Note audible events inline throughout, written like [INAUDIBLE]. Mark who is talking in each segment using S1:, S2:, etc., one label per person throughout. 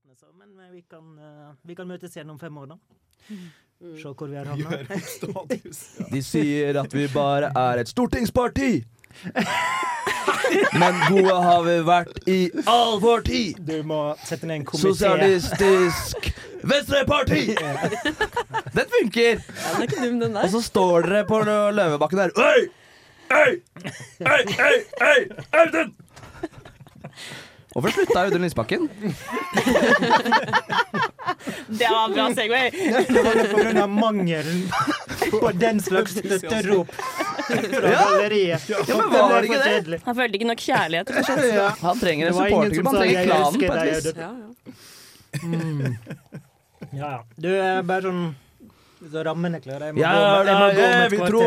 S1: aleine sammen, men vi kan, eh, vi kan møtes igjen om fem år, da.
S2: Mm.
S1: Se hvor vi har
S3: Gjør
S1: havna.
S3: en status. Ja.
S2: De sier at vi bare er et stortingsparti! Men gode har vi vært i all vår tid!
S1: Du må sette ned en komité.
S2: Sosialistisk Venstreparti! Den funker!
S4: Den er ikke dum, den
S2: Og
S4: der.
S2: så står dere på Løvebakken der Øy! Øy! Øy! Øy! Øy! Audun! Hvorfor slutta Audun Lysbakken?
S4: Det var en bra Segway.
S1: Det var på grunn av mangelen på den slags støtterop fra galleriet.
S2: Ja, men
S1: Det
S2: var det
S1: for
S2: ikke det?
S1: kjedelig.
S4: Han følte ikke nok kjærlighet. kanskje.
S2: Ja. Han trenger
S1: Det
S2: en
S1: var ingen
S2: supportergruppe,
S1: som
S2: han
S1: sa
S2: trenger
S1: 'jeg
S2: klanen på
S1: elsker
S2: et
S1: deg',
S2: vis.
S1: Audun. Mm.
S4: Ja, ja.
S1: Ja, ja. Du er bare sånn så rammene klarer jeg. må
S2: Ja,
S1: gå om-
S2: da
S1: jeg må gå om
S2: er
S1: et
S2: vi tro!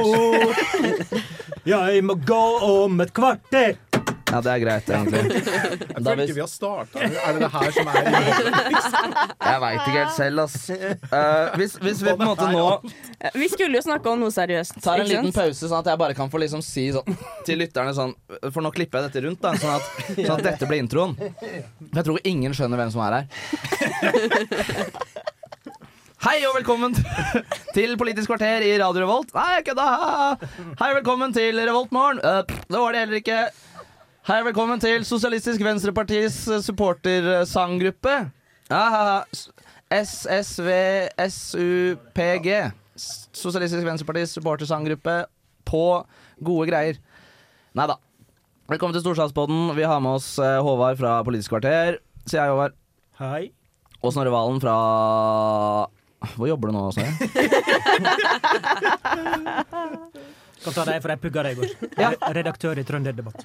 S1: kvarter. Jeg må gå om et kvarter!
S2: Ja, det er greit, egentlig.
S3: Jeg
S2: Da
S3: føler
S2: hvis-
S3: ikke vi har starta. Er det det her som [LAUGHS] er innholdet?
S2: Jeg veit ikke helt selv, ass. Eh, hvis, hvis vi på en måte nå
S4: Vi skulle jo snakke om noe seriøst.
S2: tar en
S4: ikke
S2: liten
S4: sant?
S2: pause, sånn at jeg bare kan få liksom si sånn [LAUGHS] til lytterne sånn For nå klipper jeg dette rundt, da, sånn at, sånn at dette blir introen. For jeg tror ingen skjønner hvem som er her. [LAUGHS] Hei og velkommen [LAUGHS] til Politisk kvarter i Radio Revolt. Nei, jeg kødda! Hei og velkommen til Revoltmorgen. Eh, pff, det var det heller ikke. Hei og velkommen til Sosialistisk Venstrepartis eh, supportersanggruppe. Ah, s- SSVSUPG. S- Sosialistisk Venstrepartis supportersanggruppe på gode greier. Nei da. Velkommen til Storsalspodden. Vi har med oss eh, Håvard fra Politisk kvarter. Sier jeg, Håvard.
S1: Hei.
S2: Og Snorre Valen fra Hvor jobber du nå, [LAUGHS] Snorre?
S1: Kan ta deg, for jeg pugga deg i går.
S2: Ja.
S1: Redaktør i Trønderdebatt.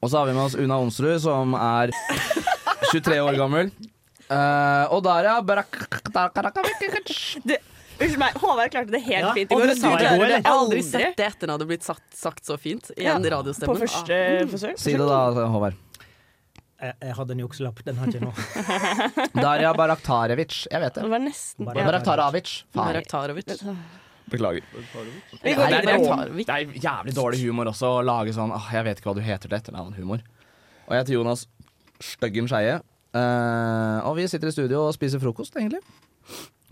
S2: Og så har vi med oss Una Onsrud, som er 23 år gammel. Eh, og der, ja. Barak-
S4: Du, Unnskyld meg, Håvard klarte det helt
S1: Ja,
S4: fint i
S1: og
S4: går.
S1: du
S4: og du
S1: sa det
S4: klarer
S1: går,
S4: det
S1: eller?
S5: Jeg har aldri
S4: aldri.
S5: sett det etter at det hadde blitt sagt, sagt så fint i
S4: Ja,
S5: en
S4: På
S5: radiostemme.
S4: første forsøk.
S2: Si det, da, Håvard.
S1: Jeg, jeg hadde en jukselapp, den har jeg ikke
S2: [LAUGHS]
S1: nå.
S2: Daria Baraktarevic. Jeg vet det.
S4: Det var nesten
S1: Bare-
S4: ja.
S2: Baraktarevic.
S5: Ah,
S2: Faen.
S5: Baraktarovic.
S2: Beklager.
S4: Vi
S2: Nei,
S4: går
S2: det, er
S4: videre.
S2: dårlig, det er jævlig dårlig humor også å lage sånn «Åh, Jeg vet ikke hva du heter til etternavn-humor. Og jeg heter Jonas Støggen Skeie. eh, og vi sitter i studio og spiser frokost, egentlig.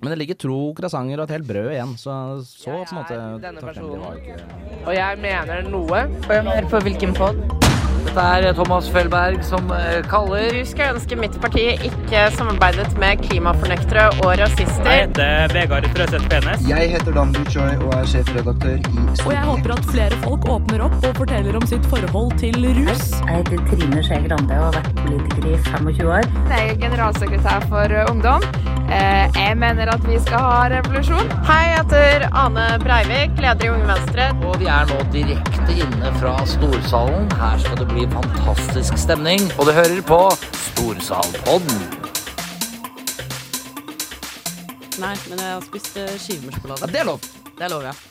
S2: Men det ligger tro croissanter og et helt brød igjen, så så på en måte takknemlig var jeg ikke.
S6: Og jeg mener noe. Og jeg hører på hvilken pod? Dette
S2: eh,
S6: er Thomas Felberg som eh, kaller.
S7: Du skulle ønske mitt parti ikke samarbeidet med klimafornektere og rasister.
S8: Jeg heter Dan Buchoy og er sjefredaktør i
S9: Og jeg håper at flere folk åpner opp og forteller om sitt forhold til rus.
S10: Jeg heter Trine Skei Grande og har vært politiker i 25 år.
S7: Jeg er generalsekretær for eh, Ungdom. Eh, Jeg mener at vi skal ha revolusjon. Hei, jeg heter Ane Breivik, leder i Unge Venstre.
S6: Og vi er nå direkte inne fra Storsalen. Her skal det bli fantastisk stemning. Og du hører på Storsalpodden.
S5: Nei, men jeg har spist eh,
S2: Ja,
S5: skivemursjokolade.
S2: det er lov!
S5: Det lover jeg.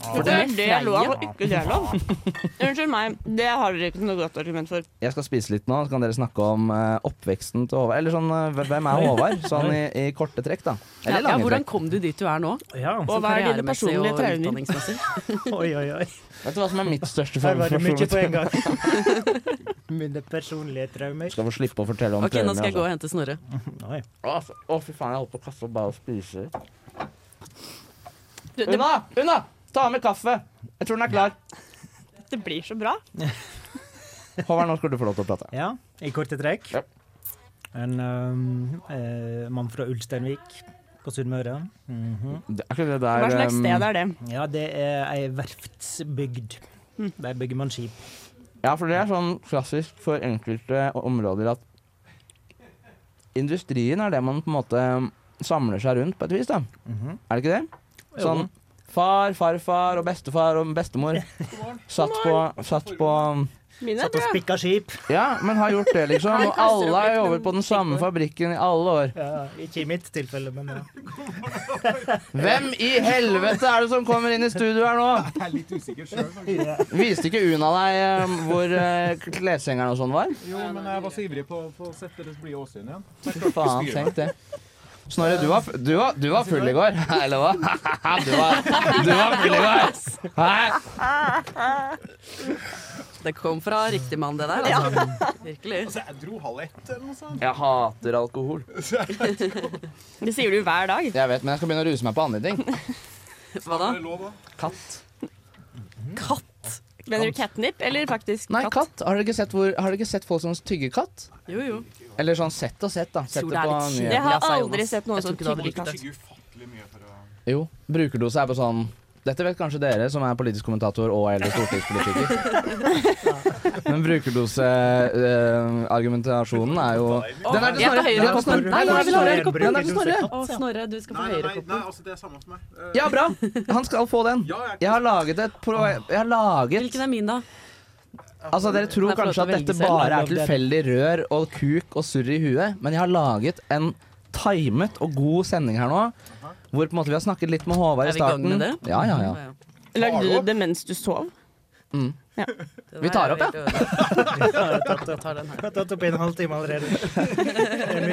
S4: Det er det lov og ikke det lov. Unnskyld meg, det har dere ikke noe godt argument for.
S2: Jeg skal spise litt nå, så kan dere snakke om eh, oppveksten til Håvard. Eller sånn eh, hvem er Håvard? Sånn i, i korte trekk, da. Eller
S5: Ja,
S2: lange
S5: hvordan
S2: trekk.
S5: kom du dit du er nå?
S1: Ja.
S4: Og
S2: [LAUGHS]
S4: hva er dine
S5: Karrieremessig
S4: personlige
S5: og
S4: traumer?
S5: utdanningsmessig?
S1: Oi, oi, oi.
S2: Vet du hva som er mitt største
S1: Her var det mye på
S2: forhold?
S1: en gang.
S2: [LAUGHS]
S1: Mine personlige traumer.
S2: Skal få slippe å fortelle om
S5: Ok, nå skal jeg gå
S2: altså.
S5: og hente Snorre.
S1: Oi.
S2: Å, f- Å, fy faen, jeg holdt på å kaste opp bare å spise.
S4: Du, det,
S2: Unna! Unna! Ta med kaffe. Jeg tror den er klar.
S4: det blir så bra.
S2: Håvard, nå skal du få lov til å prate.
S1: Ja, i korte trekk.
S2: Ja.
S1: En øhm, eh, mann fra Ulsteinvik på Sunnmøre. Mhm.
S2: Det er ikke det
S4: Hva
S2: der
S4: slags
S2: um,
S4: sted er det?
S1: Ja, det er ei verftsbygd.
S2: Mhm.
S1: Der bygger man skip.
S2: Ja, for det er sånn klassisk for enkelte områder at industrien er det man på en måte um, samler seg rundt på et vis, da.
S1: Mhm.
S2: Er det ikke det? Sånn far, farfar og bestefar og bestemor
S4: [LAUGHS]
S2: satt på, satt på um,
S4: Mine
S1: Satt og spikka skip.
S2: Ja, men har gjort det, liksom. Og alle er over på den samme fabrikken i alle år.
S1: Ja, ikke i mitt tilfelle, men ja.
S2: Hvem i helvete er det som kommer inn i studio her nå?
S3: Jeg er litt usikker sjøl.
S2: Viste ikke Una deg eh, hvor eh, kleshengeren og sånn var?
S3: Jo, men jeg var så ivrig på på å sette det blide åsynet igjen.
S2: Faen, tenk det. Snorre, du var, du, var, du var full i går, [LAUGHS] eller hva? Du var, du var full i går. Hæ?
S5: Det kom fra riktig mann, det der.
S3: Ja.
S5: Altså. Virkelig.
S3: Altså, jeg dro halv ett eller noe sånt.
S2: Jeg hater alkohol.
S4: Det sier du hver dag.
S2: Jeg vet, men jeg skal begynne å ruse meg på andre ting.
S5: Hva da?
S2: Katt.
S5: Katt?
S4: Mener du catnip eller faktisk
S2: Nei, katt. Har dere ikke sett, hvor, har dere ikke sett folk som tygger katt?
S5: Jo, jo.
S2: Eller sånn sett og sett, da. Sett
S5: tror
S2: det
S5: det er
S2: på
S5: litt
S2: nyheter.
S4: Jeg har
S5: altså,
S4: aldri
S5: Jonas.
S4: sett noen
S5: Jeg
S4: som
S5: tror ikke du hadde
S4: tygger
S5: likt
S4: katt.
S5: det.
S2: Jo. Brukerdose er på sånn Dette vet kanskje dere som er politisk kommentator og eller stortingspolitiker. Men brukerdoseargumentasjonen eh, er jo Den er til
S5: Jeg tar
S2: Snorre!
S5: høyre
S2: Den er til
S5: koppen.
S2: Snorre! Nei, den er til Snorre! Den er til Snorre.
S5: Å, Snorre, du skal få
S3: Nei, nei, nei, nei,
S5: høyrekoppen.
S3: altså, det er samme for meg. Eh,
S2: Ja, bra! Han skal få den.
S3: Ja, jeg-
S2: Jeg har laget et pro... Jeg har laget
S5: Hvilken er min, da?
S2: Altså, Dere tror
S5: Nei, for
S2: kanskje at
S5: at du
S2: dette
S5: velger selv.
S2: bare er tilfeldig rør og kuk og surr i huet, men jeg har laget en timet og god sending her nå. Hvor på en måte vi har snakket litt med Håvard
S5: Er
S2: i
S5: vi i gang
S2: starten.
S5: med det?
S2: Ja, ja, ja.
S4: Lagde du det mens du sov?
S5: Den
S2: Vi
S5: her
S2: tar
S5: er
S2: opp, ja.
S5: helt ødelagt. Jeg tar den her.
S1: Vi har tatt opp en halvtime allerede.
S2: [LAUGHS] Ja,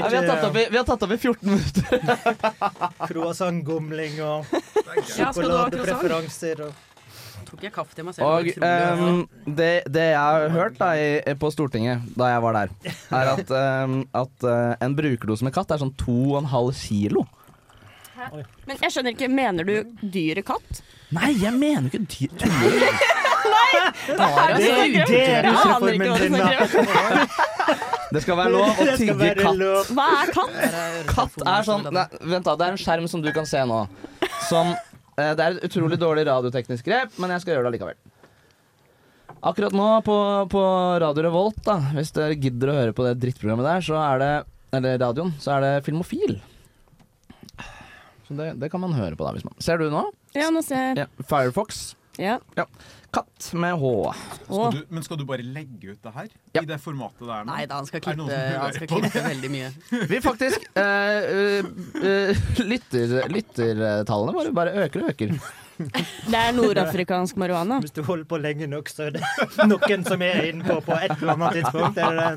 S2: vi, har tatt opp i, vi har tatt opp i 14 minutter.
S1: Croissant-gomling og
S5: [LAUGHS] Ja, skal du ha croissant?
S1: sjokoladepreferanser og
S5: Tok jeg kaffe til meg
S2: [LAUGHS]
S5: selv?
S2: Og
S5: det var utrolig. altså.
S2: ehm, det, det jeg har hørt da, i, på Stortinget da jeg var der, er at, ehm, at eh, en brukerdose med katt er sånn 2,5 kilo.
S4: Men jeg skjønner ikke, mener du dyre katt?
S2: Nei, jeg mener ikke dyr. [LAUGHS]
S4: Det er
S1: det er rusreformen din, da.
S2: Det skal være lov å
S1: Det skal
S2: tygge
S1: være
S2: katt.
S1: lov.
S4: Hva er katt?
S5: Her er
S2: Katt
S5: øretelefonen,
S2: er sånn
S5: så
S2: nei,
S5: den-
S2: Vent, da. Det er en skjerm som du kan se nå. Som eh, Det er et utrolig dårlig radioteknisk grep, men jeg skal gjøre det allikevel. Akkurat nå på, på Radio Revolt, da, hvis dere gidder å høre på det drittprogrammet der, så er det Eller radioen, så er det Filmofil. Så det, det kan man høre på, da, hvis man Ser du nå?
S4: Ja, nå ser jeg.
S2: Ja. Firefox.
S4: Ja.
S2: Katt med H.
S4: Å,
S3: Du, men skal du bare legge ut det her?
S2: Ja.
S3: I det formatet det er nå?
S5: Nei da, han skal
S3: Er det noen
S5: klippe,
S3: som hører
S5: han skal
S3: på?
S5: klippe veldig mye.
S2: Vi faktisk eh, eh, eh, lytter, Lyttertallene våre bare øker og øker.
S4: Det er nordafrikansk marihuana.
S1: Hvis du holder på lenge nok, så er det [LAUGHS] noen som er innpå på et eller annet tidspunkt. Er det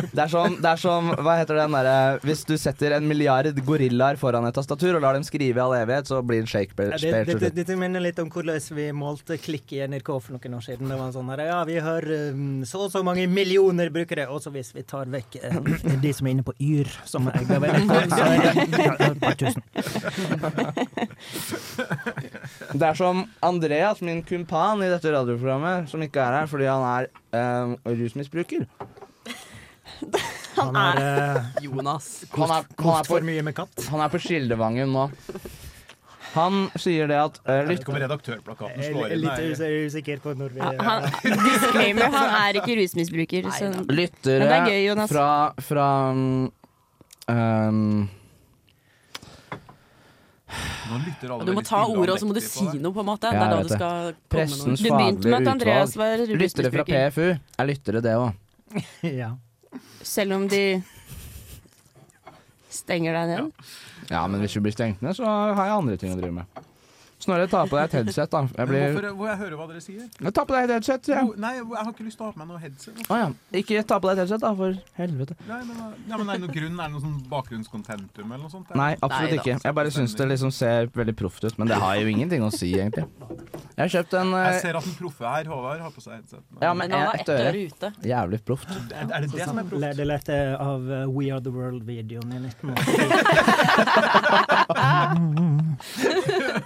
S1: det?
S2: Det er som, det er som hva heter den derre Hvis du setter en milliard gorillaer foran et tastatur og lar dem skrive i all evighet, så blir det Shakespeare.
S1: Ja, det,
S2: Shakespeare
S1: dette,
S2: til slutt.
S1: dette minner litt om hvordan vi målte klikk i NRK for noen år siden. Det var sånn her, ja, vi har um, så og så mange millioner brukere, og så hvis vi tar vekk eh, [CLEARS THROAT] de som er inne på Yr, som er eid av NRK, så er det ja, et par tusen.
S2: det er som Andreas, min kumpan i dette radioprogrammet, som ikke er her fordi han er eh, rusmisbruker.
S1: Han har eh,
S5: Jonas.
S2: Han er, han,
S1: kost
S2: er på,
S1: for mye med katt.
S2: han er på Skildevangen nå. Han sier det at eh,
S3: Jeg vet
S2: lytt,
S3: ikke om redaktørplakaten
S1: Jeg
S3: slår
S1: er
S3: inn.
S1: litt
S3: her.
S1: us- usikker på når vi
S4: Han, han- disclaimer, han er ikke rusmisbruker. Så. Men det
S2: lyttere
S4: er gøy, Jonas.
S2: fra, fra mm, ehm,
S3: Nå lytter alle
S5: Du må
S3: veldig
S5: ta
S3: stille
S5: ordet, og så må du
S3: andektig på
S5: si
S3: det.
S5: noe, på en måte. Det
S2: Ja,
S5: er da
S2: jeg
S5: du
S2: vet
S5: skal komme med
S2: Pressens
S5: noe.
S4: Du begynte med at
S2: faglige
S4: Andreas
S2: utvalg.
S4: var
S2: Lyttere fra
S4: rusmisbruker.
S2: PFU er lyttere, det òg.
S1: [LAUGHS] ja.
S4: Selv om de stenger deg ned.
S2: Ja, men hvis vi blir stengt ned, så har jeg andre ting å drive med. Snorre, ta på deg et headset, da. Jeg
S3: Men
S2: blir
S3: hvorfor, hvor jeg hører hva dere sier?
S2: Ja, Ta på deg et headset, sier jeg.
S3: Jo, Nei, jeg har ikke lyst til å ha på meg noe headset.
S2: Å ja. Ikke ta på deg et headset, da, for helvete.
S3: Nei, men, ja, men er det noe grunn? Er det noe sånn bakgrunnskontentum eller noe sånt?
S2: Nei, absolutt
S5: Nei da.
S2: ikke. Jeg bare syns det liksom ser veldig proft ut, men det har jo ingenting å si, egentlig. Jeg har kjøpt en
S3: Jeg
S2: eh,
S3: ser at den proffe her, Håvard, har på seg headset. nå.
S2: Ja, men
S5: Ja,
S2: eh,
S5: da,
S2: ett
S5: ett øre
S2: øre.
S5: ute.
S2: Jævlig proft.
S3: Er, er det det som er
S1: Le-
S3: proft?
S1: Det lærte jeg av eh, We Are The World-videoen i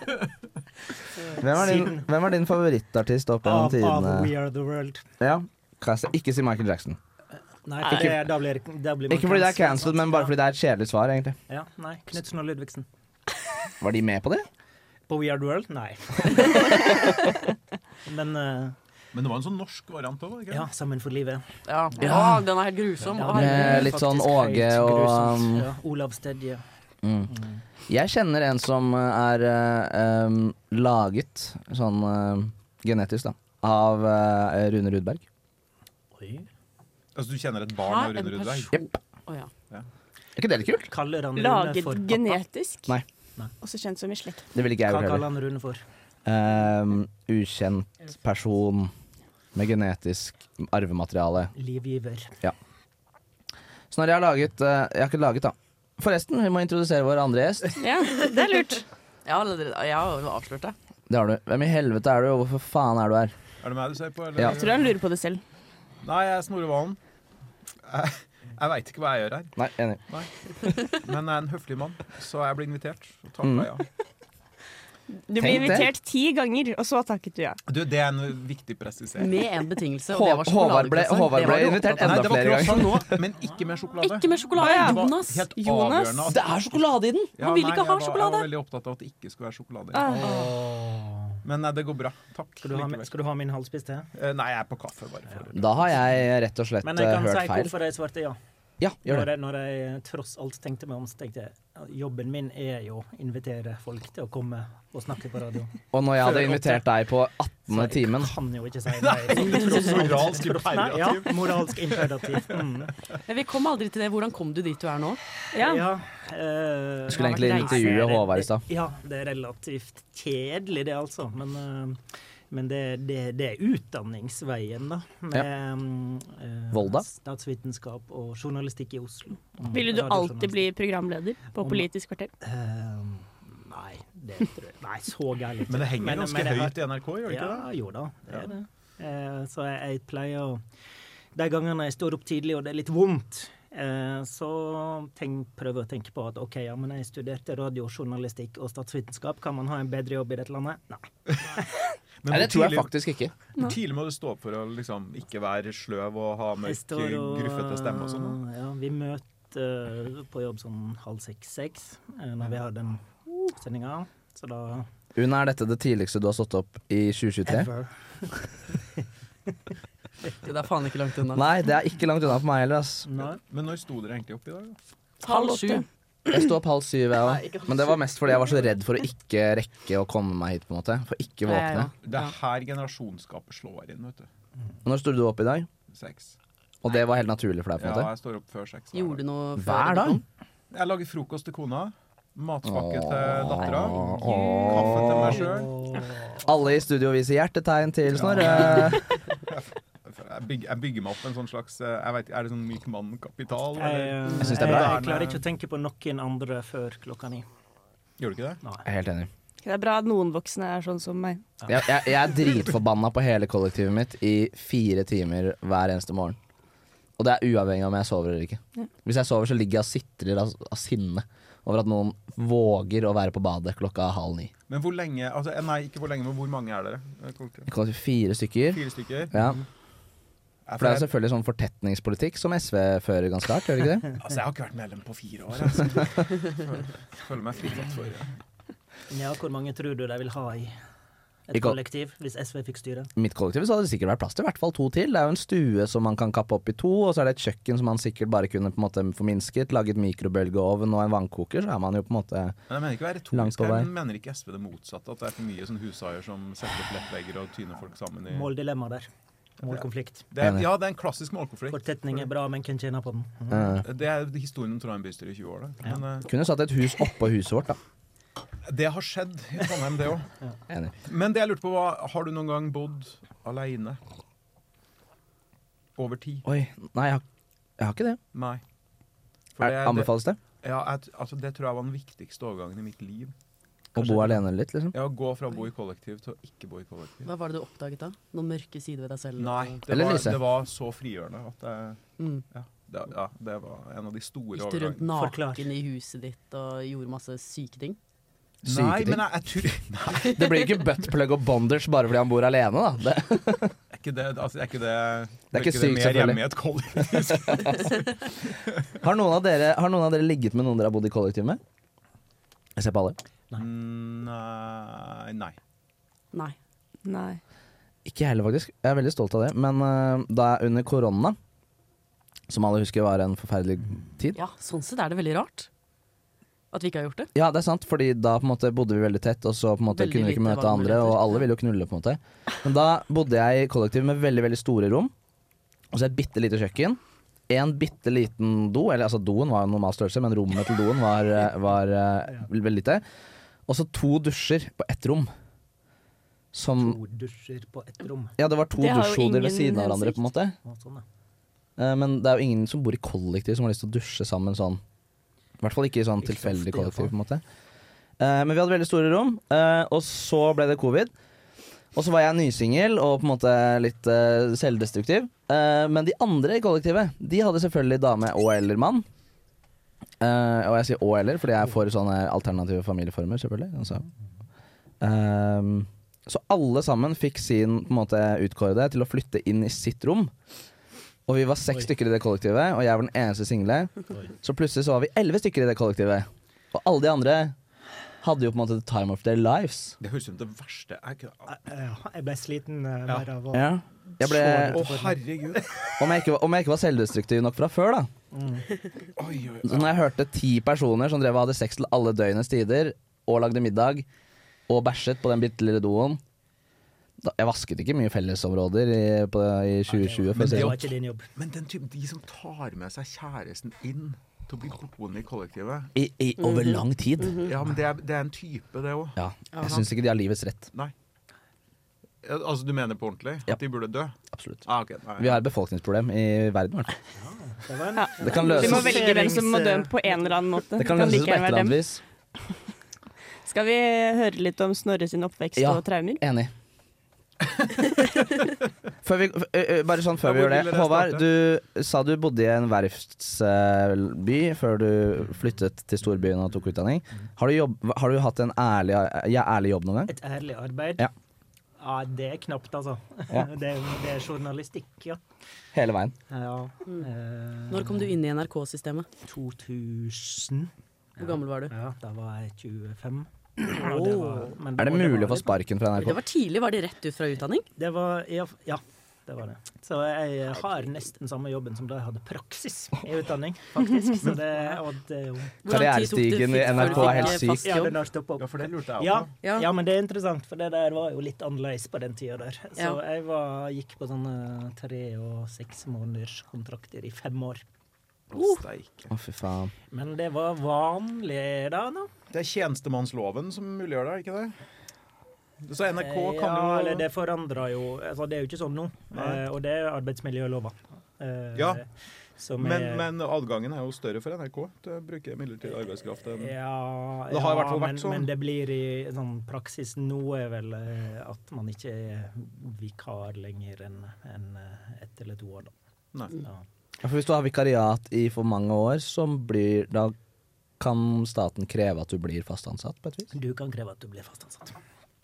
S1: 19
S3: [LAUGHS]
S2: Hvem er din, hvem er din favorittartist opp gjennom
S1: Av, av We
S2: tidene?
S1: Are The World.
S2: Ja. Kasse. Ikke si Michael Jackson.
S1: Nei, for det, da blir, da blir man
S2: Ikke fordi det er cancelled, men bare fordi det er et kjedelig svar, egentlig.
S1: Ja, nei. Knutsen og Ludvigsen.
S2: Var de med på det?
S1: På We Are The World? [LAUGHS] Nei. Men eh,
S3: Men det var en sånn norsk variant òg, ikke
S1: ja, Sammen for livet.
S5: Ja, den er helt grusom.
S1: Ja,
S5: Å,
S1: den er
S5: herregud.
S2: Med litt sånn
S1: Faktisk
S2: Åge
S1: høyt
S2: og
S1: grusomt.
S2: um,
S1: ja, Olav Stedje.
S2: Mm. Jeg kjenner en som eh, er eh, em, laget sånn eh, genetisk, da. Av eh, Rune Rudberg.
S3: Altså, du kjenner et
S5: Hæ?
S3: barn og
S5: En
S3: runder ut der?
S5: person Å, ja.
S2: Er ikke det litt kult?
S1: Kaller han Rune
S4: Laget
S1: for pappa?
S4: genetisk.
S2: Nei.
S4: Også kjent som i slekt.
S2: Det ville ikke jeg
S1: Hva
S2: gjort
S1: kaller
S2: heller.
S1: han Rune for?
S2: Em, ukjent person med genetisk arvemateriale.
S1: Livgiver.
S2: Snorre, jeg har laget eh, Jeg har ikke laget, da. Forresten, vi må introdusere vår andre gjest.
S4: Ja, det er lurt.
S5: Jeg har allerede- jeg har jo avslørt det.
S2: Det har du. Hvem i helvete er du, og hvorfor faen er du her?
S3: Er det meg du ser på? eller?
S2: Ja.
S4: Jeg tror han lurer på det selv.
S3: Nei, jeg er Snorre Valen. Jeg, jeg veit ikke hva jeg gjør her,
S2: Nei, enig.
S3: Nei. men jeg er en høflig mann, så jeg blir invitert. Og takker
S2: Mm.
S3: jeg ja.
S4: Du blir
S2: Tenk det.
S4: invitert ti ganger, og så takket du ja.
S3: Du, det er en viktig presisering.
S5: Med en betingelse, og det
S2: Hå-
S5: var
S2: Håvard ble,
S5: sjokoladekrossen.
S2: Håvard
S5: Det
S2: ble
S5: var du
S2: invitert
S5: opptatt av.
S3: Nei,
S2: enda
S3: det var
S2: flere ganger.
S3: croissant nå, men ikke med sjokolade.
S5: Ikke med sjokolade.
S4: Å, ja.
S3: Det var
S5: Jonas.
S3: Helt
S4: Jonas.
S3: avgjørende at
S2: Det er sjokolade i den!
S3: Ja,
S9: Han vil
S3: nei,
S9: ikke
S3: jeg
S9: ha
S3: var- Jeg
S9: sjokolade.
S3: var veldig opptatt av at det ikke skulle være sjokolade.
S4: Ah.
S11: Ah.
S1: Åh.
S3: Men nei, det går bra. Takk.
S1: Skal du ha,
S3: likevel.
S1: skal du ha min halvspiss til?
S3: Eh, Nei, jeg er på kaffe, bare. For.
S2: Da har jeg rett og slett
S1: Men jeg
S2: eh,
S1: kan si
S2: hørt feil.
S1: hvorfor jeg svarte ja.
S2: Ja, gjør
S1: Når
S2: det.
S1: jeg, når jeg eh, tross alt tenkte meg om, så tenkte jeg at jobben min er jo å invitere folk til å komme og snakke på
S2: [LAUGHS]
S1: radio.
S2: Og når jeg hadde
S1: Før åtte.
S2: invitert deg på 18.
S1: Så
S2: timen
S1: jeg kan jo ikke si nei.
S3: Moralsk
S1: Nei, ja,
S3: imperativ.
S1: moralsk imperativ.
S2: [LAUGHS]
S1: Mm.
S5: Men vi kom aldri til det. Hvordan kom du dit du er nå?
S4: ja.
S1: Ja, eh,
S2: Du skulle
S5: Ja,
S2: egentlig
S5: det er
S2: intervjue Håvard i stad.
S1: Ja, det er relativt kjedelig det, altså. Men, eh, men det, det, det er utdanningsveien, da. Med eh,
S2: Volda.
S1: statsvitenskap og journalistikk i Oslo.
S4: Ville du alltid bli programleder på
S1: Om-
S4: Politisk kvarter?
S1: Eh, Nei, det tror jeg Nei, så gærent.
S3: Men det henger ganske
S1: men jeg har-
S3: høyt i NRK, gjør det ikke det?
S1: Ja, jo da, det er det. Eh, så jeg, jeg pleier å De gangene jeg står opp tidlig og det er litt vondt, eh, så tenk, prøver jeg å tenke på at OK, ja, men jeg studerte radiojournalistikk og statsvitenskap, kan man ha en bedre jobb i dette landet? Nei.
S3: Men
S2: Nei, det
S3: hvor
S2: tror jeg
S3: tidlig-
S2: faktisk ikke.
S3: hvor tidlig må du stå opp for å liksom ikke være sløv og ha
S1: Jeg
S3: mørk,
S1: står og
S3: gruffete stemme og sånn? da?
S1: Ja, vi møter på jobb sånn halv seks-seks når vi har den sendinga. Så da
S2: Una, er dette det tidligste du har stått opp i 2023?
S1: Ever.
S5: Det er faen ikke langt unna.
S2: Nei, det er ikke langt unna for meg heller. Ass.
S1: Nei.
S3: Men når sto dere egentlig opp i dag? da?
S5: Halv sju.
S2: Jeg sto opp halv syv, jeg òg. Men det var mest fordi jeg var så redd for å ikke rekke å komme meg hit. på en måte For ikke
S5: Ja, ja,
S2: våkne.
S5: ja.
S3: Det er her generasjonsgapet slår inn, vet du.
S2: Når sto du opp i dag?
S3: Seks.
S2: Og det var helt naturlig for deg? på en
S3: Ja,
S2: måte
S3: jeg står opp før seks. hver
S5: Gjorde
S3: dag.
S5: du noe før
S2: Hver
S5: du
S2: dag?
S5: kom?
S3: Jeg lager frokost til kona. Matpakke til dattera. Kaffe til meg sjøl.
S2: Alle i studio viser hjertetegn til Snorre.
S3: Jeg, bygger- jeg bygger meg opp en sånn slags eh, jeg vet, ikke, Er det sånn myk mann-kapital?
S1: Jeg,
S3: eller?
S1: jeg,
S2: synes det er
S1: eh, jeg,
S2: bra.
S1: klarer ikke å tenke på noen andre før klokka ni.
S3: Gjør du ikke det?
S1: Nei.
S2: Jeg er helt enig.
S4: Det er bra at noen voksne er sånn som meg.
S2: Jeg, jeg, jeg er dritforbanna på hele kollektivet mitt i fire timer hver eneste morgen. Og det er uavhengig av om jeg sover eller ikke. Hvis jeg sover, så ligger jeg og sitrer av, av sinne over at noen våger å være på badet klokka halv ni.
S3: Men hvor lenge altså, eh, Nei, ikke hvor lenge, men hvor mange er dere? Eh, kollektiv?
S2: Det kommer til fire stykker.
S3: Fire stykker?
S2: Ja.
S3: Jeg,
S2: For det er jo selvfølgelig sånn fortetningspolitikk som SV fører ganske hardt, gjør det ikke
S3: [LAUGHS]
S2: det?
S3: altså, jeg har ikke vært medlem på fire år. altså. Jeg, så jeg [LAUGHS] føler- føler meg fritatt for det.
S1: Ja, hvor mange tror du de vil ha i et
S2: I kol-
S1: kollektiv hvis SV fikk styre?
S2: I mitt kollektiv så hadde det sikkert vært plass til i hvert fall to til. Det er jo en stue som man kan kappe opp i to, og så er det et kjøkken som man sikkert bare kunne på en måte forminsket, laget mikrobølgeovn og en vannkoker, så er man jo på en måte
S3: Men jeg mener ikke å være
S2: Langt
S3: retorisk,
S2: på
S3: her,
S2: vei.
S3: men mener ikke SV det motsatte? At det er for mye sånn hushaier som setter opp lettvegger og tyner folk sammen i
S1: Måldilemma der. Målkonflikt.
S3: det er, Ja, det er en klassisk målkonflikt.
S1: Fortetning er bra, men hvem tjener på den? Mm.
S2: eh,
S3: Det er historien om Trondheim bystyre i 20 år. Da. Men eh,
S2: Kunne satt et hus oppå huset vårt, da.
S3: det har skjedd i Trondheim, det òg.
S2: Enig.
S3: Men det jeg lurte på var, har du noen gang bodd aleine? Over tid?
S2: Oi, nei, jeg har, jeg har ikke det.
S3: Nei. For
S2: Er,
S3: det-
S2: anbefales det?
S3: Det, ja, jeg, altså, det tror jeg var den viktigste overgangen i mitt liv.
S2: Å bo alene litt, liksom?
S3: Ja, Å gå fra å bo i kollektiv til å ikke bo i kollektiv.
S5: Hva var det du oppdaget da? Noen mørke sider ved deg selv?
S3: Nei, det
S2: Eller
S3: var,
S2: Lise.
S3: det var så frigjørende at jeg
S5: Mm.
S3: ja, det, ja, det var en av de store
S5: Gikk du rundt
S3: overgangene.
S1: Forklar.
S5: naken i huset ditt og gjorde masse syke ting?
S3: Nei,
S2: Syke ting.
S3: men jeg, jeg tror Nei,
S2: [LAUGHS] Det blir ikke buttplug og bonders bare fordi han bor alene, da. Det,
S3: er ikke det altså, Er ikke det
S2: Det er ikke sykt,
S3: mer
S2: selvfølgelig.
S3: hjemme i et
S2: [LAUGHS]
S3: kollektiv?
S2: har, noen av dere, har noen av dere ligget med noen dere har bodd i kollektiv med? Jeg ser på alle.
S3: Mm, Nei. nei.
S5: Nei.
S4: Nei.
S2: Ikke jeg heller, faktisk. Jeg er veldig stolt av det. Men eh, da jeg under korona, som alle husker var en forferdelig tid
S5: Ja, sånn sett er det veldig rart at vi ikke har gjort det.
S2: Ja, det er sant, fordi da på en måte bodde vi veldig tett, og så på en måte
S5: Veldig
S2: kunne vi ikke
S5: lite
S2: møte andre,
S5: valgmuligheter.
S2: og alle ville jo knulle, på en måte. Men da bodde jeg i kollektiv med veldig, veldig store rom, og så et bitte lite kjøkken. En bitte liten do, eller altså doen var jo normal størrelse, men rommet til doen var, eh, var eh, veldig lite. Og så to dusjer på ett rom. Som
S1: To dusjer på ett rom.
S2: Ja, det var to
S4: Det har jo
S2: dusjhoder ved
S4: ingen
S2: siden av hverandre,
S4: hensikt.
S2: på en måte.
S1: Og sånn, ja.
S2: Eh, Men det er jo ingen som bor i kollektiv som har lyst til å dusje sammen sånn. I hvert fall ikke i sånn
S1: Ikke så ofte,
S2: tilfeldig
S1: i hvert
S2: kollektiv.
S1: fall.
S2: på en måte Eh, Men vi hadde veldig store rom, eh, og så ble det covid. Og så var jeg nysingel og på en måte litt eh, selvdestruktiv. Eh, men de andre i kollektivet De hadde selvfølgelig dame og eller mann. Eh, og jeg sier og eller fordi jeg er for sånne alternative familieformer, selvfølgelig. Altså. Ehm, så alle sammen fikk sin på en måte, utkårede til å flytte inn i sitt rom. Og vi var seks stykker i det kollektivet, og jeg var den eneste single. Så plutselig så var vi elleve stykker i det kollektivet. Og alle de andre hadde jo på en måte the time of their lives.
S3: Det høres ut som det verste jeg kunne
S1: Ja, jeg ble sliten eh,
S3: Ja.
S1: bare av å
S2: Ja. Jeg ble,
S3: Å, herregud.
S2: om, jeg ikke, var- om jeg ikke var selvdestruktiv nok fra før, da.
S3: Oi, oi.
S2: Så når jeg hørte ti personer som drev og hadde sex til alle døgnets tider, og lagde middag, og bæsjet på den bitte lille doen da, Jeg vasket ikke mye fellesområder i, på, i 2020. For å
S3: Men
S2: si
S1: Det
S2: det.
S1: var
S2: sånn.
S1: ikke din jobb.
S3: Men den typen, de som tar med seg kjæresten inn til å bli boende i kollektivet
S2: I, i, over
S4: Mhm.
S2: lang tid.
S3: Ja, men det er, det er en type, det òg.
S2: Ja. Jeg syns ikke de har livets rett.
S3: Nei. Ja, Altså, du mener på ordentlig?
S2: Ja.
S3: At de burde dø?
S2: Absolutt.
S3: Ah, ok, nei.
S2: Vi har et befolkningsproblem i verden. i hvert fall.
S1: Det var en
S4: Ja.
S2: Det kan
S4: Vi må
S2: løses,
S4: velge hvem som må dø på en eller annen måte.
S2: det kan løses
S4: like
S2: på et
S4: gjerne
S2: eller
S4: være dem.
S2: annet vis.
S4: Skal vi høre litt om Snorre sin oppvekst
S2: Ja.
S4: og traumer?
S2: Enig. [LAUGHS] før vi, f- ø, ø, bare sånn
S3: Ja,
S2: før vi
S3: hvor
S2: gjør
S3: ville
S2: det.
S3: dere
S2: Håvard, du sa du bodde i en verftsby før du flyttet til storbyen og tok utdanning.
S3: Mhm.
S2: Har du, jobb, har du hatt en ærlig, ja, ærlig jobb noen gang?
S1: Et ærlig arbeid.
S2: Ja.
S1: Ja, det er knapt, altså.
S2: Ja.
S1: [LAUGHS] Det, er- det er journalistikk, ja.
S2: Hele veien.
S1: ja. eh,
S5: Når kom du inn i NRK-systemet?
S1: 2000.
S5: Hvor gammel var du?
S1: Ja, da var jeg 25. Og det var, men
S2: Er det
S1: og
S2: mulig å
S1: var-
S2: få sparken fra
S5: Det
S2: NRK?
S5: var tidlig. Var det rett ut fra utdanning?
S1: Det var ja, ja, det var det. Så jeg eh, har nesten samme jobben som da jeg hadde praksis i
S5: [LAUGHS]
S1: utdanning, faktisk. Så det, og det er jo
S5: Hvordan tid tok det
S2: Karrierestigen i
S5: før du
S2: NRK er
S5: fikk,
S2: helt
S5: eh,
S2: syk.
S5: fast
S1: Ja,
S5: jobb?
S1: den har stoppet
S3: Ja,
S1: opp.
S3: for det lurte jeg
S1: Ja,
S3: på.
S5: Ja.
S1: ja, men det er interessant, for det der var jo litt annerledes på den tida der. Så
S5: Ja.
S1: jeg var, gikk på sånne tre- og seks måneders kontrakter i fem år. Uh.
S3: Å, steike.
S2: Å, fy faen.
S1: Men det var vanlig da, da.
S3: Det er tjenestemannsloven som muliggjør det, ikke det? Det- Så NRK kan
S1: Eh, ja,
S3: jo
S1: eller det forandrer jo altså, Det er jo ikke sånn nå,
S3: Nei.
S1: eh, og det er arbeidsmiljølova. eh,
S3: Ja.
S1: Som
S3: men,
S1: er
S3: men adgangen er jo større for NRK til å bruke midlertidig arbeidskraft. enn-
S1: Eh, Ja,
S3: Det har i
S1: ja,
S3: hvert fall vært
S1: men,
S3: sånn.
S1: men det blir i sånn praksis nå er vel eh, at man ikke er vikar lenger enn enn, eh, ett eller to år, da.
S3: Nei.
S5: Mm.
S1: Ja.
S2: Ja, for hvis du har vikariat i for mange år, så blir, da kan staten kreve at du blir fast ansatt på et vis.
S1: Du kan kreve at du blir fast ansatt.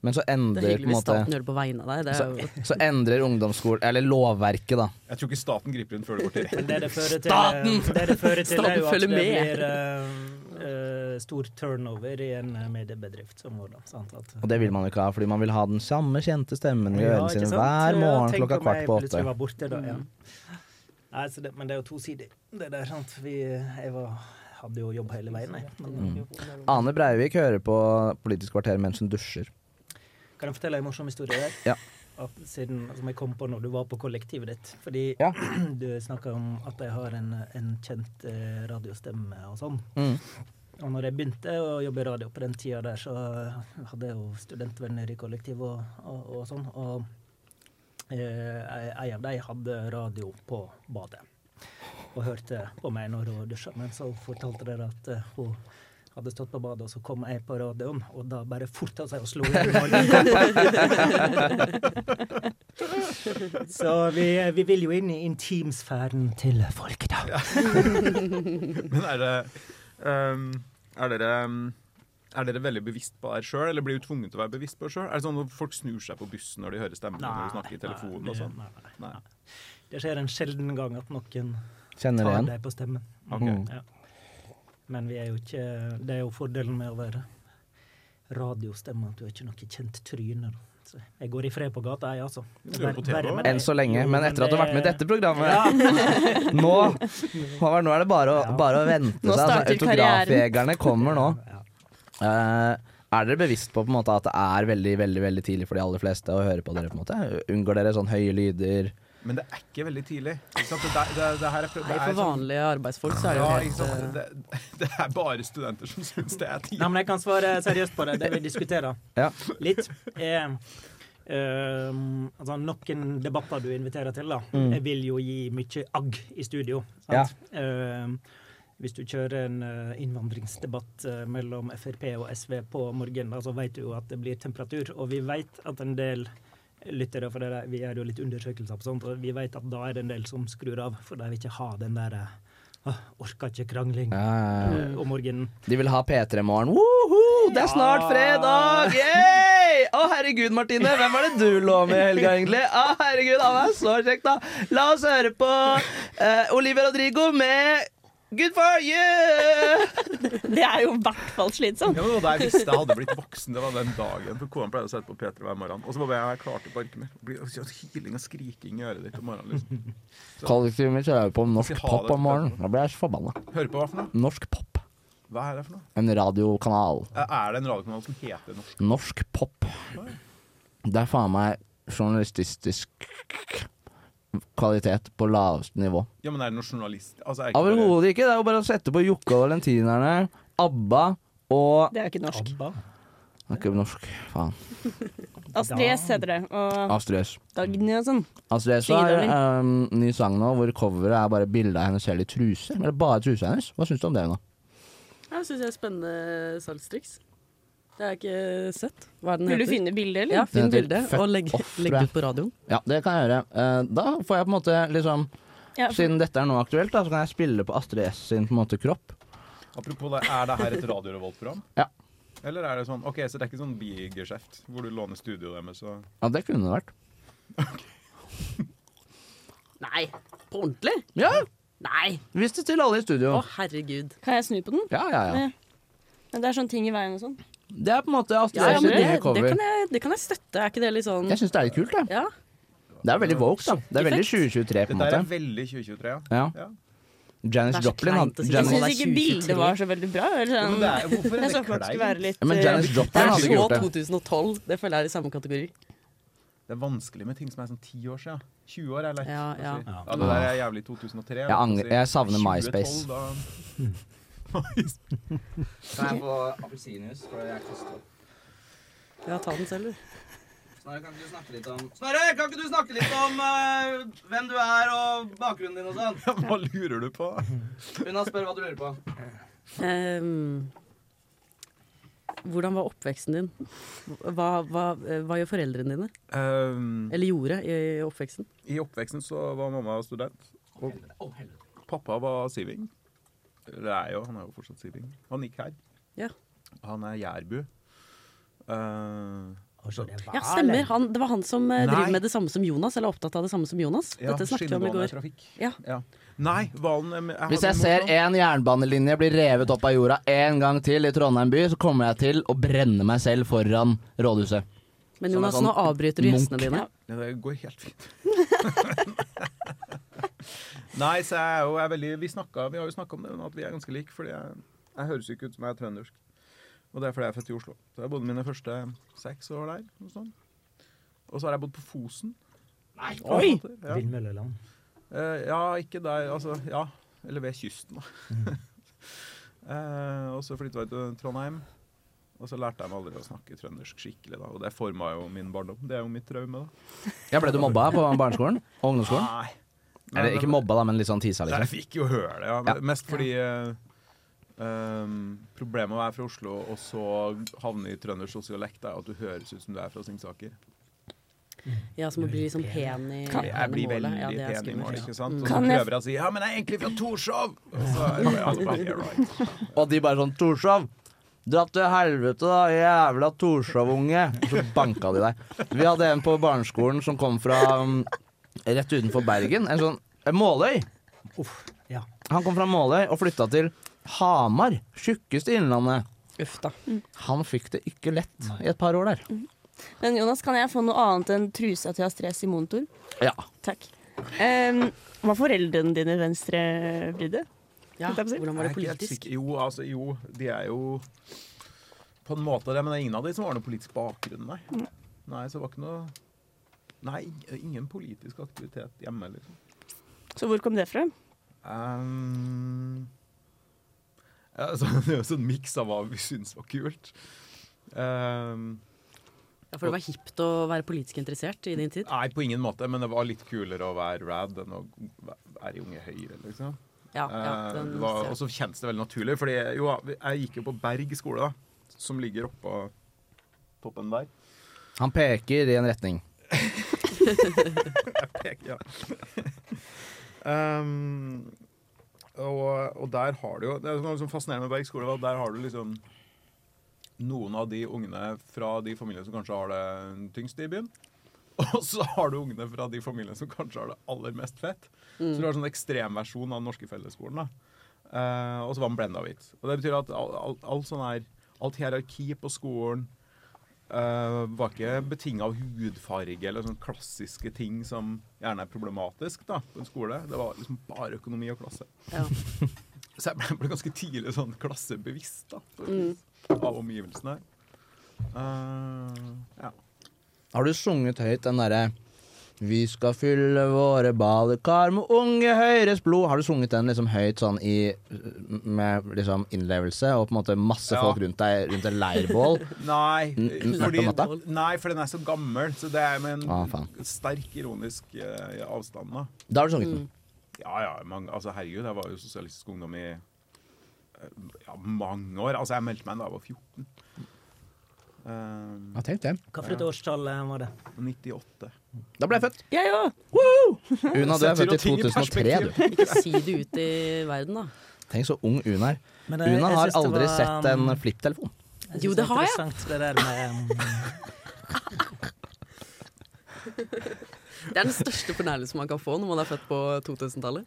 S2: Men så
S5: Det
S2: endrer på
S5: er hyggelig
S2: en
S5: hvis
S2: måte
S5: staten gjør det på vegne av deg. Det er jo
S2: så, så endrer ungdomsskolen Eller lovverket, da.
S3: Jeg tror ikke staten griper inn før det går til
S1: Men
S3: retten.
S1: det det fører til, Staten! Det det fører til er
S5: Staten
S1: jo at
S5: følger
S1: det
S5: med.
S1: blir eh, eh, stor turnover i en eh, mediebedrift som vår, da. Sant? At,
S2: Og det vil man jo ikke ha, fordi man vil ha den samme kjente stemmen i ørene
S1: ikke
S2: sine
S1: sant?
S2: hver
S1: Ja,
S2: morgen
S1: tenk
S2: klokka
S1: om
S2: kvart
S1: jeg
S2: på åtte.
S1: plutselig var borte da, ja. Nei, så det, men det er jo tosidig, det der, sant. Vi, jeg var, hadde jo jobb hele veien, jeg.
S2: Mm.
S1: Men,
S2: Ane Breivik hører på Politisk kvarter mens hun dusjer.
S1: Kan jeg fortelle en morsom historie der?
S2: Ja.
S1: At, siden, som jeg kom på når du var på kollektivet ditt. Fordi
S2: Ja.
S1: [CLEARS THROAT] du snakka om at jeg har en, en kjent eh, radiostemme og sånn.
S2: Mm.
S1: Og når jeg begynte å jobbe i radio på den tida der, så hadde jeg jo studentvenner i kollektiv og, og, og sånn. Og eh, ei av dem hadde radio på badet og hørte på meg når hun dusja. Men så fortalte dere at eh, hun hadde stått på badet, og så kom jeg på radioen, og da bare forta seg og slo i morgenkåpa. [LAUGHS] Så vi, eh, vi vil jo inn i intimsfæren til folk, da.
S3: Men er det ehm, Er dere ehm, er dere veldig bevisst på det sjøl, eller blir du tvunget til å være bevisst på det sjøl? Er det sånn at folk snur seg på bussen når de hører stemmen når du snakker i telefonen og sånn?
S1: Nei, nei, nei.
S3: Nei.
S1: Det skjer en sjelden gang at noen
S2: Kjenner
S1: tar
S2: igjen. Mm.
S1: deg på stemmen.
S3: Ok.
S1: Ja. Men vi er jo ikke Det er jo fordelen med å være radiostemme, at du er ikke noe kjent tryne. da. Så jeg går i fred på gata, jeg, altså.
S3: Du er på TV
S1: Verre med
S3: også?
S1: det.
S2: Enn så lenge.
S1: Jo,
S2: Men etter at du har vært med i
S1: det-
S2: dette programmet [LAUGHS] Nå Håvard, nå er det bare å, bare å vente
S4: Nå
S2: seg.
S4: starter
S2: autografjegerne kommer nå.
S1: Ja.
S2: Eh, er dere bevisst på, på en måte, at det er veldig veldig, veldig tidlig for de aller fleste å høre på dere? på en måte? Unngår dere sånn høye lyder?
S3: Men det er ikke veldig tidlig. Ikke sant? Det, det, det, det her er, prøv-
S5: Nei,
S3: det er
S5: for
S3: sånn-
S5: vanlige arbeidsfolk så er det jo
S3: Ja, ikke
S5: helt
S3: sant?
S5: eh,
S3: Det, det er bare studenter som syns det er tidlig.
S1: Nei, men jeg kan svare seriøst på det, det vi diskuterer.
S2: Ja.
S1: litt. Eh, ehm, altså noen debatter du inviterer til, da, jeg vil jo gi mye agg i studio. Sant? Ehm, hvis du kjører en eh, innvandringsdebatt eh, mellom Frp og SV på morgenen, da, så vet du jo at det blir temperatur. Og vi vet at en del lyttere, for det er, vi gjør jo litt undersøkelser på sånt, og vi vet at da er det en del som skrur av, for de vil ikke ha den der eh, «Åh, orker ikke krangling
S2: Ja, ja, ja.
S1: eh, om morgenen.
S2: De vil ha P3-morgen. Woho, det er snart fredag! Yay! Å, herregud, Martine. Hvem er det du lå med i helga, egentlig? Å, herregud, han er så kjekk, da. La oss høre på eh, Olivia Rodrigo med Good for you!
S11: Det er jo i hvert fall slitsomt.
S3: Ja, men det var da jeg visste jeg hadde blitt voksen. Det var den dagen. For Kona pleide å sette på P3 hver morgen. Og så var jeg klar til å orke mer. Det blir altså, Hyling og skriking i øret ditt om morgenen. Liksom.
S2: Kollektivet mitt hører på
S3: norsk Si ha pop det. om morgenen.
S2: Da blir jeg så forbanna.
S3: Hører på hva for noe?
S2: Norsk pop.
S3: Hva er det for noe?
S2: En radiokanal.
S3: Er det en radiokanal som heter Norsk?
S2: Norsk pop. Det er faen meg journalistisk kvalitet på laveste nivå.
S3: Ja, men er det noen journalist? Altså, er det ikke bare...
S2: Overhodet ikke. Det er jo bare å sette på Jokke og Valentinerne, ABBA og
S11: Det er jo ikke norsk.
S2: Det er ikke norsk, faen.
S4: Altså,
S11: Astrid S heter det. Og
S2: Astrid S.
S11: Dagny og sånn.
S2: Astrid S har um, ny sang nå hvor coveret er bare bilde av henne selv i truse. Eller bare trusa hennes. Hva syns du om det nå?
S5: Jeg syns det er spennende salgstriks. Det har jeg ikke sett. Hva er den
S11: Vil du
S5: heter?
S11: finne bildet, eller?
S5: Ja, finn
S2: Den heter
S5: bildet
S2: Fuck
S5: og legg,
S2: Off, tror
S5: legg
S2: jeg.
S5: det ut på radioen.
S2: Ja, det kan jeg gjøre. Eh, da får jeg på en måte liksom
S11: Ja, for-
S2: Siden dette er nå aktuelt, da, så kan jeg spille på Astrid S sin på en måte kropp.
S3: Apropos det, er det her et radiorevolt-program?
S2: Ja.
S3: Eller er det sånn OK, så det er ikke sånn bigeskjeft hvor du låner studioet deres og
S2: Ja, det kunne det vært.
S5: Nei, på ordentlig?
S2: Ja!
S5: Nei!
S2: Vis det til alle i studio.
S5: Å, herregud.
S11: Kan jeg snu på den?
S2: Ja, ja, ja.
S11: Men det er sånn ting i veien og sånn.
S2: Det er på en måte Astrid
S5: Ja, ja,
S2: S sin
S5: men det,
S2: nye
S5: det,
S2: cover.
S5: kan jeg, det kan jeg støtte. Er ikke det litt sånn
S2: Jeg syns det er litt kult, jeg.
S5: Ja.
S2: Det er veldig woke, da. Det er veldig 2023, på en
S3: Dette
S2: måte.
S3: her er veldig 2023, ja.
S2: Ja. Janice
S3: Det er så
S2: Joplin
S3: kleint å
S2: hadde
S3: si.
S11: Jeg
S2: Janis-
S11: syns ikke bildet var så veldig bra. Eller
S3: Ja,
S11: sånn.
S3: men det er- hvorfor
S11: jeg
S3: er det
S11: så for at det skulle være
S3: kleint?
S11: litt
S2: Ja, men
S11: eh,
S2: Janis Joplin
S5: Det er
S2: hadde ikke
S5: så
S2: gjort det.
S5: 2012. Det føler jeg er i samme kategori.
S3: Det er vanskelig med ting som er sånn ti år siden. 20 år er lett.
S5: Ja,
S3: å
S5: ja.
S3: Si. ja Det der er jævlig 2003.
S2: Jeg angrer- jeg savner
S3: 2012,
S2: MySpace.
S3: [LAUGHS] Da...
S2: Kan jeg få appelsinjuice? For jeg kaster opp.
S5: Ja, ta den selv, du.
S2: Snorre, kan ikke du snakke litt om Snorre, kan ikke du snakke litt om eh, hvem du er og bakgrunnen din og sånn?
S3: Hva lurer du på?
S2: Una spør hva du lurer på.
S5: Ehm, hvordan var oppveksten din? Hva, hva, hva gjør foreldrene dine?
S3: Ehm,
S5: Eller gjorde i oppveksten?
S3: I oppveksten så var mamma student. Og pappa var siving. Eller er jo, han er jo fortsatt siving. Han gikk her.
S5: Ja.
S3: Han er jærbu. Eh,
S5: Ja, stemmer. Han, det var han som
S3: Nei.
S5: eh, driver med det samme som Jonas, eller er opptatt av det samme som Jonas.
S3: Ja,
S5: Dette snakket vi om i går.
S3: skinnebåndetrafikk.
S5: Ja.
S3: Ja. Nei, hvalen eh, hadde
S2: Hvis jeg
S3: en
S2: ser
S3: morsom-
S2: en jernbanelinje bli revet opp av jorda en gang til i Trondheim by, så kommer jeg til å brenne meg selv foran rådhuset.
S3: Sånn
S5: Men
S2: Som en
S5: Jonas, nå avbryter du
S2: munk.
S5: gjestene dine.
S3: Ja, det går helt fint. [LAUGHS] Nei, så jeg er jo jeg er veldig Vi, snakket, vi har jo snakka om det, at vi er ganske like. Fordi jeg, jeg høres jo ikke ut som jeg er trøndersk. Og det er fordi jeg er født i Oslo. Så jeg bodde mine første seks år der. Noe sånt. Og så har jeg bodd på Fosen. Nei,
S1: Oi! Vindmølleland.
S3: Eh, ja, ikke der Altså, ja. Eller ved kysten, da. [LAUGHS] Eh, og så flytta jeg til Trondheim. Og så lærte jeg meg aldri å snakke trøndersk skikkelig, da. Og det forma jo min barndom. Det er jo mitt traume, da.
S2: Jeg ble du mobba på barneskolen? Og ungdomsskolen?
S3: Nei.
S2: Eller ikke mobba, da, men litt sånn tisa,
S3: Jeg
S2: liksom.
S3: fikk jo høre det, ja. Men
S2: Ja.
S3: Mest fordi eh, um, problemet med å være fra Oslo og så havne i trøndersk sosiolekt, er at du høres ut som du er fra Singsaker.
S5: Ja, som å bli liksom pen i,
S3: Kan, jeg
S5: pen i
S3: blir
S5: målet.
S3: veldig
S5: Ja, det er
S3: pen i mål,
S5: skummelt.
S3: ikke sant? Og så
S11: Kan jeg-
S3: prøver jeg å si 'ja, men jeg er egentlig fra Torshov'! Og så er det alle bare, «Yeah, right.
S2: Og de bare sånn Torshov! Dra til helvete, da, jævla Torshov-unge! Og Så banka de deg. Vi hadde en på barneskolen som kom fra um, rett utenfor Bergen. En sånn en Måløy.
S1: Uff, ja.
S2: Han kom fra Måløy og flytta til Hamar. Tjukkeste i Innlandet.
S5: Uff da.
S2: Han fikk det ikke lett i et par år der.
S11: Men Jonas, kan jeg få noe annet enn trusa til Astrid S i monitor?
S2: Ja.
S11: Takk. Ehm, var foreldrene dine venstrevridde?
S5: Ja,
S11: Holdt jeg på å si?
S5: hvordan var
S3: Jeg
S5: det
S3: er ikke helt
S5: politisk?
S3: sikker. Jo, altså, jo, de er jo på en måte det, men det er ingen av de som har noen politisk bakgrunn,
S5: Mm.
S3: nei. Nei, så det var ikke noe Nei, ingen politisk aktivitet hjemme, liksom.
S11: Så hvor kom det fra?
S3: Ehm, ja, altså, [LAUGHS] det er jo en sånn miks av hva vi syns var kult. Ehm,
S5: Ja, for det var hipt å være politisk interessert i din tid.
S3: nei, på ingen måte, men det var litt kulere å være rad enn å være i Unge Høyre, liksom.
S5: Ja, ja,
S3: Eh,
S5: den,
S3: det var, og så kjennes det veldig naturlig, fordi jo, jeg gikk jo på Berg skole, da, som ligger oppå toppen der.
S2: Han peker i en retning.
S3: Jeg peker, [LAUGHS] ja. um, og, og der har du jo Det som er liksom fascinerende med Berg skole, var at der har du liksom noen av de ungene fra de familiene som kanskje har det tyngst i byen. [LAUGHS] Og så har du ungene fra de familiene som kanskje har det aller mest fett. Så du har en sånn ekstremversjon av den norske fellesskolen. da. Eh, og så var den blenda hvit. Og det betyr at all, all, all sånn her, alt hierarki på skolen eh, var ikke betinga av hudfarge eller sånne klassiske ting som gjerne er problematisk da, på en skole. Det var liksom bare økonomi og klasse. [LAUGHS] Så jeg ble, ble ganske tidlig sånn klassebevisst da, på et
S5: Mm.
S3: vis, av omgivelsene. Eh, ja.
S2: Har du sunget høyt den derre Vi skal fylle våre badekar med unge Høyres blod? Har du sunget den liksom høyt sånn i Med liksom innlevelse og på en måte masse
S3: Ja.
S2: folk rundt deg rundt et leirbål?
S3: Nei,
S2: N- natt
S3: fordi,
S2: om natta?
S3: nei, for den er så gammel, så det er med en
S2: Ah, faen.
S3: sterk ironisk eh, avstand. Da.
S2: Da har du sunget den. Mm.
S3: Ja, ja. Mange, altså, herregud, jeg var jo sosialistisk ungdom i eh, ja, mange år. Altså, jeg meldte meg da jeg var Eh, 14. Um,
S2: Ja, tenk det.
S1: Hva for et årstall eh, var det?
S3: 98.
S2: Da ble jeg født.
S5: Jeg òg!
S3: [LAUGHS]
S2: Una, du er født i
S3: Setter jo ting i
S2: 2003, du.
S5: Ikke si det ut i verden, da.
S2: Tenk så ung Una er.
S1: Men, eh,
S2: Una
S1: jeg synes
S2: har
S1: det
S2: aldri
S1: var,
S2: sett en
S1: um,
S2: flipptelefon.
S1: Jeg synes
S5: Jo, det har jeg.
S1: er interessant det der med
S5: Det er den største fornærmelsen man kan få når man er født på 2000-tallet.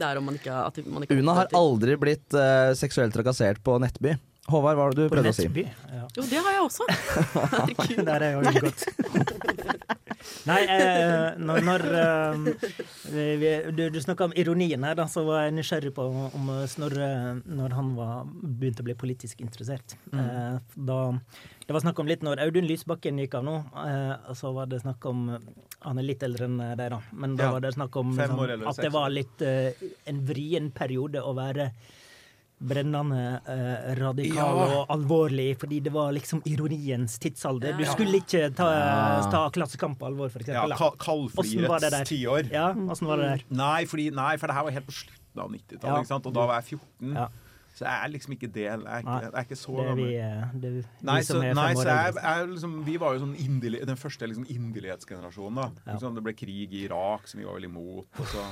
S5: Det er om man ikke, at man ikke
S2: Una har aldri blitt eh, seksuelt trakassert på Nettby. Håvard, hva var det du prøvde å si?
S1: eh, ja.
S5: Jo, det har jeg også. Herregud.
S1: [LAUGHS] Der er jeg jo godt. Nei, eh, når, når eh, vi, vi, du, du snakka om ironien her, da, så var jeg nysgjerrig på om, om Snorre når han var, begynte å bli politisk interessert.
S3: Mm.
S1: Eh, da, det var snakk om litt når Audun Lysbakken gikk av nå, eh, så var det snakk om Han er litt eldre enn deg, da, men da
S3: Ja.
S1: var det snakk om
S3: Fem
S1: liksom,
S3: år eller
S1: at det
S3: seks
S1: var
S3: år.
S1: litt eh, en vrien periode å være brennende eh, radikal
S3: Ja.
S1: og alvorlig, fordi det var liksom ironiens tidsalder. Du
S3: Ja.
S1: skulle ikke ta,
S2: Ja.
S1: ta Klassekamp på alvor, for
S3: Ja,
S1: eksempel. da.
S3: ka
S1: Åssen var det der?
S3: Kaldfrihets tiår.
S1: Ja, åssen var det der?
S3: Nei, fordi, nei, for det her var helt på slutten av 90-tallet,
S1: Ja.
S3: ikke sant? og da var jeg 14.
S1: Ja.
S3: Så jeg er liksom ikke del Jeg er ikke,
S1: Nei.
S3: jeg er ikke så
S1: Det er
S3: gammel.
S1: vi, eh, det er vi
S3: Nei, så,
S1: som er
S3: nei,
S1: fem
S3: så
S1: år
S3: jeg,
S1: eldre.
S3: jeg, liksom, vi var jo sånn inderlig, den første liksom, inderlighetsgenerasjonen. da. Ikke sant? det ble krig i Irak, som vi var vel imot. Og så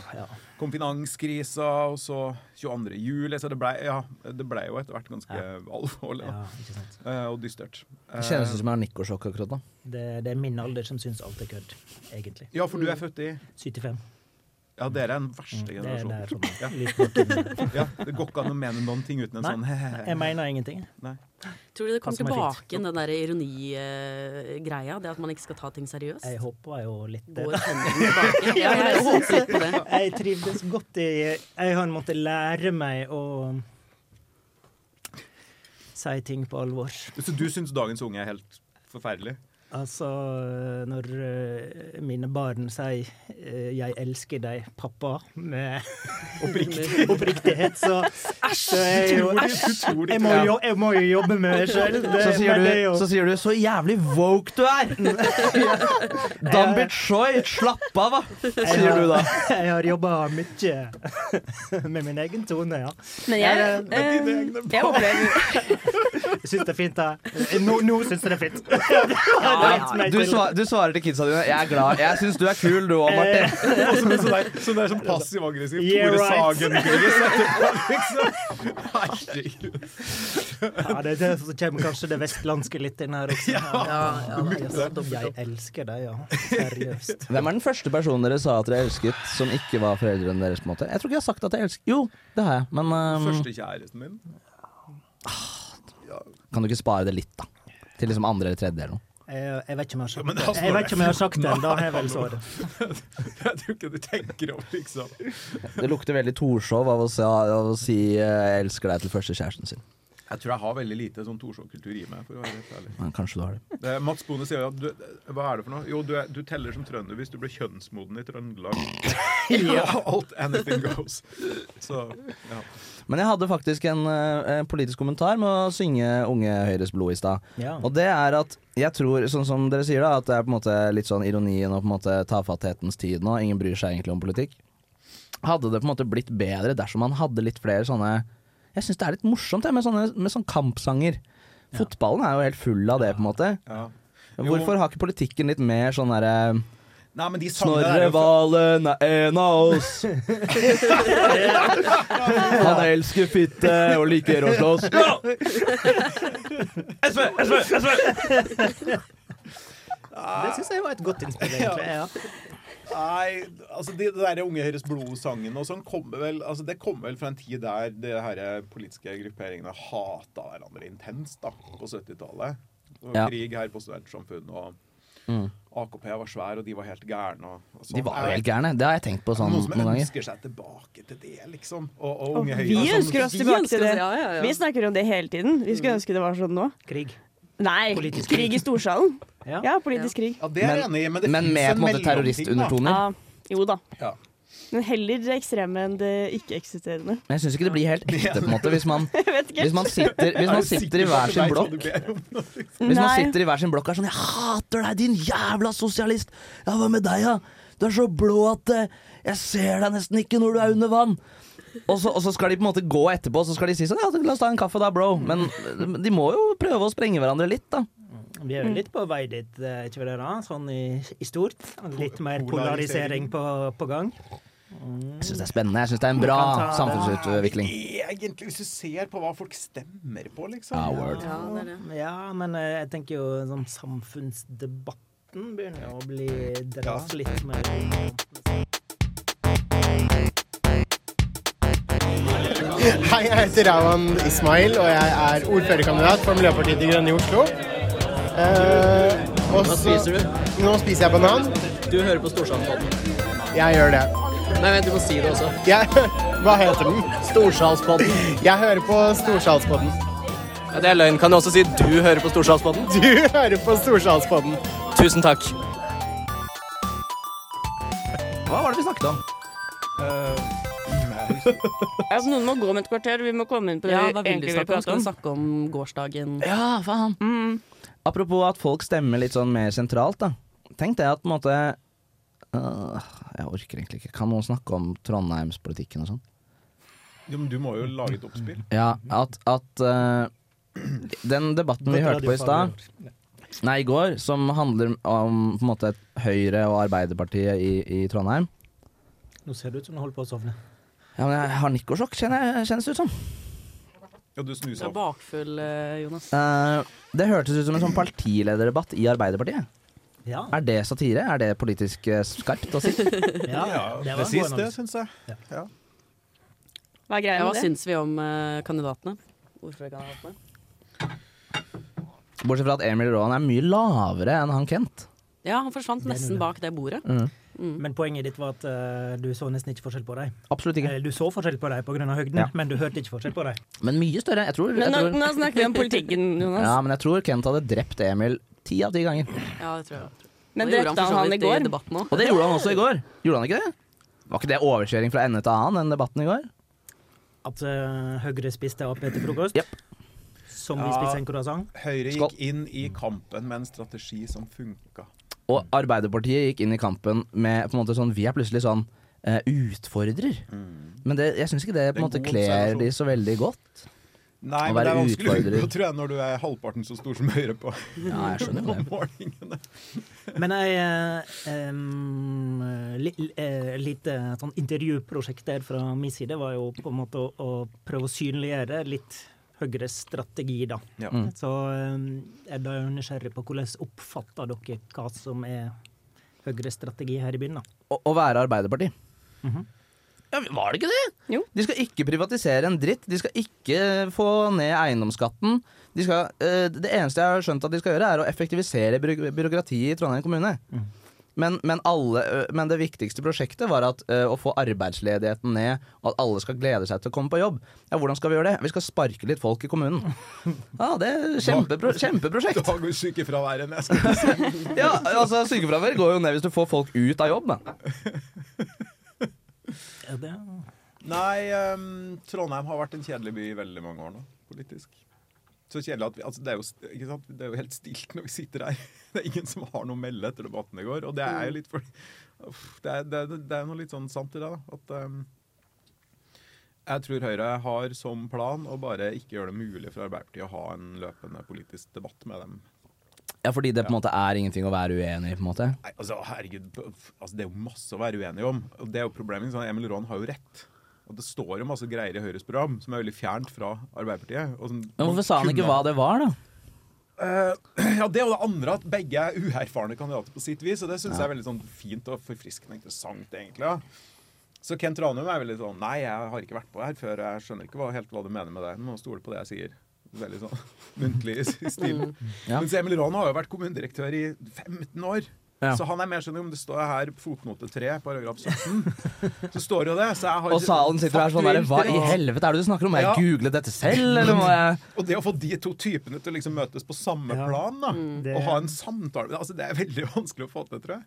S3: kom finanskrisa, og så 22. juli. Så det ble, ja, det ble jo etter hvert ganske alvorlig da. Eh, og dystert. Eh,
S2: Det kjennes ut som jeg har nikosjokk akkurat nå.
S1: Det, det er min alder som syns alt er kødd, egentlig.
S3: ja, for du er født i
S1: 75.
S3: Ja, dere er den verste
S1: Mm, Det er der
S3: generasjonen.
S1: som
S3: Ja. [LAUGHS]
S1: Lysbakken-
S3: Ja, det går ikke an å mene noen ting uten en
S1: Nei,
S3: sånn
S1: jeg mener ingenting.
S3: Nei.
S5: [LAUGHS] Tror du det
S1: Hva
S5: kom
S1: som er fint.
S5: tilbake igjen, den der ironigreia? Det at man ikke skal ta ting seriøst?
S1: Jeg håper jo litt det.
S5: Går
S1: da.
S5: trenden tilbake? [LAUGHS] Ja, jeg håper litt på det.
S1: Jeg trivdes godt i Jeg har måttet lære meg å si ting på alvor.
S3: Så du syns dagens unge er helt forferdelig?
S1: Altså, når eh, mine barn sier eh, 'jeg elsker deg, pappa' med [LAUGHS]
S2: [LAUGHS]
S3: Oppriktig.
S1: oppriktighet, så, så er jeg jo
S3: Tror de- tror de-
S1: jeg må, jo, jeg må jo jobbe med meg sjøl.
S2: Så sier, du, så sier du 'så jævlig woke du [LAUGHS] er'! Dambit Choi, slapp av, da! Sier du da.
S1: [LAUGHS] Jeg har jobba mye [LAUGHS] med min egen tone, ja.
S11: Men jeg,
S1: Jeg,
S11: eh,
S1: [LAUGHS]
S11: jeg opplever
S1: Jeg syns det er fint, jeg. Nå, nå syns jeg det er fint. [LAUGHS] Det har
S2: Ja,
S1: hatt meg
S2: du,
S1: til.
S2: sva- du svarer til kidsa dine 'jeg er glad'. Jeg syns du er kul, du òg, Martin.
S3: Og så blir det sånn der, sånn der sånn passiv-aggressiv
S1: Yeah,
S3: Tore
S1: right.
S3: Sagen-gris etterpå, liksom.
S1: [LAUGHS]
S3: Herregud.
S1: Ja, det er det som kommer kanskje det vestlandske litt inn her
S2: [LAUGHS]
S1: også.
S5: Ja, ja, det er så dobbelt
S1: Jeg
S5: opp.
S1: elsker deg, ja. Seriøst.
S2: Hvem er den første personen dere sa at dere elsket, som ikke var foreldrene deres? på en måte? Jeg tror ikke jeg har sagt at jeg elsker Jo, det har jeg, men um,
S3: Første kjæresten min. [LAUGHS]
S2: kan du ikke spare det litt, da? Til liksom andre eller tredje eller noe.
S1: Eh, Jeg, jeg vet ikke om jeg har
S3: men
S1: sagt
S3: det
S1: det.
S3: har
S1: Jeg vet ikke om jeg har
S3: Snorre.
S1: sagt det, da har jeg vel
S3: Nei,
S1: svaret.
S3: Jeg tror ikke du tenker over, liksom.
S2: Det lukter veldig Torshov av å si, av å si eh, 'jeg elsker deg' til første kjæresten sin.
S3: Jeg tror jeg har veldig lite sånn Torshov-kultur i meg, for å være helt ærlig.
S2: Men kanskje du har det.
S3: Det, Mats Bone sier jo at du, Hva er det for noe? Jo, du, er, du teller som trønder hvis du blir kjønnsmoden i Trøndelag. Ja, [LAUGHS] alt anything goes. Så, ja.
S2: Men jeg hadde faktisk en, eh, en politisk kommentar med å synge Unge Høyres blod i stad.
S1: Ja.
S2: Og det er at jeg tror, sånn som dere sier da, at det er på en måte litt sånn ironien og på en måte tafatthetens tid nå. Ingen bryr seg egentlig om politikk. Hadde det på en måte blitt bedre dersom man hadde litt flere sånne Jeg syns det er litt morsomt jeg, med sånne med sånn kampsanger. Fotballen er jo helt full av det, på en måte.
S3: Ja.
S2: Hvorfor har ikke politikken litt mer sånn derre
S3: Nei, men de sangene
S2: Snorre
S3: der er jo fra-
S2: Valen er en av
S3: [LAUGHS]
S2: oss. Han elsker fitte og liker å slåss.
S3: SV, SV, SV!
S1: Det syns jeg var et godt innspill, egentlig. [LAUGHS] Ja.
S3: Nei, altså de, det der Unge Høyres blod-sangen og sånn kommer vel, altså det kommer vel fra en tid der de her politiske grupperingene hata hverandre intenst da, på 70-tallet. Det var
S2: Ja.
S3: Krig her på studentsamfunnet, og
S2: Mm.
S3: AKP var svær, og de var helt gærne. Og, og sånn.
S2: De var
S3: Er-
S2: jo helt gærne. Det har jeg tenkt på sånn
S3: Noen som
S2: noen ganger.
S3: ønsker seg tilbake til det, liksom. Og, og
S4: Og
S3: Unge Høyre
S4: vi
S3: er sånn-
S4: ønsker oss
S3: Vi
S4: tilbake
S3: ønsker
S4: til
S3: oss-
S4: det.
S3: ja, ja, Mm. ja.
S4: Vi snakker om det hele tiden. Vi skulle ønske det var sånn nå.
S1: Krig.
S4: Nei,
S1: Politisk
S4: krig i storsalen. Ja, politisk krig.
S3: det er jeg enig i, men det finnes
S2: med
S3: en
S2: på en måte
S3: mellomting, da.
S2: terroristundertoner.
S4: Ja, jo da.
S3: Ja.
S4: Men heller det ekstreme enn det ikke-eksisterende. [LAUGHS]
S2: Men jeg syns ikke det blir helt ekte, på en måte, hvis man,
S4: ikke.
S2: hvis man, sitter, hvis
S3: Er
S2: man
S3: du
S2: sitter i
S3: sikker på at
S2: hver
S3: du
S2: sin
S3: vet hva
S2: blokk.
S3: du ber om nå, [LAUGHS] liksom?
S2: Hvis man
S3: Nei.
S2: sitter i hver sin blokk og er sånn 'Jeg hater deg, din jævla sosialist'. Ja, hva med deg, da? Du er så blå at eh, jeg ser deg nesten ikke når du er under vann. Og så, og så skal de på en måte gå etterpå og så skal de si sånn 'Ja, la oss ta en kaffe da, bro'. Men eh, de må jo prøve å sprenge hverandre litt, da.
S1: Vi er jo litt på vei dit, eh, ikke det da? Sånn i, i stort. Litt mer polarisering
S2: Polarisering.
S1: på, på gang.
S2: Jeg syns det er spennende. Jeg syns det er en bra
S1: Man kan ta-
S2: samfunnsutvikling.
S3: Egentlig, hvis du ser på hva folk stemmer på, liksom.
S2: Ja, word.
S1: Ja, men eh, jeg tenker jo sånn samfunnsdebatten begynner å bli dras litt mer
S12: Hei, jeg heter Rawan Ismail, og jeg er ordførerkandidat for Miljøpartiet De Grønne i Oslo. Eh,
S13: Hva
S12: og så-
S13: spiser
S12: Nå spiser jeg banan.
S13: Du hører på Storsalspodden.
S12: Jeg gjør det.
S13: Nei, vent, du må si det også.
S12: Jeg, [LAUGHS] hva heter den?
S13: Storsalspodden.
S12: Jeg hører på Storsalspodden.
S13: Ja, det er løgn. Kan du også si du hører på Storsalspodden?
S12: Du [LAUGHS] hører på Storsalspodden.
S13: Tusen takk.
S2: Hva var det vi snakket om?
S4: Ja, noen må gå om et kvarter. Vi må komme inn på det
S5: Ja,
S4: vi
S5: hva vil du
S4: egentlig vil
S5: snakke om?
S4: prate
S5: Skal
S4: om.
S5: vi snakke om gårsdagen?
S2: Ja, faen. Apropos at folk stemmer litt sånn mer sentralt, da. Tenk det at på en måte øh, Jeg orker egentlig ikke. Kan noen snakke om Trondheimspolitikken og sånn?
S3: Jo, men du må jo lage et oppspill.
S2: Ja, at, at øh, Den debatten vi
S3: Godt
S2: hørte på i stad
S3: radiofaglig
S2: Nei, i går, som handler om på en måte Høyre og Arbeiderpartiet i, i Trondheim.
S1: Nå ser det ut som du holder på å sovne.
S2: Ja, men jeg har nikkosjokk, kjenner jeg- kjennes det ut som.
S3: Ja, du
S5: Du er bakfull, eh, Jonas.
S2: Eh, det hørtes ut som en sånn partilederdebatt i Arbeiderpartiet.
S1: Ja.
S2: Er det satire? Er det politisk eh, skarpt [LAUGHS] å si?
S1: Ja,
S3: det var presis det, syns jeg. Ja.
S4: Hva er greia
S5: Ja,
S4: med
S5: hva
S4: det?
S5: syns vi om eh, kandidatene? Ordførerkandidatene?
S2: Bortsett fra at Emil Rowan er mye lavere enn han Kent.
S5: Ja, han forsvant
S1: er
S5: nesten
S1: noe.
S5: bak det bordet.
S2: Mm.
S1: Men poenget ditt var at eh, du så nesten ikke forskjell på dem.
S2: Absolutt ikke.
S1: Eller, Du så forskjell på dem pga. høgden,
S2: Ja.
S1: men du hørte ikke forskjell på dem.
S2: Men mye større. Jeg tror, jeg
S4: Men nå,
S2: tror,
S4: nå snakker vi
S11: [LAUGHS]
S4: om politikken, Jonas.
S2: ja, men jeg tror Kent hadde drept Emil ti av ti ganger.
S5: Ja, det tror jeg.
S4: Men
S5: Og det gjorde
S4: drepte
S5: for så
S4: han han
S5: vidt
S4: i går?
S5: I debatten
S2: Og
S5: også.
S2: det gjorde han også i går. Gjorde han ikke det? Var ikke det overkjøring fra ende til annen, den debatten i går?
S1: At eh, Høyre spiste Ap til frokost, som vi
S3: Ja.
S1: spiste en croissant.
S3: Høyre
S2: Skål.
S3: gikk inn i kampen med en strategi som funka.
S2: Og Arbeiderpartiet gikk inn i kampen med på en måte sånn Vi er plutselig sånn eh, utfordrer. Men det, jeg syns ikke Mm. det
S3: Det er
S2: på en måte
S3: en god
S2: kler
S3: observasjon.
S2: de så veldig godt.
S3: Nei,
S2: Å
S3: men det er
S2: være
S3: vanskelig å [LAUGHS]
S2: utfordrer.
S3: unngå, tror jeg, når du er halvparten så stor som Høyre på
S2: Ja, jeg skjønner jo det.
S3: [LAUGHS] på målingene.
S1: Men ei eh, em, li, eh, lite sånn intervjuprosjekt der fra min side var jo på en måte å, å prøve å synliggjøre litt Høyres strategi, da.
S3: Ja. Mm.
S1: Så eh, er da jeg nysgjerrig på hvordan oppfatter dere hva som er Høyres strategi her i byen, da?
S2: Å, å være Arbeiderparti. Ja, Var det ikke det? De skal ikke privatisere en dritt. De skal ikke få ned eiendomsskatten. De skal, eh, det eneste jeg har skjønt at de skal gjøre, er å effektivisere byråk- byråkratiet i Trondheim kommune. Men, men, alle, ø, men det viktigste prosjektet var at, ø, å få arbeidsledigheten ned, og at alle skal glede seg til å komme på jobb. Ja, Hvordan skal vi gjøre det? Vi skal sparke litt folk i kommunen. Ja, det er kjempepro kjempeprosjekt.
S3: Da går sykefraværet ned. skal jeg si.
S2: Ja, altså Sykefravær går jo ned hvis du får folk ut av jobb. Da.
S3: Nei, ehm, Trondheim har vært en kjedelig by i veldig mange år nå, politisk. Så kjedelig at vi, altså det, er jo, st- ikke sant? det er jo helt stilt når vi sitter her. [LAUGHS] Det er ingen som har noe å melde etter debatten i går. Og det er jo litt for, Uff, det, er, det, er, det er noe litt sånn sant i det. da, at... ehm, jeg tror Høyre har som plan å bare ikke gjøre det mulig for Arbeiderpartiet å ha en løpende politisk debatt med dem
S2: Ja, fordi det på en måte er ingenting å være uenig i, på en måte.
S3: Nei, altså, herregud, b- f- altså, det er jo masse å være uenig om. Og det er jo problemet. ikke sant? Emil Raan har jo rett. Og det står jo masse greier i Høyres program som er veldig fjernt fra Arbeiderpartiet. og som
S2: Men
S3: man
S2: hvorfor sa han ikke
S3: kunne-
S2: hva det var, da?
S3: Eh, [CLEARS THROAT] ja, Det og det andre at begge er uerfarne kandidater på sitt vis. Og det syns jeg er veldig sånn fint og forfriskende og interessant, egentlig. ja. Så Kent Ranum er veldig sånn Nei, jeg har ikke vært på her før. Jeg skjønner ikke hva, helt hva du mener med det. Du må stole på det jeg sier. Veldig sånn [LAUGHS] muntlig i
S2: [LAUGHS]
S3: stil.
S2: Mm. Ja.
S3: Mens Emil Raan har jo vært kommunedirektør i 15 år.
S2: Ja.
S3: Så han er mer sånn om det står her fotnote 3, paragraf
S2: [LAUGHS]
S3: 17, så står jo det. Så jeg har
S2: Og salen sitter her sånn der, hva i helvete er det du snakker om? Må jeg googlet dette selv, eller må jeg
S3: Og det å få de to typene til å liksom møtes på samme plan, da,
S1: Det-
S3: og ha en samtale altså, Det er veldig [LAUGHS] vanskelig å få til, tror jeg.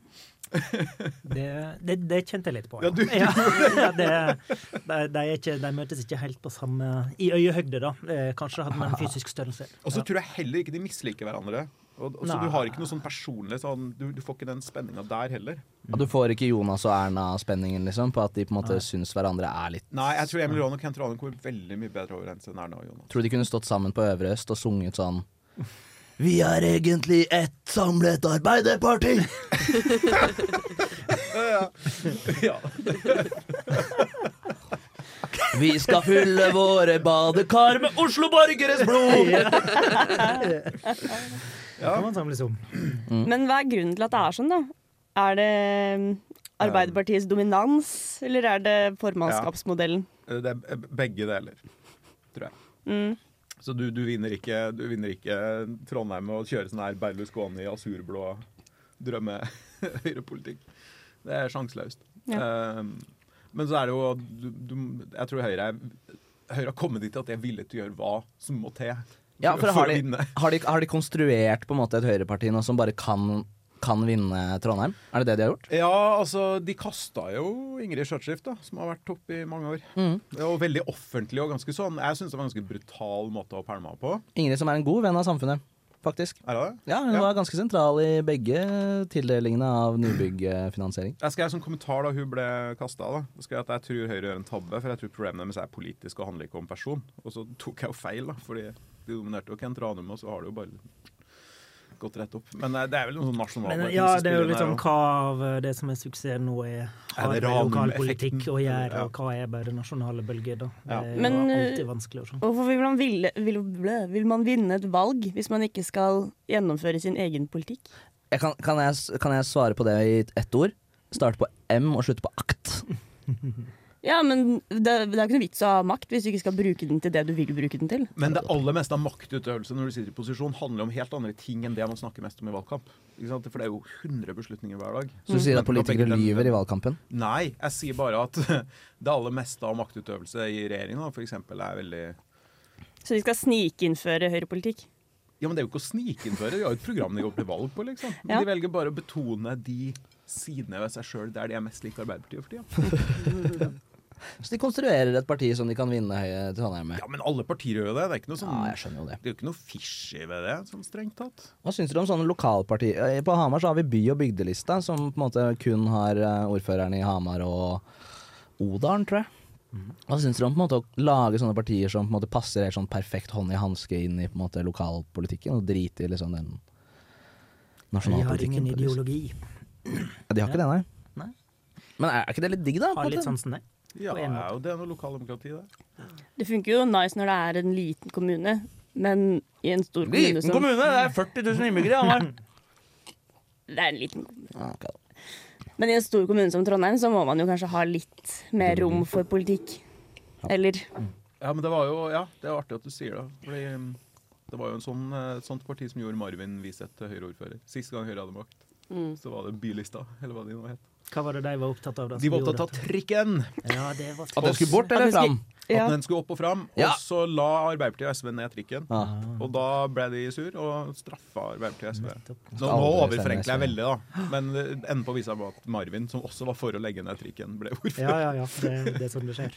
S1: Det, det, det kjente jeg litt på.
S3: Ja, du-
S1: ja, det, de, de, er ikke, de møtes ikke helt på samme I øyehøyde, da. Eh, Kanskje hadde man en fysisk størrelse.
S3: Og så tror jeg heller ikke de misliker hverandre. Og, og så
S1: Nei.
S3: du har ikke noe sånn personlig sånn, du, du får ikke den spenninga der heller.
S2: Og du får ikke Jonas og Erna-spenningen, liksom, på at de på en måte
S3: Nei.
S2: syns hverandre er litt
S3: Nei, jeg tror Emil Raan og Kent Ranum kommer veldig mye bedre overens enn Erna og Jonas.
S2: Tror du de kunne stått sammen på Øvre Øst og sunget sånn Vi er egentlig ett samlet arbeiderparti!
S3: [LAUGHS] ja.
S2: Vi skal fylle våre badekar med Oslo-borgeres blod!
S1: Det kan man samles om.
S11: Men hva er grunnen til at det er sånn, da? Er det mm, Arbeiderpartiets dominans, eller er det formannskapsmodellen?
S3: Eh, Det er b- begge deler, tror jeg.
S11: Mm.
S3: Så du, du, vinner ikke, du vinner ikke Trondheim med å kjøre sånn her Berlusconi, asurblå [LAUGHS] drømme-høyrepolitikk. Det er sjanseløst. Um, men så er det jo du, du, Jeg tror Høyre, er- Høyre har kommet dit at de er villig til å gjøre hva som må til.
S2: Ja,
S3: [LAUGHS]
S2: for
S3: å-
S2: har
S3: å
S2: de,
S3: vinne.
S2: har, de, har de konstruert på en måte et høyreparti nå som bare kan, kan vinne Trondheim? Er det det de har gjort?
S3: Ja, altså, de kasta jo Ingrid Skjøtskift, da, som har vært topp i mange år.
S2: Mhm.
S3: Det var veldig offentlig og ganske sånn. Jeg syns det var en ganske brutal måte å pælme henne på.
S2: Ingrid som er en god venn av samfunnet, faktisk.
S3: Er det?
S2: Ja, Hun var ganske sentral i begge tildelingene av nybyggfinansiering.
S3: Jeg skrev som sånn kommentar da hun ble kasta. Jeg skrev at jeg tror Høyre gjør en tabbe, for jeg tror problemet deres er politisk og handler ikke om person. Og så tok jeg jo feil, da, fordi de dominerte jo Kent Ranum, og så har det jo bare gått rett opp. Men eh, det er vel noe sånn nasjonalt
S1: Men ja, det er jo
S2: sånn
S1: liksom hva av det som er suksess nå, er har
S3: det
S1: med lokal
S3: Ranum-effekten?
S1: politikk å gjøre, og hva er bare nasjonale bølger, da. Det
S3: Ja.
S1: er jo
S11: Men, eh,
S1: alltid vanskelig sånn. å se.
S11: Hvorfor vil man, ville, vil, ble- vil man vinne et valg hvis man ikke skal gjennomføre sin egen politikk?
S2: Jeg kan, kan, jeg, s- kan jeg svare på det i ett ord? Starte på M og slutte på akt.
S11: Ja, men det, det er ikke noe vits å ha makt hvis du ikke skal bruke den til det du vil bruke den til.
S3: Men det aller meste av maktutøvelse når du sitter i posisjon, handler om helt andre ting enn det man snakker mest om i valgkamp. Ikke sant? For det er jo 100 beslutninger hver dag.
S2: Så du sier
S3: [LAUGHS]
S2: at
S3: Men- og begge
S2: politikere
S3: dem-
S2: lyver i valgkampen?
S3: Nei, jeg sier bare at [LAUGHS] det aller meste av maktutøvelse i regjeringa f.eks. er veldig
S11: Så de skal snikinnføre høyrepolitikk.
S3: Ja, men det er jo ikke å snikinnføre. De har jo et program de går til valg på, liksom. Men
S11: Ja.
S3: de velger bare å betone de sidene ved seg sjøl der de er mest likt Arbeiderpartiet for tida.
S2: Så de konstruerer et parti som de kan vinne Høyre Trondheim med.
S3: Ja, men alle partier gjør jo det. Det er ikke noe sånn
S2: Ja, jeg skjønner jo det.
S3: er jo ikke noe fishy ved det, sånn strengt tatt.
S2: Hva syns dere om sånne lokalpartier? Eh, På Hamar så har vi by- og bygdelista, som på en måte kun har eh, ordførerne i Hamar og Odalen, tror jeg. Hva syns dere om på en måte å lage sånne partier som på en måte passer helt sånn perfekt hånd i hanske inn i på en måte lokalpolitikken, og drite i liksom den
S1: De har
S2: nasjonalpolitikken?
S1: ingen
S2: på et vis?
S1: ideologi.
S2: Ja, de har ikke det, nei.
S1: Nei.
S2: Men er er ikke det litt digg, da? på en
S1: Har litt sånn
S2: måte?
S1: sansen, det.
S3: Ja,
S1: På
S3: det
S1: en
S3: er jo det er noe lokaldemokrati, det.
S11: Det funker jo nice når det er en liten kommune, men i en stor kommune som
S2: er 40 000 innbyggere i [LAUGHS] Hamar.
S11: Det er en liten kommune.
S2: Ah, ok da.
S11: Men i en stor kommune som Trondheim så må man jo kanskje ha litt mer rom for politikk. Eller
S3: Ja, men det var jo Ja, det er artig at du sier det. Fordi um, det var jo en sånn, eh, et sånt parti som gjorde Marvin Wiseth til Høyre-ordfører. Siste gang Høyre hadde makt,
S1: Mm.
S3: så var det Bylista, eller hva de nå het.
S1: Hva var det de var opptatt av? da?
S3: De
S1: som
S3: var
S1: gjorde
S3: opptatt av
S1: dette?
S3: trikken!
S1: Ja, det var
S2: At den skulle bort eller fram?
S3: At den skulle opp og fram.
S2: Ja.
S3: Og så la Arbeiderpartiet og SV ned trikken. Og da ble de sur og straffa Arbeiderpartiet og SV. Så nå
S2: Aldri stemme
S3: overforenkler
S2: SV.
S3: jeg veldig, da. Men eh, enden på visa var at Marvin, som også var for å legge ned trikken, ble [LAUGHS] ordfører.
S1: Ja, ja, ja. Det, det er sånn det skjer.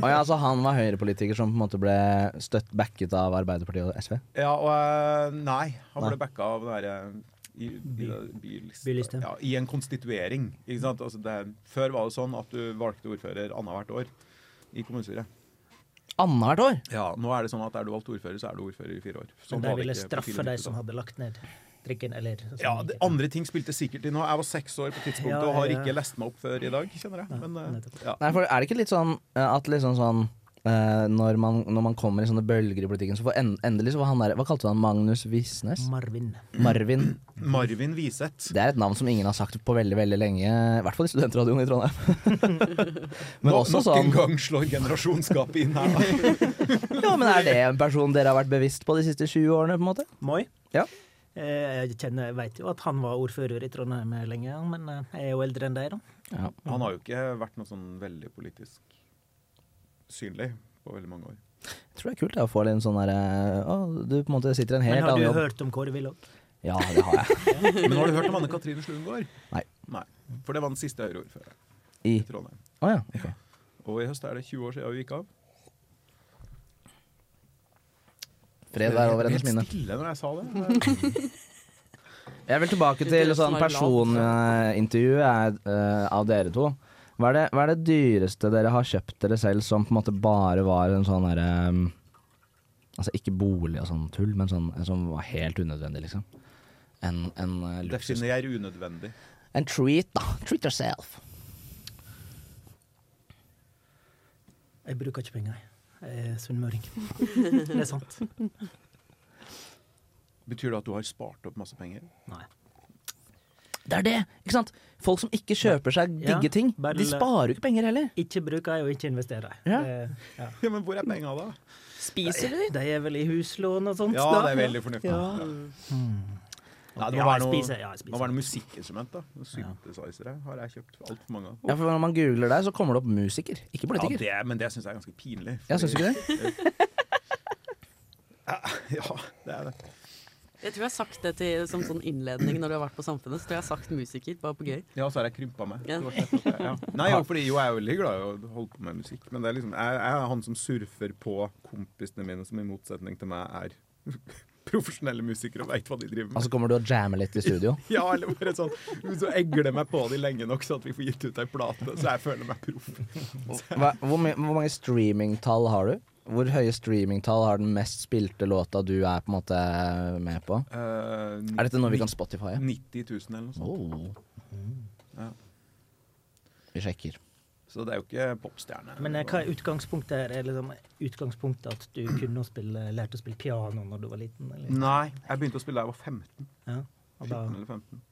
S2: Og ja, altså, han var høyrepolitiker som på en måte ble støtt backet av Arbeiderpartiet og SV.
S3: Ja, og eh, nei, han
S2: Nei.
S3: ble backa av det derre i, i, bylista. ja, I en konstituering. Ikke sant? Altså det, før var det sånn at du valgte ordfører annethvert år i kommunestyret.
S2: Annethvert år?
S3: Ja, Nå er det sånn at er du valgt ordfører, så er du ordfører i fire år. Sånn
S1: Men de
S3: var det
S1: ville
S3: ikke på
S1: straffe de
S3: tidligere tidspunkt.
S1: som hadde lagt ned. drikken, eller sånn.
S3: Ja, det, andre ting spilte sikkert inn. og Jeg var seks år på tidspunktet
S1: Ja,
S3: og har
S1: ja, ja.
S3: ikke lest meg opp før i dag, kjenner jeg. Men, eh, ja.
S2: Nei, for er det ikke litt sånn eh, at liksom sånn eh, når, man, når man kommer i sånne bølger i politikken, så får en, endelig så var han der Hva kalte du han? Magnus Visnes?
S1: Marvin.
S2: Marvin.
S3: Marvin Wiseth.
S2: Det er et navn som ingen har sagt på veldig veldig lenge. I hvert fall i studentradioen i Trondheim. [LAUGHS] Men
S3: Nå-
S2: også
S3: Nok en
S2: sånn
S3: gang slår generasjonsgapet inn her. da.
S1: [LAUGHS]
S2: Ja, men er det en person dere har vært bevisst på de siste 20 årene, på en måte?
S1: Moi?
S2: Ja.
S1: Eh, Jeg kjenner, jeg vet jo at han var ordfører i Trondheim lenge, han, men eh, jeg er jo eldre enn deg, da.
S3: Han har jo ikke vært noe sånn veldig politisk synlig på veldig mange år.
S2: Jeg tror det er kult ja, å få litt en sånn derre Å, du på en måte sitter i en
S1: Men
S2: helt
S1: har
S2: annen
S1: du
S2: jobb.
S1: hørt om Kåre Willoch?
S2: Ja, det har jeg.
S3: Men har du hørt om Anne Katrine Slundgaard?
S2: Nei.
S3: For det var den siste euroordføreren
S2: I
S3: i Trondheim.
S2: Å ja. ok.
S3: Og i høst er det 20 år siden hun gikk av.
S2: Fred være over hennes minne.
S3: Helt stille når jeg sa det.
S2: Jeg vil tilbake til sånn personintervju eh, av dere to. Hva er, det, hva er det dyreste dere har kjøpt dere selv som på en måte bare var en sånn herre um, Altså ikke bolig og sånn tull, men sånn en som var helt unødvendig, liksom. En, en eh, luksus.
S3: Definer unødvendig.
S2: En treat, da. Treat yourself.
S1: Jeg bruker ikke penger, jeg. Jeg er sunnmøring. Det er sant.
S3: Betyr det at du har spart opp masse penger?
S1: Nei.
S2: Det er det, ikke sant? Folk som ikke kjøper seg
S1: Ja,
S2: digge ting,
S1: bare-
S2: de sparer jo ikke penger heller.
S1: Ikke bruker jeg, og ikke investerer jeg.
S2: Ja.
S1: Det- ja.
S3: Ja, Men hvor er penga, da?
S1: Spiser du? De er vel i huslån og sånt.
S3: Ja,
S1: da.
S3: det er veldig fornuftig.
S1: Ja.
S3: Ja. Nei, det må
S1: Mm. Ja,
S3: være
S1: jeg
S3: noe,
S1: spiser, ja, jeg
S3: det må
S1: spiser.
S3: være noe musikkinstrument, da. Noen Synthesizere har jeg kjøpt altfor mange av.
S2: Ja, for Når man googler deg, så kommer det opp musiker, ikke
S3: Ja,
S2: politiker.
S3: det, men det syns jeg er ganske pinlig.
S2: Ja, syns du
S3: [LAUGHS]
S2: ikke
S3: det? ja, det er det.
S5: Jeg tror jeg har sagt det til, som sånn innledning når du har vært på Samfunnet. Så tror jeg jeg har sagt musiker, bare på gøy.
S3: Ja, så har jeg krympa meg.
S5: Ja.
S3: Det var slett at jeg- Ja. Nei, jo, fordi jo, jeg er veldig glad i å holde på med musikk, men det er liksom, jeg, jeg er han som surfer på kompisene mine, som i motsetning til meg er [LAUGHS] profesjonelle musikere og veit hva de driver med.
S2: Og så kommer du og jammer litt i studio.
S3: [LAUGHS] Ja, eller bare sånn Hvis du egler meg på de lenge nok, så at vi får gitt ut ei plate, så jeg føler meg proff.
S2: Hva, hvor, my- hvor mange streamingtall har du? Hvor høye streamingtall har den mest spilte låta du er på en måte med på?
S3: Eh,
S2: Er dette noe vi kan
S3: nitt-
S2: Spotify? Oh.
S3: 90 000 eller noe sånt. Mm. Ja.
S2: Vi sjekker.
S3: Så det er jo ikke popstjerne.
S1: Men eh, hva er utgangspunktet her? Er liksom utgangspunktet at du kunne å spille, lærte å spille piano når du var liten? Eller?
S3: Nei, jeg begynte å spille da jeg var 15.
S1: Ja, og da,
S3: 14 eller 15.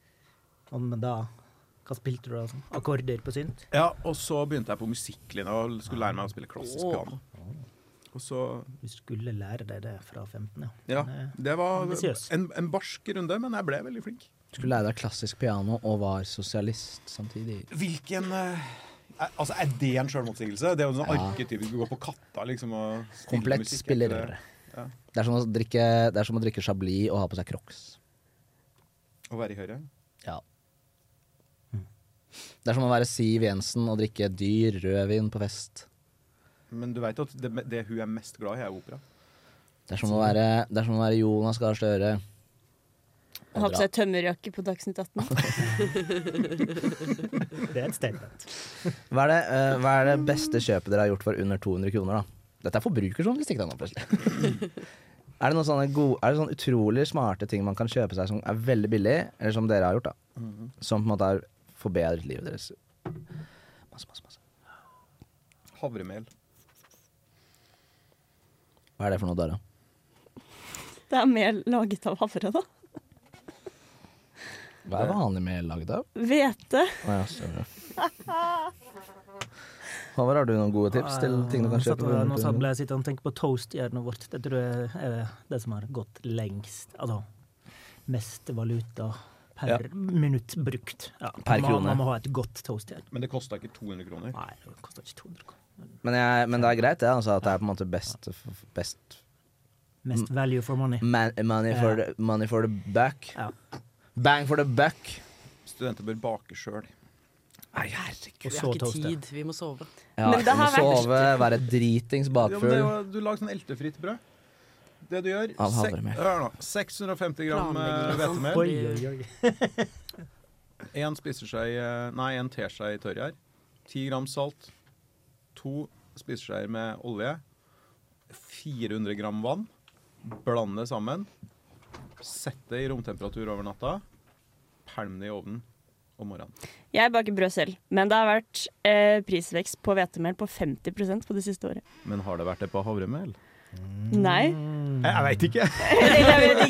S1: og, men da Hva spilte du da? Sånn? Akkorder på synt?
S3: Ja, og så begynte jeg på musikklinja og skulle lære meg å spille klassisk
S1: Åh.
S3: piano. Og så
S1: Du skulle lære deg det fra 15, ja.
S3: Ja,
S1: Men, eh,
S3: det var
S1: ambisiøs.
S3: en, en barsk runde, men jeg ble veldig flink.
S2: Du skulle lære deg klassisk piano og var sosialist samtidig.
S3: Hvilken eh, er- Altså, Er det en sjølmotsigelse? Det er jo sånn
S2: Ja.
S3: arketypisk å gå på Katta liksom og spille
S2: Komplett
S3: musikk, er ikke
S2: spiller.
S3: det? Ja.
S2: Det er som å drikke, det er som å drikke Chablis og ha på seg Crocs.
S3: Å være i Høyre?
S2: Ja. Det er som å være Siv Jensen og drikke dyr rødvin på fest.
S3: Men du veit at det, det hun er mest glad i, er opera.
S2: Det er som å være, det er som å være Jonas Gahr Støre.
S11: Han har på seg tømmerjakke på Dagsnytt [LAUGHS] 18.
S1: Det er et statement.
S2: Hva er, det, eh, hva er det beste kjøpet dere har gjort for under 200 kroner, da? Dette er forbrukerjournalistikk, da, nå plutselig.
S1: [LAUGHS]
S2: er det noen sånne, gode, er det sånne utrolig smarte ting man kan kjøpe seg som er veldig billig, eller som dere har gjort, da?
S3: Mhm.
S2: Som på en måte har forbedret livet deres? Masse, masse, masse.
S3: Havremel.
S2: Hva er det for noe, Dara?
S11: Det er mer laget av havre, da.
S2: Hva er vanlig mel laget av?
S11: Hvete.
S2: Å ja, sorry. Håvard, har du noen gode tips til ting du kan
S1: Nå satt-
S2: kjøpe? for
S1: Nå
S2: 100
S1: satt-
S2: kroner?
S1: ble jeg sittende og tenke på toastjernet vårt. Det tror jeg er det som har gått lengst. Altså mest valuta per
S2: Ja.
S1: minutt brukt. Ja, man,
S2: Per
S1: må-
S2: krone.
S1: Man må ha et godt toastjern.
S3: Men det kosta ikke 200 kroner?
S1: Nei, det kosta ikke 200 kroner.
S2: Men, jeg, men det er greit, det, altså, at det er på en måte best, best
S1: Mest
S2: Mm.
S1: value for money.
S2: man, money,
S1: Ja.
S2: for the, money for the buck.
S1: Ja.
S2: Bang for the buck.
S3: Studenter bør bake sjøl.
S2: Nei, herregud.
S5: Vi har ikke tid, vi må sove.
S2: Ja,
S5: Men det
S2: du må
S5: har vært-
S2: sove, være dritings
S3: Ja, men det
S2: bakfull.
S3: er jo- du lager sånn eltefritt brød. Det du gjør
S2: Av
S3: sek-
S2: havremel.
S3: Hør nå. 650 gram eh, hvetemel.
S1: Oi, oi, oi.
S3: En spiseskje eh, Nei, en teskje tørrgjær. 10 gram salt. To spiseskjeer med olje. 400 gram vann. Bland det sammen. Sett det i romtemperatur over natta. Pælm det i ovnen om morgenen.
S11: Jeg baker brød selv, men det har vært eh, prisvekst på hvetemel på 50 på det siste året.
S3: Men har det vært det på havremel?
S11: Nei. [LAUGHS]
S3: Jeg, jeg veit ikke.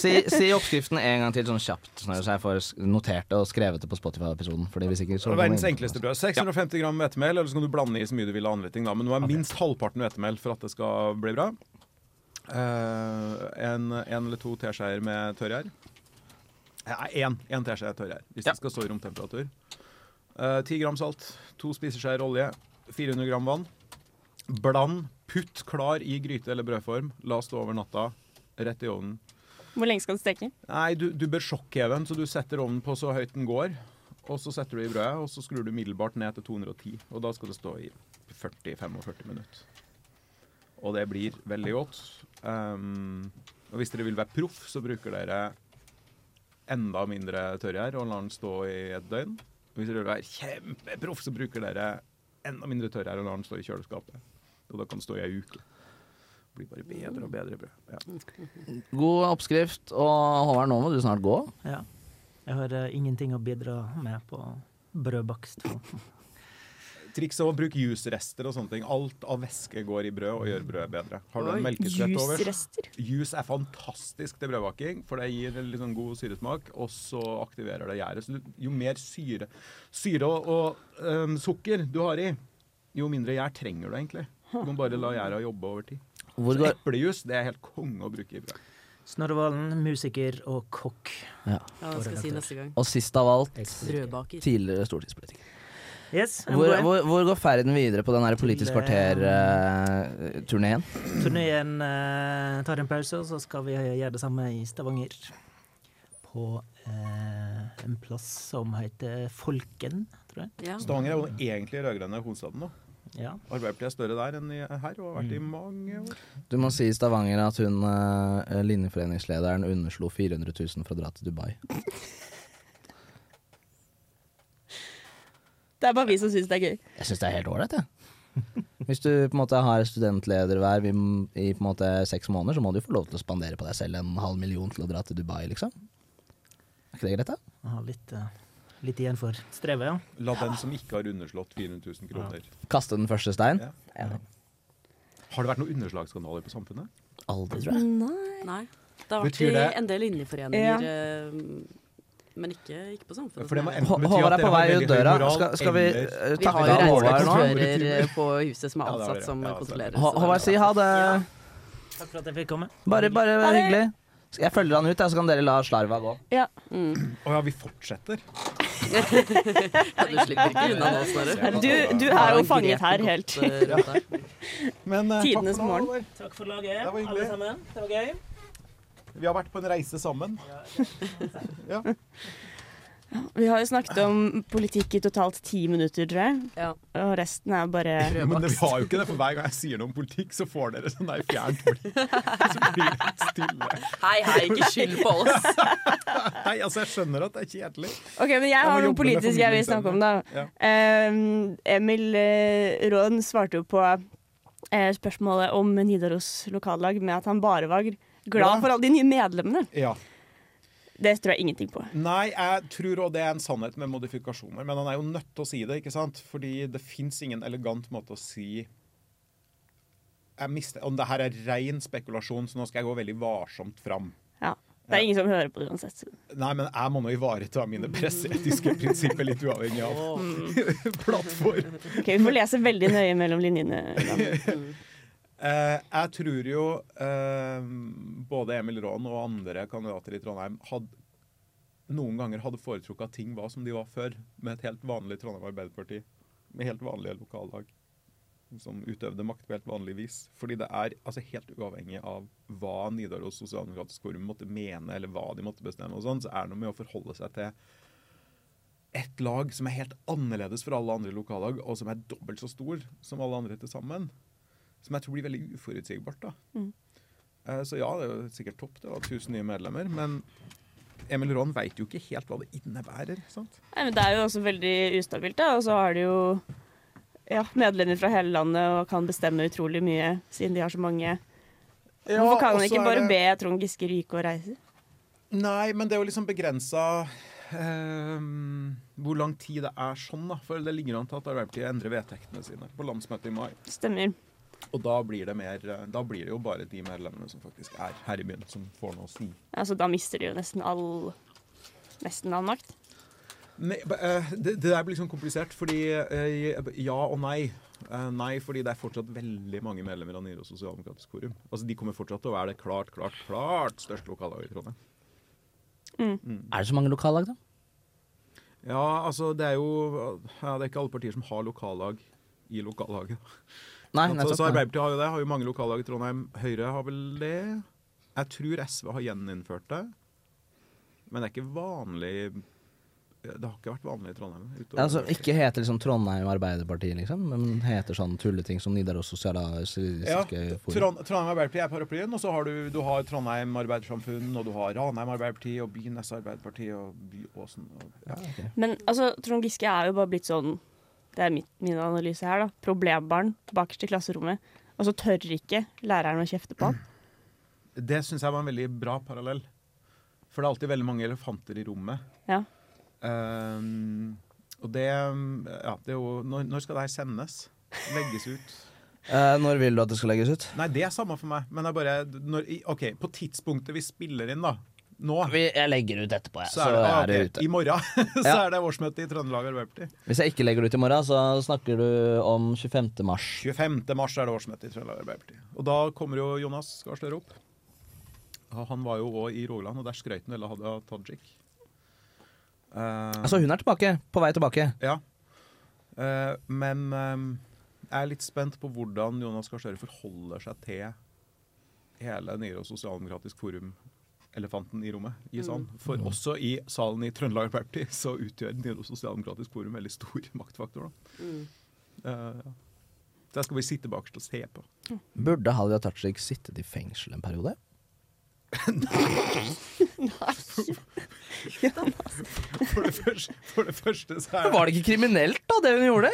S2: si, si oppskriften en gang til, sånn kjapt, sånn at jeg får s- notert det og skrevet det på Spotify-episoden. Fordi hvis ikke så
S3: Verdens enkleste brød. 650 gram hvetemel, eller så kan du blande i så mye du vil av annen hveting, da. Men nå er minst halvparten hvetemel for at det skal bli bra. Eh, en, en eller to teskjeer med tørrgjær. Nei, én. Én teskje tørrgjær, hvis det skal stå i romtemperatur. Eh, 10 gram salt, to spiseskjeer olje, 400 gram vann. Bland, putt klar i gryte eller brødform. La stå over natta, rett i ovnen.
S11: Hvor lenge skal det steke?
S3: Nei, du, du bør sjokkheve den, så du setter ovnen på så høyt den går. Og så setter du i brødet, og så skrur du middelbart ned til 210. Og da skal det stå i 40-45 minutter. Og det blir veldig godt. Ehm, og hvis dere vil være proff, så bruker dere enda mindre tørrgjær og lar den stå i et døgn. Hvis dere vil være kjempeproff, så bruker dere enda mindre tørrgjær og lar den stå i kjøleskapet. Og da kan den stå i ei uke. Det blir bare bedre og bedre brød. Ja.
S2: God oppskrift. Og Håvard, nå må du snart gå.
S1: Ja. Jeg har eh, ingenting å bidra med på brødbakst.
S3: Trikset å bruke jusrester og sånne ting. Alt av væske går i brød og gjør brødet bedre. Har du en
S11: Oi,
S3: melkeskvett over?
S11: jusrester?
S3: Jus er fantastisk til brødbaking, for det gir en litt sånn god syresmak, og så aktiverer det gjæret. Så du- jo mer syre, syre og, og øhm, sukker du har i, jo mindre gjær trenger du egentlig. Du må bare la gjæra jobbe over tid.
S2: Hvor
S3: Så
S2: går-
S3: eplejus det er helt konge å bruke i brød.
S1: Snorre Valen, musiker og kokk.
S2: Ja.
S5: Ja, hva skal jeg si neste gang?
S2: Og sist av alt,
S5: Brødbaker.
S2: tidligere stortingspolitiker.
S1: Yes, jeg må
S2: Hvor,
S1: gå hjem.
S2: hvor, hvor går ferden videre på den her Politisk eh,
S1: Til, eh,
S2: kvarter-turneen?
S1: Turneen eh, tar en pause, og så skal vi gjøre det samme i Stavanger. På eh, en plass som heter Folken, tror jeg.
S3: Stavanger er jo egentlig rød-grønne hovedstaden, da.
S1: Ja.
S3: Arbeiderpartiet er større der enn i, her, og har vært i mange år.
S2: du må si i Stavanger at hun, eh, linjeforeningslederen, underslo 400 000 for å dra til Dubai.
S11: Det er bare vi som syns det er gøy.
S2: Jeg syns det er helt ålreit, jeg. [LAUGHS] Hvis du på en måte har studentlederverv i, i på en måte seks måneder, så må du jo få lov til å spandere på deg selv en halv million til å dra til Dubai, liksom. Er ikke det greit, da?
S1: Jeg har litt, eh, litt igjen for strevet, ja.
S3: La den som ikke har underslått 400 000 kroner.
S2: Kaste den første stein?
S3: Ja. Har det vært noen underslagsskandaler på samfunnet?
S2: Aldri,
S5: Nei. Det har vært
S3: Betyr
S5: i
S3: det-
S5: en del
S11: Ja.
S5: linjeforeninger, eh, men ikke, ikke på samfunnet.
S3: For det må
S5: som
S3: enten
S5: helhet.
S3: bety at Håvard er på dere har vei ut veldig høy døra. moral,
S2: Skal- skal vi, eh, eller-
S5: Vi har
S2: takke
S5: jo
S2: Håvard nå?
S5: regnskapsfører eh, på
S2: Ja, det
S3: altså.
S5: huset som er
S2: har dere.
S5: ansatt som
S2: Ja,
S5: kontrollerer.
S2: Hå-
S5: så det-
S2: Håvard, si ha det.
S1: Takk for at jeg fikk komme.
S2: Bare, bare
S1: Ha det.
S2: hyggelig. Skal Jeg følger han ut, jeg, så kan dere la slarva gå.
S11: Ja.
S3: Å ja, vi fortsetter?
S5: Ja, du slipper ikke unna nå, Snorre.
S11: Du, du er jo fanget her helt.
S3: eh,
S11: Tidenes morgen.
S1: Takk for laget,
S3: Det var hyggelig.
S1: alle sammen. Det var gøy.
S3: Vi har vært på en reise sammen. Ja.
S11: Vi har jo snakket om politikk i totalt ti minutter, tror jeg. Og resten er bare
S3: Men det, vi har jo ikke det, for hver gang jeg sier noe om politikk, så får dere sånn der fjernt blikk. Så blir det stille.
S5: Hei, hei, ikke skyld på oss.
S3: Nei, altså, jeg skjønner at det er kjedelig.
S11: OK, men jeg
S3: Jeg må
S11: har noe
S3: jobbe med
S11: politisk jeg vil snakke om, da.
S3: formidlingsevne.
S11: Ehm, Emil eh, Råen svarte jo på eh, spørsmålet om Nidaros lokallag med at han bare var glad
S3: Ja.
S11: for alle de nye medlemmene.
S3: Ja.
S11: Det tror jeg ingenting på.
S3: Nei, jeg tror også det er en sannhet med modifikasjoner, men han er jo nødt til å si det, ikke sant? Fordi det fins ingen elegant måte å si jeg mister, Om det her er ren spekulasjon, så nå skal jeg gå veldig varsomt fram.
S11: Ja. Det er ingen som hører på det uansett.
S3: Nei, men jeg må nå ivareta mine presseetiske prinsipper litt uavhengig av [LAUGHS] plattform.
S11: Ok, Vi får lese veldig nøye mellom linjene. da.
S3: Eh, jeg tror jo eh, både Emil Raan og andre kandidater i Trondheim hadde, noen ganger hadde foretrukket at ting var som de var før, med et helt vanlig Trondheim Arbeiderparti. Med helt vanlige lokallag som utøvde makt på helt vanlig vis. Fordi det er altså, helt uavhengig av hva Nidaros Sosialdemokratisk Forum måtte mene, eller hva de måtte bestemme, og sånn, så er det noe med å forholde seg til et lag som er helt annerledes fra alle andre lokallag, og som er dobbelt så stor som alle andre til sammen. Som jeg tror blir veldig uforutsigbart. da.
S11: Mm.
S3: Eh, Så ja, det er jo sikkert topp det, da, 1000 nye medlemmer. Men Emil Raan veit jo ikke helt hva det innebærer. sant?
S11: Nei, men Det er jo også veldig ustabilt, da. Og så har de jo ja, medlemmer fra hele landet og kan bestemme utrolig mye, siden de har så mange
S3: Ja,
S11: Hvorfor kan
S3: og
S11: han ikke
S3: så er
S11: bare be
S3: det-
S11: Trond Giske ryke og reise?
S3: Nei, men det er jo liksom begrensa ehm, hvor lang tid det er sånn, da. For det ligger an til at Arbeiderpartiet endrer vedtektene sine på landsmøtet i mai.
S11: Stemmer.
S3: Og da blir det, mer, eh, da blir det jo bare de medlemmene som faktisk er her i byen, som får noe å si.
S11: Altså, da mister de jo nesten all Nesten all makt.
S3: Nei, b- eh, det, det der blir sånn komplisert, fordi eh, ja og nei. Eh, Nei, fordi det er fortsatt veldig mange medlemmer av Nidaros sosialdemokratisk forum. Altså, De kommer fortsatt til å være det klart, klart, klart største lokallag i Trondheim.
S2: Er det så mange lokallag, da?
S3: Ja, altså, det er jo ja, Det er ikke alle partier som har lokallag i lokallaget.
S2: Nei,
S3: Så-
S2: nettopp,
S3: så
S2: nei.
S3: Arbeiderpartiet har jo det. Har jo mange lokallag i Trondheim. Høyre har vel det. Jeg tror SV har gjeninnført det. Men det er ikke vanlig Det har ikke vært vanlig i Trondheim. utover-
S2: Altså, ikke heter liksom Trondheim Arbeiderparti, liksom, men heter sånn tulleting som Nidaros
S3: Ja,
S2: Sosialistiske Forum.
S3: Trond, Trondheim Arbeiderparti er paraplyen, og så har du, du har Trondheim Arbeidersamfunn, og du har Ranheim Arbeiderparti, og Bynes Arbeiderparti, og Byåsen og, ja.
S11: Men altså, Trond Giske er jo bare blitt sånn Det er mitt, min analyse her, da. Problembarn bakerst i klasserommet. Og så tør ikke læreren å kjefte på han.
S3: Det syns jeg var en veldig bra parallell. For det er alltid veldig mange elefanter i rommet.
S11: Ja.
S3: Ehm, og det Ja, det er jo Når, når skal det her sendes? Legges ut?
S2: Eh, når vil du at det skal legges ut?
S3: Nei, det er samme for meg, men det er bare når, i- OK, på tidspunktet vi spiller inn, da. Nå.
S2: jeg legger ut etterpå,
S3: Så er det, ah, ok, I morgen [LAUGHS] så
S2: Ja.
S3: er det årsmøte i Trøndelag Arbeiderparti.
S2: Hvis jeg ikke legger det ut i morgen, så snakker du om 25. mars.
S3: 25. mars er det årsmøte i Trøndelag Arbeiderparti. Og da kommer jo Jonas Gahr Støre opp. Og Han var jo òg i Rogaland, og der skrøt han vel av Hadia Tajik. Eh,
S2: Altså, hun er tilbake. På vei tilbake.
S3: Ja. Eh, men eh, jeg er litt spent på hvordan Jonas Gahr Støre forholder seg til hele Nyere og Sosialdemokratisk Forum-elefanten i rommet. i salen.
S14: Mm.
S3: For også i salen i Trøndelag Arbeiderparti [LAUGHS] så utgjør Nyere og Sosialdemokratisk Forum veldig stor [LAUGHS] maktfaktor. da. Eh, ja. så jeg skal bare sitte bakerst og se på.
S2: Burde Hadia Tajik sittet i fengsel en periode?
S3: For det første, for det første så er
S2: Var det ikke kriminelt, da, det hun gjorde?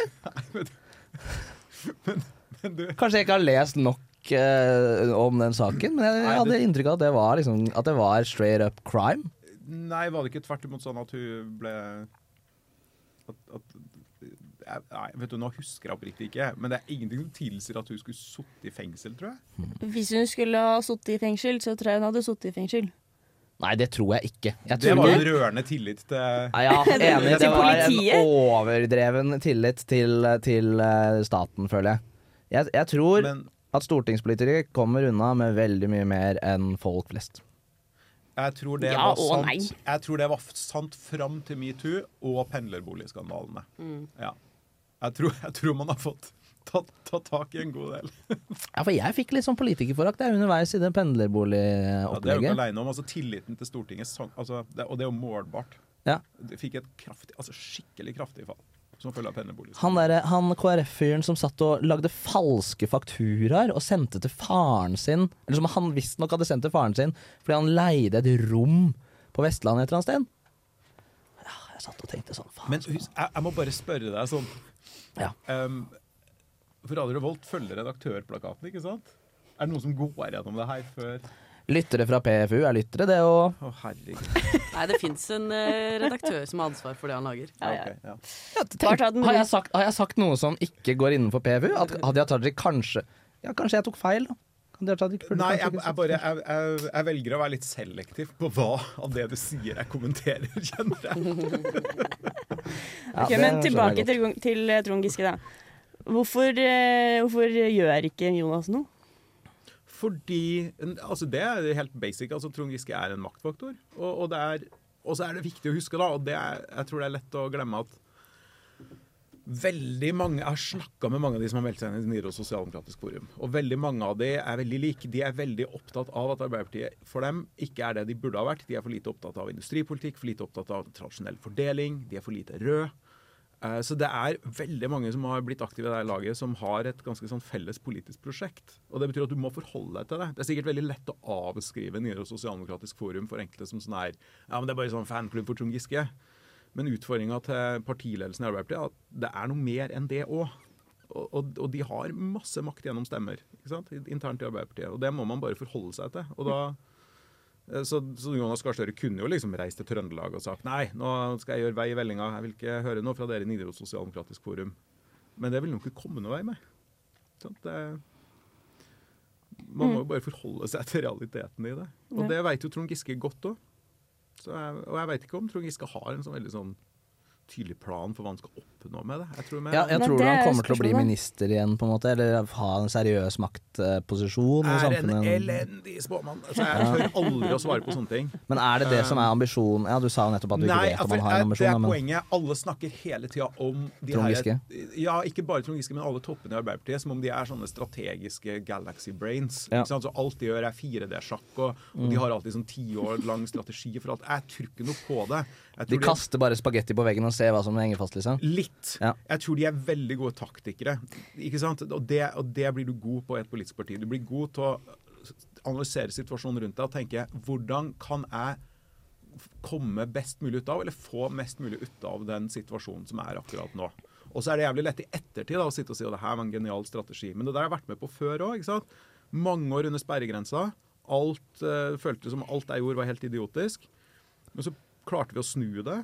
S2: Kanskje jeg ikke har lest nok eh, om den saken, men jeg, jeg hadde inntrykk av at det var, liksom, at det var straight up crime.
S3: Nei, var det ikke tvert imot sånn at hun ble at, at, jeg- Nei, vet du, nå husker jeg oppriktig ikke, men det er ingenting som tilsier at hun skulle sittet i fengsel, tror jeg.
S11: Hvis hun skulle ha sittet i fengsel, så tror jeg hun hadde sittet i fengsel.
S2: Nei, det tror jeg ikke. Jeg
S3: det
S2: tror
S3: var jo en rørende tillit til
S2: Nei, ja, enig. Det
S11: Til
S2: var en
S11: politiet?
S2: overdreven tillit til, til eh, staten, føler jeg. Jeg, jeg tror at stortingspolitikere kommer unna med veldig mye mer enn folk flest.
S3: Jeg tror det,
S11: Ja
S3: var,
S11: og
S3: sant,
S11: nei.
S3: jeg tror det var f- sant fram til metoo og pendlerboligskandalene.
S11: Mm.
S3: Ja. Jeg, tror, jeg tror man har fått tatt, tatt tak i en god del.
S2: Ja, for jeg fikk litt sånn politikerforakt jeg, underveis i det
S3: Ja, det er jo ikke
S2: pendlerboligopplegget.
S3: alene om. Altså, tilliten til Stortinget sank, altså, det, og det er jo målbart.
S2: Ja.
S3: Det fikk et kraftig, altså, skikkelig kraftig fall som følge av pendlerboligskandalen.
S2: Han, derre- han KrF-fyren som satt og lagde falske fakturaer og sendte til faren sin Eller som han visstnok hadde sendt til faren sin fordi han leide et rom på Vestlandet et eller annet sted. Ja, jeg satt og tenkte sånn faen.
S3: Men hus- jeg, jeg må bare spørre deg sånn Ehm, For Radio Revolt følger redaktørplakaten, ikke sant? Er det noen som går gjennom det her før
S2: Lyttere fra PFU er lyttere, det og
S3: Å, herregud.
S5: Nei, det fins en eh, redaktør som har ansvar for det han lager.
S2: Tenk, har, jeg sagt, har jeg sagt noe som ikke går innenfor PFU? At Hadia Tajik kanskje Ja, kanskje jeg tok feil, da. Hadia Tajik burde
S3: Nei,
S2: kanskje ikke
S3: jeg, jeg,
S2: sagt
S3: bare,
S2: det.
S3: jeg, jeg, jeg velger å være litt selektiv på hva av det du sier jeg kommenterer, [LAUGHS] kjenner jeg.
S11: Ok, men tilbake til, til eh, Trond Giske, da. Hvorfor, eh, hvorfor gjør ikke Jonas noe?
S3: Fordi altså Det er helt basic. altså Trond Giske er en maktfaktor. Og, og, det er, og så er det viktig å huske, da, og det er, jeg tror det er lett å glemme at Veldig mange, Jeg har snakka med mange av de som har meldt seg inn i Nidaros Sosialdemokratisk Forum. Og veldig mange av de er veldig like. De er veldig opptatt av at Arbeiderpartiet for dem ikke er det de burde ha vært. De er for lite opptatt av industripolitikk, for lite opptatt av tradisjonell fordeling, de er for lite rød. Eh, Så det er veldig mange som har blitt aktive i det her laget, som har et ganske sånn felles politisk prosjekt. Og det betyr at du må forholde deg til det. Det er sikkert veldig lett å avskrive Nidaros Sosialdemokratisk Forum for enkelte som sånn her Ja, men det er bare sånn fanklubb for Trond Giske. Men utfordringa til partiledelsen i Arbeiderpartiet er at det er noe mer enn det òg. og, og, og de har masse makt gjennom stemmer ikke sant? internt i Arbeiderpartiet. Og det må man bare forholde seg til. Og da, eh, så, så Jonas Gahr Støre kunne jo liksom reist til Trøndelag og sagt nei, nå skal jeg gjøre vei i vellinga, jeg vil ikke høre noe fra dere i Nidaros Sosialdemokratisk Forum. Men det vil nok ikke komme noe vei med. Ikke Sant? Det,
S2: Mm.
S3: man må jo bare forholde seg til realiteten i det.
S11: Ja.
S3: Og det veit jo Trond Giske godt òg. Og jeg veit ikke om Trond Giske har en sånn veldig sånn tydelig plan for hva han skal oppnå med det. Jeg tror, med,
S2: Ja, jeg tror han kommer til å bli minister igjen, på en måte. Eller ha en seriøs maktposisjon i
S3: er en
S2: samfunnet.
S3: elendig spåmann. Altså, jeg tør aldri å svare på sånne ting.
S2: Men er det det som er ambisjonen? Ja, du sa jo nettopp at du ikke
S3: Um, Nei,
S2: vet om
S3: for
S2: han har en
S3: det
S2: ambisjon.
S3: er
S2: da, Men
S3: poenget. Alle snakker hele tida om de
S2: Trond
S3: her-
S2: Giske?
S3: Ja, ikke bare Trond Giske, men alle toppene i Arbeiderpartiet. Som om de er sånne strategiske galaxy brains.
S2: Ja.
S3: Ikke sant? Så alt de gjør, er 4D-sjakk, og, og de
S2: Mm.
S3: har alltid sånn ti år lang strategi for alt. Jeg tror ikke noe på det. Jeg
S2: de
S3: tror
S2: kaster bare spagetti på veggen og ser hva som henger fast, liksom?
S3: Litt.
S2: Ja.
S3: Jeg tror de er veldig gode taktikere. Ikke sant? Og det, og det blir du god på i et politisk parti. Du blir god til å analysere situasjonen rundt deg og tenke hvordan kan jeg f- komme best mulig ut av, eller få mest mulig ut av den situasjonen som er akkurat nå. Og så er det jævlig lett i ettertid da, å sitte og si at det her var en genial strategi. Men det der har jeg vært med på før òg. Mange år under sperregrensa. Alt eh, føltes som alt jeg gjorde var helt idiotisk. Men så klarte vi å snu det.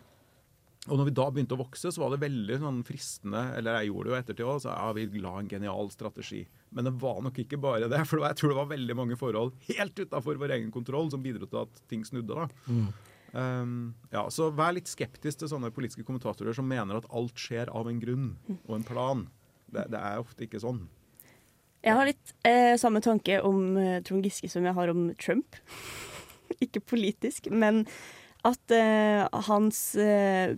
S3: Og når vi da begynte å vokse, så var det veldig sånn fristende Eller jeg gjorde det jo ettertid òg. Ja, vi la en genial strategi. Men det var nok ikke bare det. For det var- jeg tror det var veldig mange forhold helt utafor vår egen kontroll som bidro til at ting snudde. da.
S2: Mm.
S3: Um, ja, Så vær litt skeptisk til sånne politiske kommentatorer som mener at alt skjer av en grunn og en plan. Det, det er ofte ikke sånn.
S11: Jeg har litt eh, samme tanke om eh, Trond Giske som jeg har om Trump. [LAUGHS] Ikke politisk, men at eh, hans eh,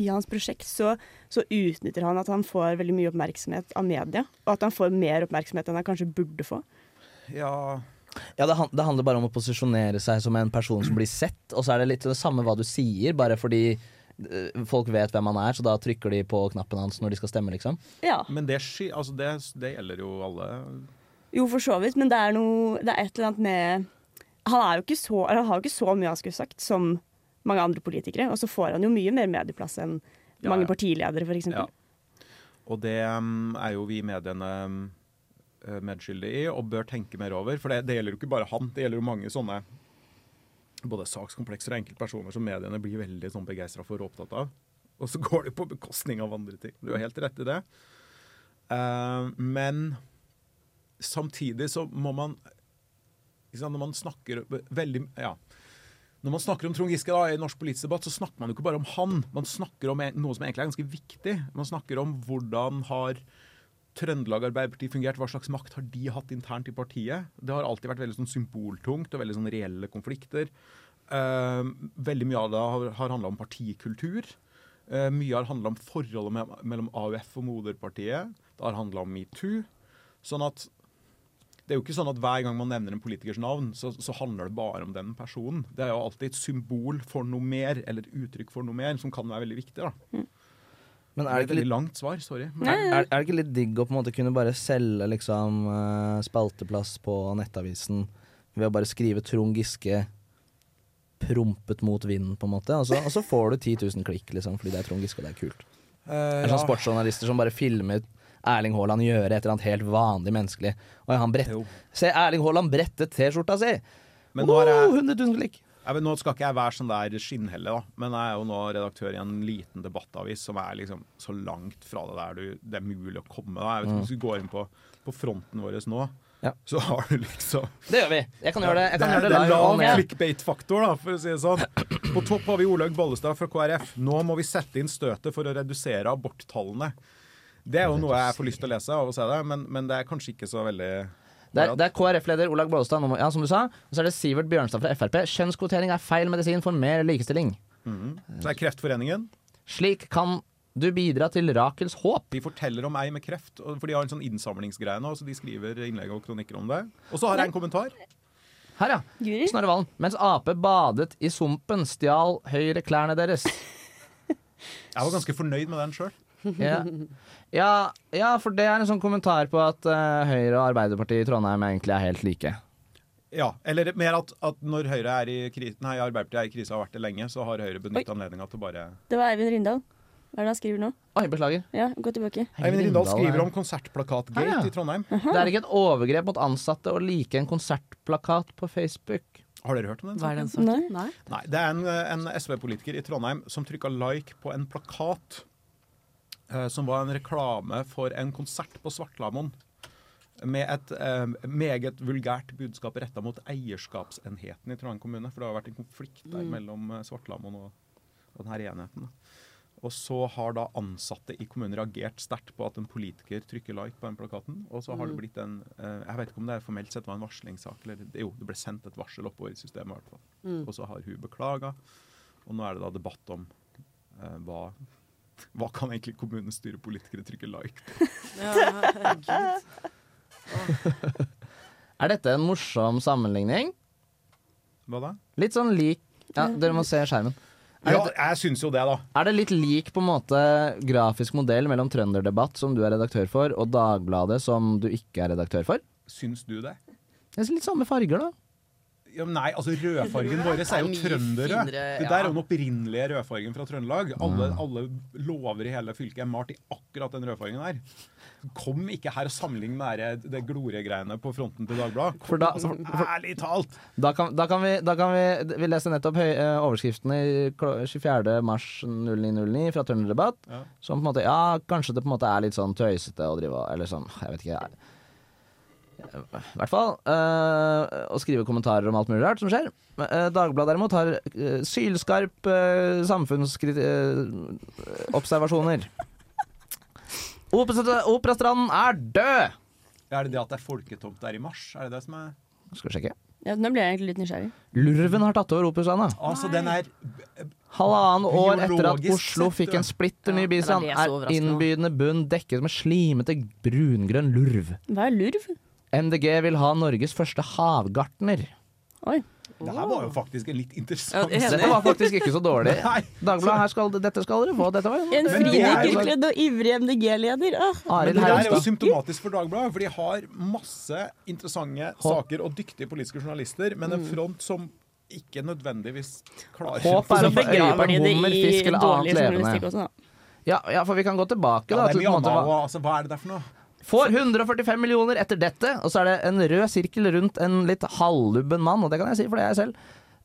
S11: I hans prosjekt så, så utnytter han at han får veldig mye oppmerksomhet av media. Og at han får mer oppmerksomhet enn han kanskje burde få.
S3: Ja,
S2: Ja, det, han- det handler bare om å posisjonere seg som en person som blir sett, og så er det litt det samme hva du sier, bare fordi eh, folk vet hvem han er, så da trykker de på knappen hans når de skal stemme, liksom.
S11: Ja.
S3: Men det, sky- altså det, det gjelder jo alle.
S11: Jo, for så vidt, men det er noe Det er et eller annet med Han er jo ikke så eller Han har jo ikke så mye han skulle sagt som mange andre politikere. Og så får han jo mye mer medieplass enn
S3: Ja,
S11: mange
S3: ja.
S11: partiledere, f.eks. eksempel.
S3: Og det um, er jo vi i mediene um, medskyldige i, og bør tenke mer over. For det, det gjelder jo ikke bare han, det gjelder jo mange sånne både sakskomplekser og enkeltpersoner som mediene blir veldig sånn begeistra for og opptatt av. Og så går det jo på bekostning av andre ting. Du har helt rett i det. Eh, men samtidig så må man ikke sant, Når man snakker veldig Ja. Når man snakker om Trond Giske da, i norsk politisk debatt, så snakker man jo ikke bare om han. Man snakker om en- noe som egentlig er ganske viktig. Man snakker om hvordan har Trøndelag Arbeiderparti fungert, hva slags makt har de hatt internt i partiet? Det har alltid vært veldig sånn symboltungt og veldig sånn reelle konflikter. Eh, veldig mye av det har, har handla om partikultur. Eh, mye har handla om forholdet me mellom AUF og moderpartiet. Det har handla om metoo. Sånn at det er jo ikke sånn at hver gang man nevner en politikers navn, så, så handler det bare om den personen. Det er jo alltid et symbol for noe mer, eller et uttrykk for noe mer, som kan være veldig viktig. da.
S2: Men er det
S3: et
S2: ikke litt,
S3: veldig langt svar, sorry.
S2: er, er, er det ikke litt digg å på en måte kunne bare selge liksom eh, spalteplass på nettavisen ved å bare skrive Trond Giske prompet mot vinden, på en måte, og så, og så får du 10 000 klikk, liksom, fordi det er Trond Giske, og det er kult.
S3: Eh,
S2: Det er sånn sportsjournalister som bare filmer Erling Haaland gjøre et eller annet helt vanlig menneskelig. Og han brett, Se, Erling Haaland brette T-skjorta si!
S3: Men nå er jeg-
S2: 100 000 klikk!
S3: Ja, men nå skal ikke jeg være sånn der skinnhelle, da. men jeg er jo nå redaktør i en liten debattavis som er liksom så langt fra det der du, det er mulig å komme. da. Jeg
S2: Mm.
S3: vet ikke, Hvis du går inn på, på fronten vår nå, så har du liksom
S2: Det gjør vi! Jeg kan gjøre det. Jeg kan gjøre det
S3: er
S2: live on
S3: lav
S2: air.
S3: clickbait-faktor, da, for å si det sånn. På topp har vi Olaug Bollestad fra KrF. Nå må vi sette inn støtet for å redusere aborttallene. Det er jo noe jeg får lyst til å lese av å se det, men, men det er kanskje ikke så veldig
S2: Det er, det er KrF-leder Olaug Bollestad, nå må- ja, som du sa. Og så er det Sivert Bjørnstad fra Frp. Kjønnskvotering er feil medisin for mer likestilling.
S3: Mhm. Så det er Kreftforeningen.
S2: Slik kan du bidra til Rakels håp.
S3: De forteller om ei med kreft, og- for de har en sånn innsamlingsgreie nå. Så de skriver innlegg og kronikker om det. Og så har jeg en kommentar.
S2: Her, ja. Snorre Valen. Mens Ap badet i sumpen, stjal Høyre klærne deres.
S3: Jeg var ganske fornøyd med den sjøl.
S2: Ja. Ja, ja, for det er en sånn kommentar på at eh, Høyre og Arbeiderpartiet i Trondheim egentlig er helt like.
S3: Ja, eller mer at, at når Høyre er i krise, nei, Arbeiderpartiet er i krise og har vært det lenge, så har Høyre benyttet anledninga til å bare
S11: Det var Eivind Rindal. Hva er det han skriver nå?
S2: Oi, beklager.
S11: Ja, Gå tilbake.
S3: Eivind Rindal skriver om
S2: Ah,
S3: konsertplakatgate
S2: ja.
S3: i Trondheim.
S2: Det er ikke et overgrep mot ansatte å like en konsertplakat på Facebook.
S3: Har dere hørt om den
S2: Hva er den
S3: saken?
S2: saken? Nei.
S3: Nei, det er en, en SV-politiker i Trondheim som trykka like på en plakat eh, som var en reklame for en konsert på Svartlamoen. Med et eh, meget vulgært budskap retta mot eierskapsenheten i Trondheim kommune. For det har vært en konflikt der
S14: Mm.
S3: mellom eh, Svartlamoen og, og denne enheten. Og så har da ansatte i kommunen reagert sterkt på at en politiker trykker like på den plakaten. Og så har det
S14: Mm.
S3: blitt en eh, Jeg vet ikke om det formelt sett var en varslingssak. Eller, det- jo, det ble sendt et varsel oppover i systemet, i hvert fall.
S14: Mm.
S3: Og så har hun beklaga. Og nå er det da debatt om eh, hva hva kan egentlig kommunestyrepolitikere trykke like på?
S2: Er dette en morsom sammenligning?
S3: Hva da?
S2: Litt sånn lik Ja, dere må se skjermen.
S3: Ja, jeg syns jo det, da.
S2: Er det litt lik på en måte grafisk modell mellom Trønderdebatt, som du er redaktør for, og Dagbladet, som du ikke er redaktør for?
S3: Syns du det?
S2: Det er litt samme farger, da.
S3: Ja, men nei, altså rødfargen vår er jo
S2: Det er mye
S3: trøndere.
S2: finere,
S3: Det der er
S2: ja.
S3: jo den opprinnelige rødfargen fra Trøndelag. Alle, alle lover i hele fylket er malt i akkurat den rødfargen der. Kom ikke her og sammenlign med det der- det gloregreiene på fronten til Dagbladet.
S2: For da-
S3: altså, ærlig talt!
S2: Da kan, da kan, vi, da kan vi Vi leser nettopp høy, eh, overskriftene i klo- 24. mars 0909 fra Trønderdebatt.
S3: Ja.
S2: Som på en måte Ja, kanskje det på en måte er litt sånn tøysete å drive og- Eller sånn, jeg vet ikke. I hvert fall. eh, å skrive kommentarer om alt mulig rart som skjer. Eh, Dagbladet derimot har eh, sylskarp eh, uh, samfunnsobservasjoner. Operastranden er død!
S3: Er det det at det er folketomt der i mars? Er det det som er
S2: Skal vi sjekke.
S11: Ja, nå ble jeg egentlig litt nysgjerrig.
S2: Lurven har tatt over Operastranda.
S3: Altså, den er
S2: Halvannen år etter at
S3: Biologisk
S2: Oslo
S3: sett,
S2: fikk
S3: ja.
S2: en splitter ny
S3: Ja,
S2: bystrand,
S3: det er så
S2: er
S3: overraskende.
S2: innbydende bunn dekket med slimete brungrønn lurv.
S11: Hva er lurv?
S2: MDG vil ha Norges første havgartner.
S11: Oi.
S3: Det her var jo faktisk en litt interessant
S2: Dette var faktisk ikke så dårlig.
S3: [LAUGHS] Nei.
S2: Dagbladet, her skal, dette skal dere få. Dette var
S11: En
S2: Men det er jo- sånn-
S11: fridykkerkledd og ivrig MDG-leder. Ah.
S3: Men
S2: Arild
S3: det der er jo
S2: Hermstad.
S3: symptomatisk for Dagbladet, for de har masse interessante saker og dyktige politiske journalister, men en front som ikke nødvendigvis klarer
S2: Mm. Håp er å
S3: Så
S2: få øye på
S3: begraver de
S2: en
S3: det
S2: hummer,
S3: i
S2: fisk eller
S3: dårlig
S2: annet
S3: journalistikk
S2: levende.
S3: også, da.
S2: Ja, ja, for vi kan gå tilbake
S3: Ja,
S2: da,
S3: det
S2: til på
S3: er mye
S2: en måte
S3: annet
S2: hva,
S3: også. altså, hva er det der for noe?
S2: Får 145 millioner etter dette, og så er det en rød sirkel rundt en litt halvlubben mann, og det kan jeg si, for det er jeg selv,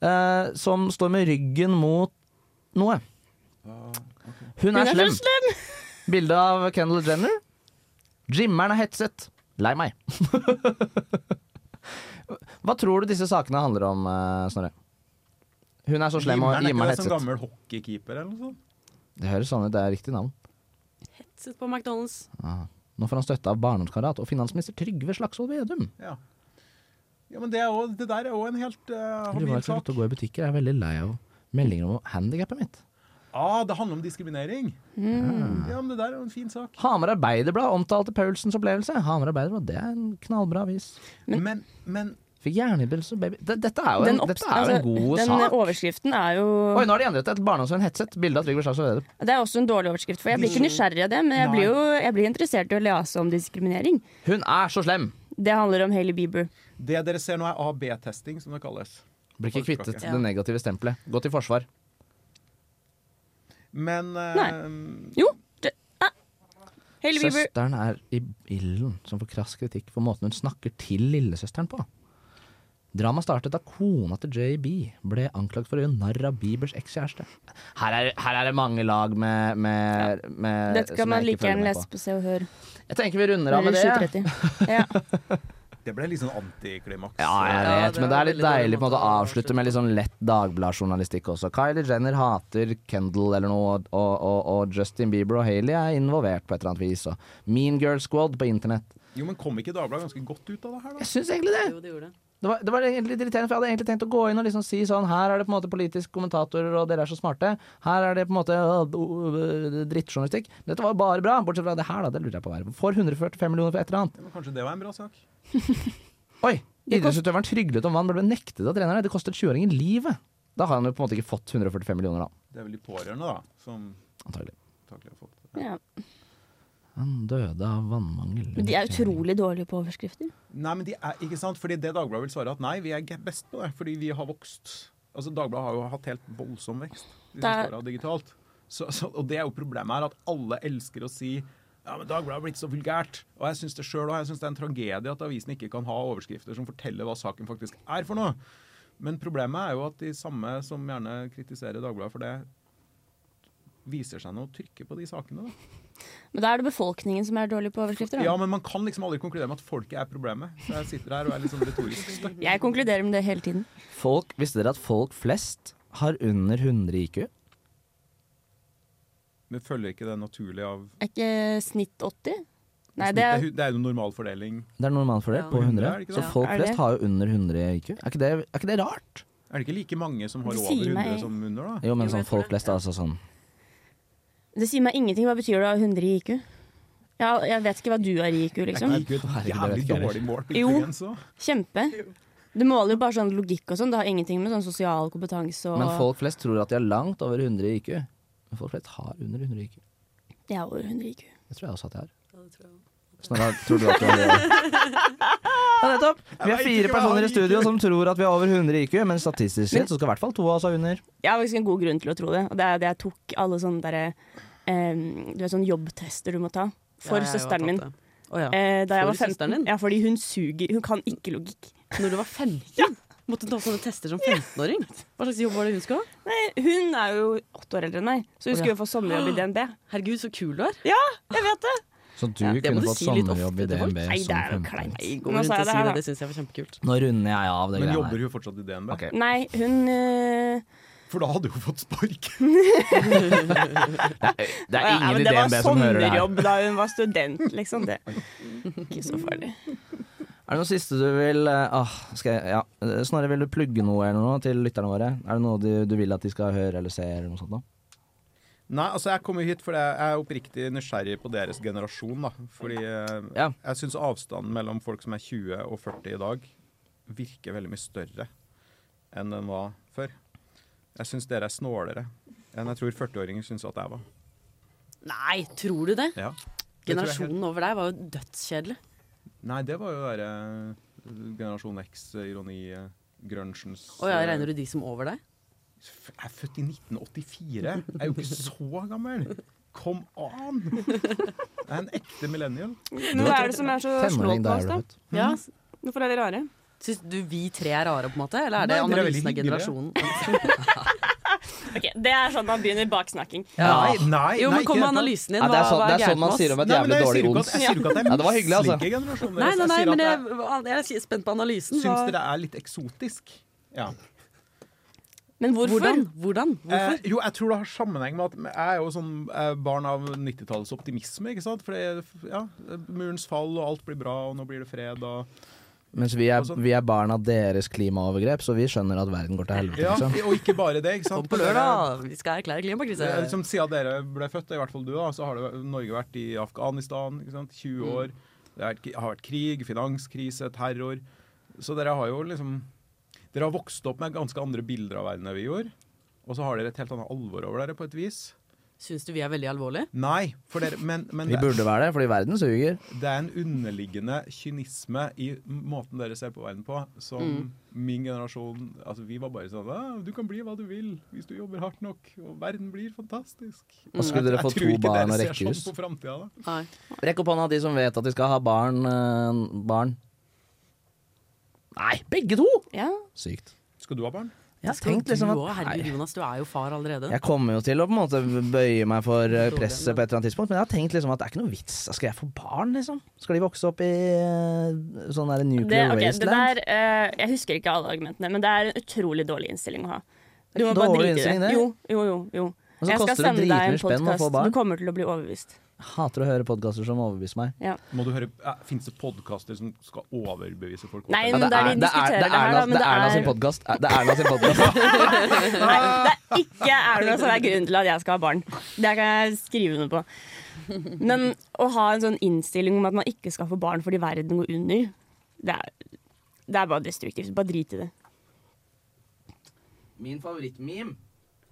S2: eh, som står med ryggen mot noe.
S3: Ah,
S2: Hun er slem. Bilde av Kendall Jenner. Jimmeren er hetset. Lei meg. [LAUGHS] Hva tror du disse sakene handler om, eh, Snorre? Hun er så slem, og
S3: Himmelen
S2: Jimmeren
S3: er
S2: er
S3: ikke det
S2: hetset.
S3: sånn gammel hockeykeeper eller noe sånt?
S2: Det høres sånn ut, det er riktig navn.
S5: Sitt på McDonald's.
S2: Ah. Nå får han støtte av barndomskamerat og finansminister Trygve Slagsvold Vedum.
S3: Ja. Ja, men det, er jo- det der er jo en helt
S2: Lurer på
S3: uh,
S2: hva
S3: habil
S2: jeg skal
S3: sak.
S2: slutte å gå i butikker. Jeg er veldig lei av meldinger om handikappet mitt.
S3: Ah, det handler om diskriminering.
S2: Mm.
S3: Ja, men det der er jo en fin sak.
S2: Hamar Arbeiderblad omtalte Paulsens opplevelse. Hamar Arbeiderblad, det er en knallbra avis.
S3: Men, men
S2: Fikk hjernehinnebetennelse, baby. Det- Dette er jo en,
S11: opps-
S2: dette er jo
S11: altså,
S2: en god
S11: den
S2: sak.
S11: overskriften er jo
S2: Oi, nå har de endret det. Et barndomsvenn Hetseth. Bilde av Trygve Slagsvold Vedum.
S11: Det er også en dårlig overskrift, for jeg blir ikke nysgjerrig av det, men jeg blir jo jeg blir interessert i å lese om diskriminering.
S2: Hun er så slem!
S11: Det handler om Hailey Bieber.
S3: Det dere ser nå er AB-testing, som det kalles.
S2: Blir ikke kvittet
S3: Ja.
S2: det negative stempelet. Gå til forsvar.
S3: Men eh,
S11: Nei. Jo! Det, ah. Hailey Bieber.
S2: Søsteren er i ilden, som får krass kritikk for måten hun snakker til lillesøsteren på. Dramaet startet da kona til JB ble anklagd for å gjøre narr av Biebers ekskjæreste. Her, er- her er det mange lag med, med, med eh,
S11: Dette
S2: som
S11: kan man
S2: jeg ikke
S11: like
S2: følger
S11: gjerne
S2: med
S11: lese på Se og Hør.
S2: Jeg tenker vi runder av med
S11: Eller
S2: det. [LAUGHS]
S11: 7.30. Ja.
S3: Det ble litt sånn antiklimaks.
S2: Ja, jeg
S3: Ja,
S2: vet,
S3: det
S2: men det
S3: var
S2: er litt
S3: veldig dårlig
S2: deilig på en måte å avslutte med litt sånn lett dagbladjournalistikk også. Kylie Jenner hater Kendall eller noe, og, og, og Justin Bieber og Hailey er involvert på et eller annet vis. Og Mean Girl Squad på internett.
S3: Jo, men kom ikke Dagbladet ganske godt ut av det her, da?
S2: Jeg syns egentlig det. Det var, det var egentlig litt irriterende, for jeg hadde egentlig tenkt å gå inn og liksom si sånn Her er det på en måte politiske kommentatorer, og dere er så smarte. Her er det på en måte øh, øh, drittjournalistikk. Dette var jo bare bra, bortsett fra det her, da. Det lurer jeg på hva er. Får 145 millioner for et eller annet.
S3: Ja, men kanskje det var en bra sak?
S2: Oi! Idrettsutøveren tryglet om vann, men ble nektet av treneren. Det kostet 20-åringen livet. Da har han jo på en måte ikke fått 145 millioner, da.
S3: Det er vel de pårørende, da, som
S2: Antagelig.
S3: antakelig har fått det.
S11: Ja.
S2: Han døde av vannmangel.
S11: Men De er utrolig dårlige på overskrifter.
S3: Nei, men de er, ikke sant? Fordi det Dagbladet vil svare at nei, vi er ge- best på det, fordi vi har vokst. Altså, Dagbladet har jo hatt helt voldsom vekst de
S11: Det er-
S3: siste åra digitalt. Så, så, og det er jo problemet her, at alle elsker å si ja, men Dagbladet har blitt så vulgært. Og jeg syns det sjøl òg. Jeg syns det er en tragedie at avisen ikke kan ha overskrifter som forteller hva saken faktisk er for noe. Men problemet er jo at de samme som gjerne kritiserer Dagbladet for det, viser seg nå å trykke på de sakene, da.
S11: Men da er det befolkningen som er dårlig på overskrifter. Da.
S3: Ja, men man kan liksom aldri konkludere med at folket er problemet. Så jeg sitter her og er litt sånn retorisk støkk.
S11: Jeg konkluderer med det hele tiden.
S2: Folk, Visste dere at folk flest har under 100 IQ?
S3: Men følger ikke det naturlig av
S11: Er ikke snitt 80? Nei, det
S3: snitt? Det er
S11: er
S3: jo- det er jo normalfordeling.
S2: Det er normalfordelt
S3: Ja.
S2: på 100.
S3: Er det ikke det?
S2: Så folk
S3: Er det?
S2: flest har jo under 100 i IQ. Er ikke det, er ikke det rart?
S3: Er det ikke like mange som har
S11: Det
S3: over
S11: sier
S3: 100
S11: meg-
S3: som under, da?
S2: Jo, men sånn folk flest, altså sånn
S11: Det sier meg ingenting. Hva betyr det å ha 100 i IQ? Ja, jeg vet ikke hva du har i IQ, liksom.
S3: Herregud,
S2: Herregud,
S3: jævlig
S2: det vet jeg
S3: dårlig målt
S11: Jo.
S3: intelligens òg.
S11: Kjempe. Du måler jo bare sånn logikk og sånn. Det har ingenting med sånn sosial kompetanse og
S2: Men folk flest tror at de har langt over 100 i IQ. Men folk flest har under 100 i IQ.
S11: Jeg har over 100 IQ.
S2: Det tror jeg også at jeg har. Snarere tror du at du har det. [LAUGHS] Ja, nettopp. Vi er fire personer i studio som tror at vi har over 100 i IQ, men statistisk sett så skal i hvert fall to av oss ha under.
S11: Jeg har faktisk en god grunn til å tro det. Og det er det jeg tok alle sånne derre eh, Du vet sånne jobbtester du må ta. For
S5: Ja, jeg har
S11: søsteren min.
S5: tatt det. Å ja.
S11: Eh, da jeg
S5: For
S11: var 15.
S5: søsteren din?
S11: Ja, fordi hun suger. Hun kan ikke logikk.
S5: Når du var 15? Måtte du ta sånne tester som 15-åring? Hva slags jobb var det hun skulle ha?
S11: Nei, hun er jo åtte år eldre enn meg, så hun
S5: Å, ja.
S11: skulle jo få sommerjobb i DNB.
S5: Herregud, så kul du er.
S11: Ja, jeg vet det!
S2: Så du
S5: [GASPS] Ja, det må
S2: kunne
S5: du
S2: fått
S5: si litt
S2: sommerjobb i
S5: ofte til folk.
S2: DNB
S5: Nei, det
S2: som
S5: er jo
S2: 15
S5: Nei, gå
S11: Nå
S5: rundt
S11: sa jeg det
S5: og si
S11: her,
S5: det.
S11: da.
S5: Det syns jeg var kjempekult.
S2: Nå runder jeg av det
S3: Men
S2: greiene
S3: jobber hun fortsatt i DNB?
S11: Nei, hun eh,
S3: For da hadde hun fått spark.
S2: her. Det er
S11: ja,
S2: ingen
S11: men
S2: i DNB som hører det
S11: Det var
S2: her.
S11: sommerjobb da hun var student, liksom. Det. Ikke så farlig.
S2: Er det noe siste du vil eh, ah, skal jeg, ja. Eh, Snorre, vil du plugge noe eller noe til lytterne våre? Er det noe du, du vil at de skal høre eller se? eller noe sånt da?
S3: Nei, altså jeg kommer hit fordi jeg er oppriktig nysgjerrig på deres generasjon. da. Fordi eh, jeg syns avstanden mellom folk som er 20 og 40 i dag, virker veldig mye større enn den var før. Jeg syns dere er snålere enn jeg tror 40-åringer syns at jeg var.
S5: Nei, tror du det?
S3: Ja. Det tror jeg helt-
S5: Generasjonen over deg var jo dødskjedelig.
S3: Nei, det var jo derre eh, generasjon X-ironi, eh, grunchens
S5: Å ja,
S3: eh,
S5: regner du de som over deg?
S3: Jeg er født i 1984. Jeg er jo ikke så gammel. Kom an! Jeg er en ekte millennial.
S11: Nå er det som er så slått på oss, da.
S5: Ja.
S11: Hvorfor er de rare?
S5: Syns du vi tre er rare, på en måte? Eller er det
S11: Nei, dere er veldig
S5: analysen av generasjonen?
S11: Ok, Det er sånn man begynner baksnakking.
S2: Ja. Nei, nei,
S5: jo,
S2: nei,
S5: men
S2: ikke
S5: kom med
S2: helt.
S5: analysen din.
S2: Ja, det er
S5: Hva-
S2: sånn,
S5: hva
S2: det er
S5: gærent
S2: sånn man
S5: med
S2: sier om
S5: oss?
S2: et jævlig dårlig ons.
S3: jeg sier jo ikke at jeg
S2: Ja, det var hyggelig,
S3: misliker
S2: altså.
S3: generasjonen
S5: Nei,
S3: deres.
S5: nei, nei,
S3: Jeg sier
S5: men
S3: at
S5: jeg, jeg er spent på analysen.
S3: Syns
S5: Hva-
S3: dere er litt eksotisk? Ja.
S11: Men hvorfor?
S5: Hvordan? Hvordan? Hvorfor?
S3: Eh, jo, jeg tror det har sammenheng med at jeg er jo sånn eh, barn av 90-tallets optimisme. ikke sant? For det, ja, Murens fall og alt blir bra, og nå blir det fred og
S2: Mens vi er, vi er barn av deres klimaovergrep, så vi skjønner at verden går til helvete.
S3: Ja,
S2: Liksom.
S3: og ikke bare det. ikke sant?
S5: På lørdag, vi skal erklære klimakrise.
S3: Eh, Som siden dere ble født, i hvert fall du, da, så har det, Norge vært i Afghanistan ikke sant? 20 år. Det har vært- har vært krig, finanskrise, terror. Så dere har jo liksom Dere har vokst opp med ganske andre bilder av verden enn vi gjorde. Og så har dere et helt annet alvor over dere, på et vis.
S5: Syns du vi er veldig alvorlige?
S3: Nei, for dere, men, men
S2: Vi burde være det, fordi verden suger.
S3: det er en underliggende kynisme i måten dere ser på verden på, som
S2: Mm.
S3: min generasjon altså Vi var bare sånn «Ah, Du kan bli hva du vil hvis du jobber hardt nok, og verden blir fantastisk.
S11: Mm.
S2: Og skulle dere få to barn og rekkehus?
S3: Jeg tror ikke dere ser sånn på framtida, da.
S2: Rekk opp hånda de som vet at de skal ha barn. eh, barn. Nei, begge to!
S11: Ja.
S2: Sykt.
S3: Skal du ha barn?
S2: Jeg har
S5: Skal
S2: tenkt
S5: du
S2: liksom
S5: også?
S2: at
S5: Herregud,
S2: nei,
S5: Jonas, du er jo far allerede.
S2: jeg kommer jo til å på en måte bøye meg for eh, presset på et eller annet tidspunkt, men jeg har tenkt liksom at det er ikke noe vits. Skal jeg få barn, liksom? Skal de vokse opp i eh, sånn der
S11: Det,
S2: nuclear
S11: ok, det
S2: wasteland?
S11: der, eh, jeg husker ikke alle argumentene, men det er en utrolig dårlig innstilling å ha. Du må
S2: Dårlig
S11: bare drite i
S2: innstilling,
S11: det.
S2: det?
S11: Jo, jo, jo. jo.
S2: Og så
S11: Jeg skal
S2: koster det
S11: sende deg en
S2: dritmye spenn å få
S11: podkast.
S2: barn.
S11: Du kommer til å bli overbevist.
S2: Hater å høre podkaster som overbeviser meg.
S11: Ja.
S3: Må du høre, eh, Fins det podkaster som skal overbevise folk?
S11: Nei,
S2: Ja,
S11: men det er de
S2: det
S11: diskuterer
S2: det
S11: det her,
S2: Erna-
S11: da, men
S2: det er Erna
S11: det er-
S2: sin podkast. Det er Erna sin podkast.
S11: Nei, det er ikke Erna som er grunnen til at jeg skal ha barn. Det kan jeg skrive under på. Men å ha en sånn innstilling om at man ikke skal få barn fordi verden går under, det er, det er bare destruktivt. Bare drit i det.
S2: Min favorittmeme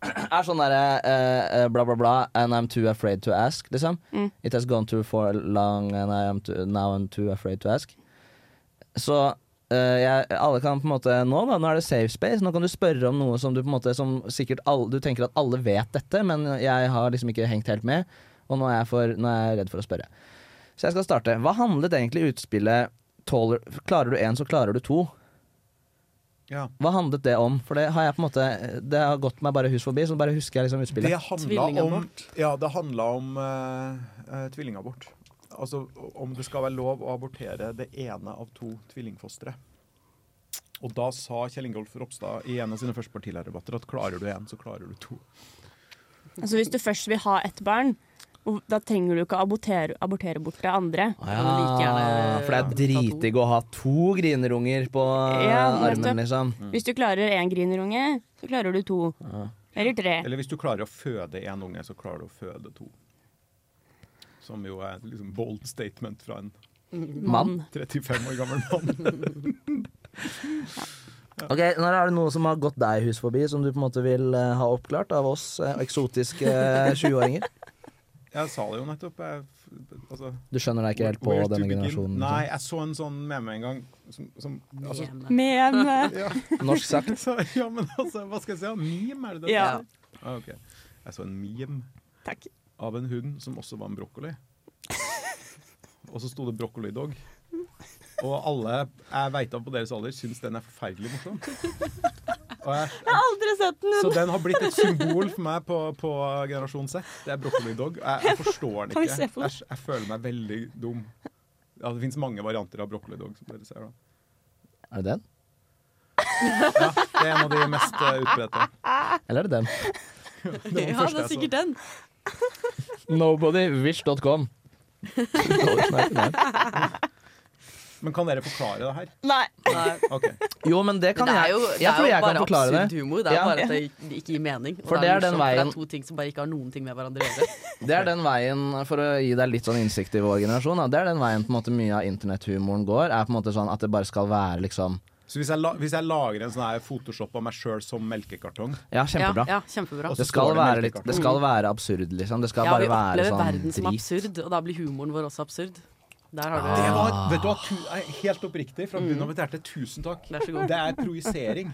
S2: [CLEARS THROAT] er sånn derre eh, eh, bla, bla, bla, and I'm too afraid to ask, liksom.
S11: Mm.
S2: It has gone too far long, and I am too, now I'm too afraid to ask. Så eh, eh, jeg, alle kan på en måte Nå da, nå er det safe space. Nå kan du spørre om noe som du på en måte Som sikkert alle, du tenker at alle vet dette, men jeg har liksom ikke hengt helt med. Og nå er jeg, for, nå er jeg redd for å spørre. Så jeg skal starte. Hva handlet egentlig utspillet tåler, Klarer du én, så klarer du to?
S3: Ja.
S2: Hva handlet det om? For det har jeg på en måte Det har gått meg bare hus forbi, så bare husker jeg liksom utspillet.
S3: Det handla om, ja, det handla om eh, eh, tvillingabort. Altså om det skal være lov å abortere det ene av to tvillingfostre. Og da sa Kjell Ingolf Ropstad i en av sine første partilærerdebatter at klarer du én, så klarer du to.
S11: Altså Hvis du først vil ha ett barn, og da trenger du ikke å abortere, abortere bort det andre.
S2: Ja, for det er dritdigg å ha to grinerunger på
S11: Ja, nettopp.
S2: armen, liksom.
S5: Mm.
S11: Hvis du klarer én grinerunge, så klarer du to.
S2: Ja.
S11: Eller tre.
S3: Eller hvis du klarer å føde én unge, så klarer du å føde to. Som jo er et liksom bold statement fra en
S5: Mm.
S2: Mann.
S3: 35 år gammel mann.
S2: Ok, når Er det noe som har gått deg hus forbi, som du på en måte vil eh, ha oppklart av oss eh, eksotiske eh, 20-åringer?
S3: [LAUGHS] Jeg sa det jo nettopp. Jeg, f- altså,
S2: Du skjønner deg ikke helt på
S3: where to
S2: denne
S3: begin?
S2: generasjonen, liksom.
S3: Nei, jeg så en sånn meme en gang. Som, som, altså,
S11: [LAUGHS] Meme.
S3: Ja.
S2: Norsk sagt.
S3: [LAUGHS] Så, ja, men altså, hva skal jeg si? Ja, Meme, er det det?
S11: Ja.
S3: Ah, ok. Jeg så en meme av en hund som også var en brokkoli. Og så sto det 'brokkolidog'. Og alle jeg veit om på deres alder, syns den er forferdelig morsom. Og jeg,
S11: Jeg har aldri sett den.
S3: så den har blitt et symbol for meg på, på generasjon Z. Det er brokkolidog. Jeg, jeg forstår den
S11: Kan vi
S3: ikke.
S11: se på den?
S3: Jeg, jeg føler meg veldig dum. Ja, det fins mange varianter av brokkolidog, som dere ser. da.
S2: Er det den?
S3: Ja, det er en av de mest eh, utbredte.
S2: Eller er det den?
S3: var den første
S5: [LAUGHS] Ja, det er
S3: jeg så.
S5: sikkert den. [LAUGHS]
S2: Nobodywish.com.
S3: Men kan dere forklare det her?
S11: Nei.
S3: Ok.
S2: Jo, men det kan
S5: Men det er
S2: jeg.
S5: jo, det
S2: jeg
S5: er
S2: tror
S5: jo
S2: jeg
S5: bare
S2: kan forklare det.
S5: absurd humor. Det er
S2: Ja.
S5: bare at det ikke gir mening. Og
S2: For
S5: det, er
S2: det er den
S5: morsomt, for det
S2: veien-
S5: er to ting som bare ikke har noen ting med hverandre å gjøre.
S2: Det er den veien, for å gi deg litt sånn innsikt i vår generasjon, da, det er den veien på en måte mye av internetthumoren går. Er på en måte sånn at det bare skal være liksom
S3: Så hvis jeg, la, hvis jeg lager en sånn her Photoshop av meg sjøl som melkekartong
S2: Ja, [LAUGHS] kjempebra.
S5: Ja, ja, kjempebra.
S2: Det skal, være litt, det skal være absurd, liksom. Det skal
S5: ja,
S2: bare
S5: vi
S2: være
S5: opplever
S2: sånn
S5: verden som
S2: drit.
S5: absurd, og da blir humoren vår også absurd. Der har du
S3: Det var, vet du hva, tu, jeg er helt oppriktig, fra bunnen av mitt hjerte, tusen takk.
S5: Vær så god.
S3: Det er projisering.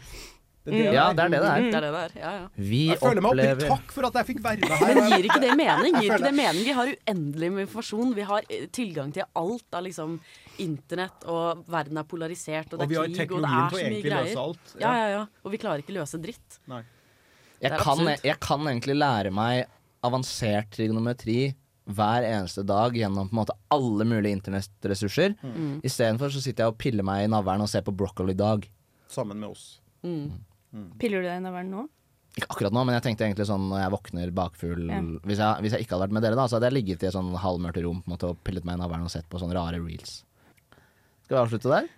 S2: Mm. Ja, det er det det er.
S5: Mm, Det er det det er. Ja, ja.
S2: Vi
S3: Jeg føler meg oppriktig
S2: opplever
S3: takk for at jeg fikk være her.
S5: Men gir ikke det mening?
S3: Jeg
S5: Gir ikke
S3: føler-
S5: det mening? Vi har uendelig med informasjon. Vi har eh, tilgang til alt av liksom internett, og verden er polarisert, og det
S3: Og vi har
S5: er krig, og det
S3: teknologien
S5: er
S3: til å
S5: så mye
S3: egentlig løse
S5: greier.
S3: alt.
S5: Ja,
S3: Ja.
S5: ja, ja. Og vi klarer ikke løse dritt.
S3: Nei.
S5: Det
S2: jeg
S5: er
S2: kan,
S5: absurd.
S2: jeg kan egentlig lære meg avansert trigonometri hver eneste dag gjennom på en måte alle mulige internettressurser.
S3: Mm.
S2: Istedenfor så sitter jeg og piller meg i navlen og ser på Broccoli Dog.
S3: Sammen med oss.
S11: Piller du deg i navlen nå?
S2: Ikke akkurat nå, men jeg tenkte egentlig sånn når jeg våkner bakfull
S11: Ja.
S2: hvis, jeg, hvis jeg ikke hadde vært med dere, da, så hadde jeg ligget i et sånn halvmørkt rom på en måte, og pillet meg i navlen og sett på sånne rare reels. Skal vi avslutte der?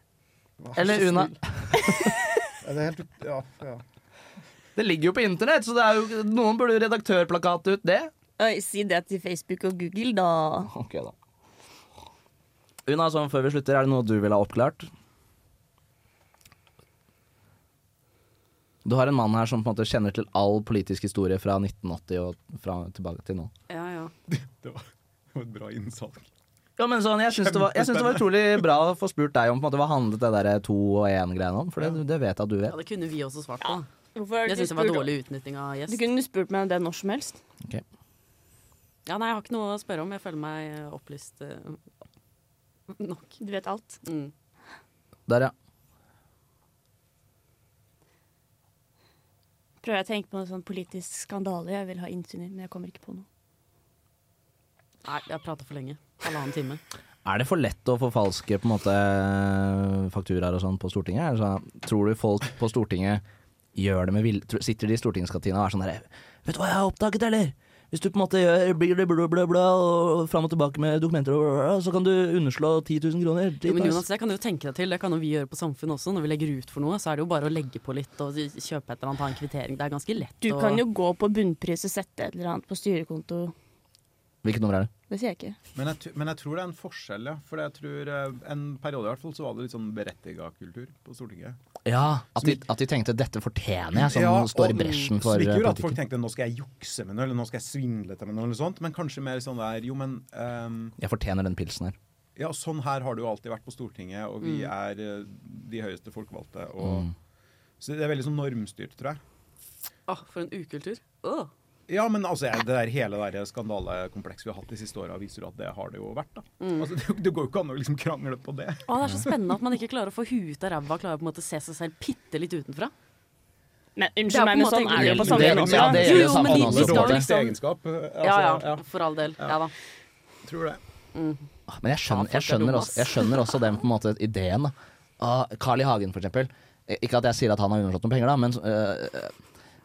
S3: Vær så
S2: Eller
S3: snill.
S2: Una?
S3: Ja, det er helt, ut- ja, ja.
S2: Det ligger jo på internett, så det er jo, noen burde jo redaktørplakate ut det.
S11: Oi, si det til Facebook og Google, da.
S2: Ok, da. Una, sånn før vi slutter, er det noe du vil ha oppklart? Du har en mann her som på en måte kjenner til all politisk historie fra 1980 og fra, tilbake til nå.
S5: Ja, ja.
S3: Det var, det var et bra innsalg.
S2: Ja, men sånn, jeg syns det, var- jeg syns det var utrolig bra å få spurt deg om på en måte, hva handlet det der to og én-greiene om, for det, det vet jeg at du vet.
S5: ja, det kunne vi også svart på.
S11: Hvorfor har du
S5: Jeg
S11: ikke
S5: syns det var
S11: spurt-
S5: dårlig utnytting av
S11: Du
S5: gjest.
S11: kunne spurt meg om det når som helst.
S5: Ja, nei, jeg har ikke noe å spørre om. Jeg føler meg eh, opplyst eh, nok.
S11: Du vet alt.
S5: Mm.
S2: Der, ja.
S11: Prøver jeg å tenke på noe sånn politisk skandale jeg vil ha innsyn i, men jeg kommer ikke på noe.
S5: Nei, jeg har prata for lenge. Halvannen time.
S2: Er det for lett å forfalske på en måte fakturaer og sånn på Stortinget? Er det sånn, tror du folk på Stortinget gjør det med vilje? Tror- Sitter de i stortingskantina og er sånn der Vet du hva jeg har oppdaget, eller? Hvis du på en måte gjør blir det blå, blå, blå, og fram og tilbake med dokumenter, og bla, bla, så kan du underslå 10 000 kroner.
S5: Jo, men
S2: Dritt, ass.
S5: Jonas, [LAUGHS] det kan du jo tenke deg til. Det kan jo vi gjøre på Samfunnet også. Når vi legger ut for noe, så er det jo bare å legge på litt og kjøpe et eller annet, ta en kvittering. Det er ganske lett
S11: Du
S5: å
S11: kan jo gå på bunnpris og sette et eller annet på styrekonto.
S2: Hvilket nummer er det?
S11: Det sier jeg ikke.
S3: Men jeg, tu- men jeg tror det er en forskjell, ja. For jeg tror eh, en periode i hvert fall så var det litt sånn berettiga kultur på Stortinget.
S2: Ja, at de, at de tenkte 'dette fortjener jeg', som
S3: Ja,
S2: sånn står i
S3: og-
S2: bresjen
S3: så
S2: for eh,
S3: det gikk jo at
S2: politikken.
S3: folk tenkte nå skal jeg jukse med noe, eller nå skal jeg svindle til meg noe, eller sånt. Men kanskje mer sånn der, jo men ehm,
S2: Jeg fortjener den pilsen her.
S3: Ja, sånn her har det jo alltid vært på Stortinget, og vi
S15: Mm.
S3: er eh, de høyeste folkevalgte. Og,
S5: Mm.
S3: Så det er veldig sånn normstyrt, tror jeg.
S5: Åh, for en ukultur. Åh.
S3: Ja, men altså, jeg, det der hele der skandalekomplekset vi har hatt de siste åra, viser jo at det har det jo vært. da.
S5: Mm.
S3: Altså, det, det går jo ikke an å liksom krangle på det.
S5: Å, det er så spennende at man ikke klarer å få huet ut av ræva og klarer på en måte å se seg selv bitte litt utenfra.
S11: Men
S5: Det er
S11: unnskyld
S5: på
S11: meg,
S5: en
S11: men
S5: måte
S11: sånn er
S5: egentlig-
S11: det jo på
S5: Det-
S11: samfunnet
S5: ja, det gjelder jo samfunnet også, på en måte.
S3: egenskap. eh,
S5: ja,
S3: altså,
S5: ja, for all del. Ja da.
S3: Tror det.
S2: Ah, Men jeg skjønner, jeg,
S5: folk er dumme,
S2: skjønner
S5: ass.
S2: også, jeg skjønner også den på en måte ideen. da. Av Carl I. Hagen, for eksempel. Eh, Ikke at jeg sier at han har underslått noen penger, da, men øh,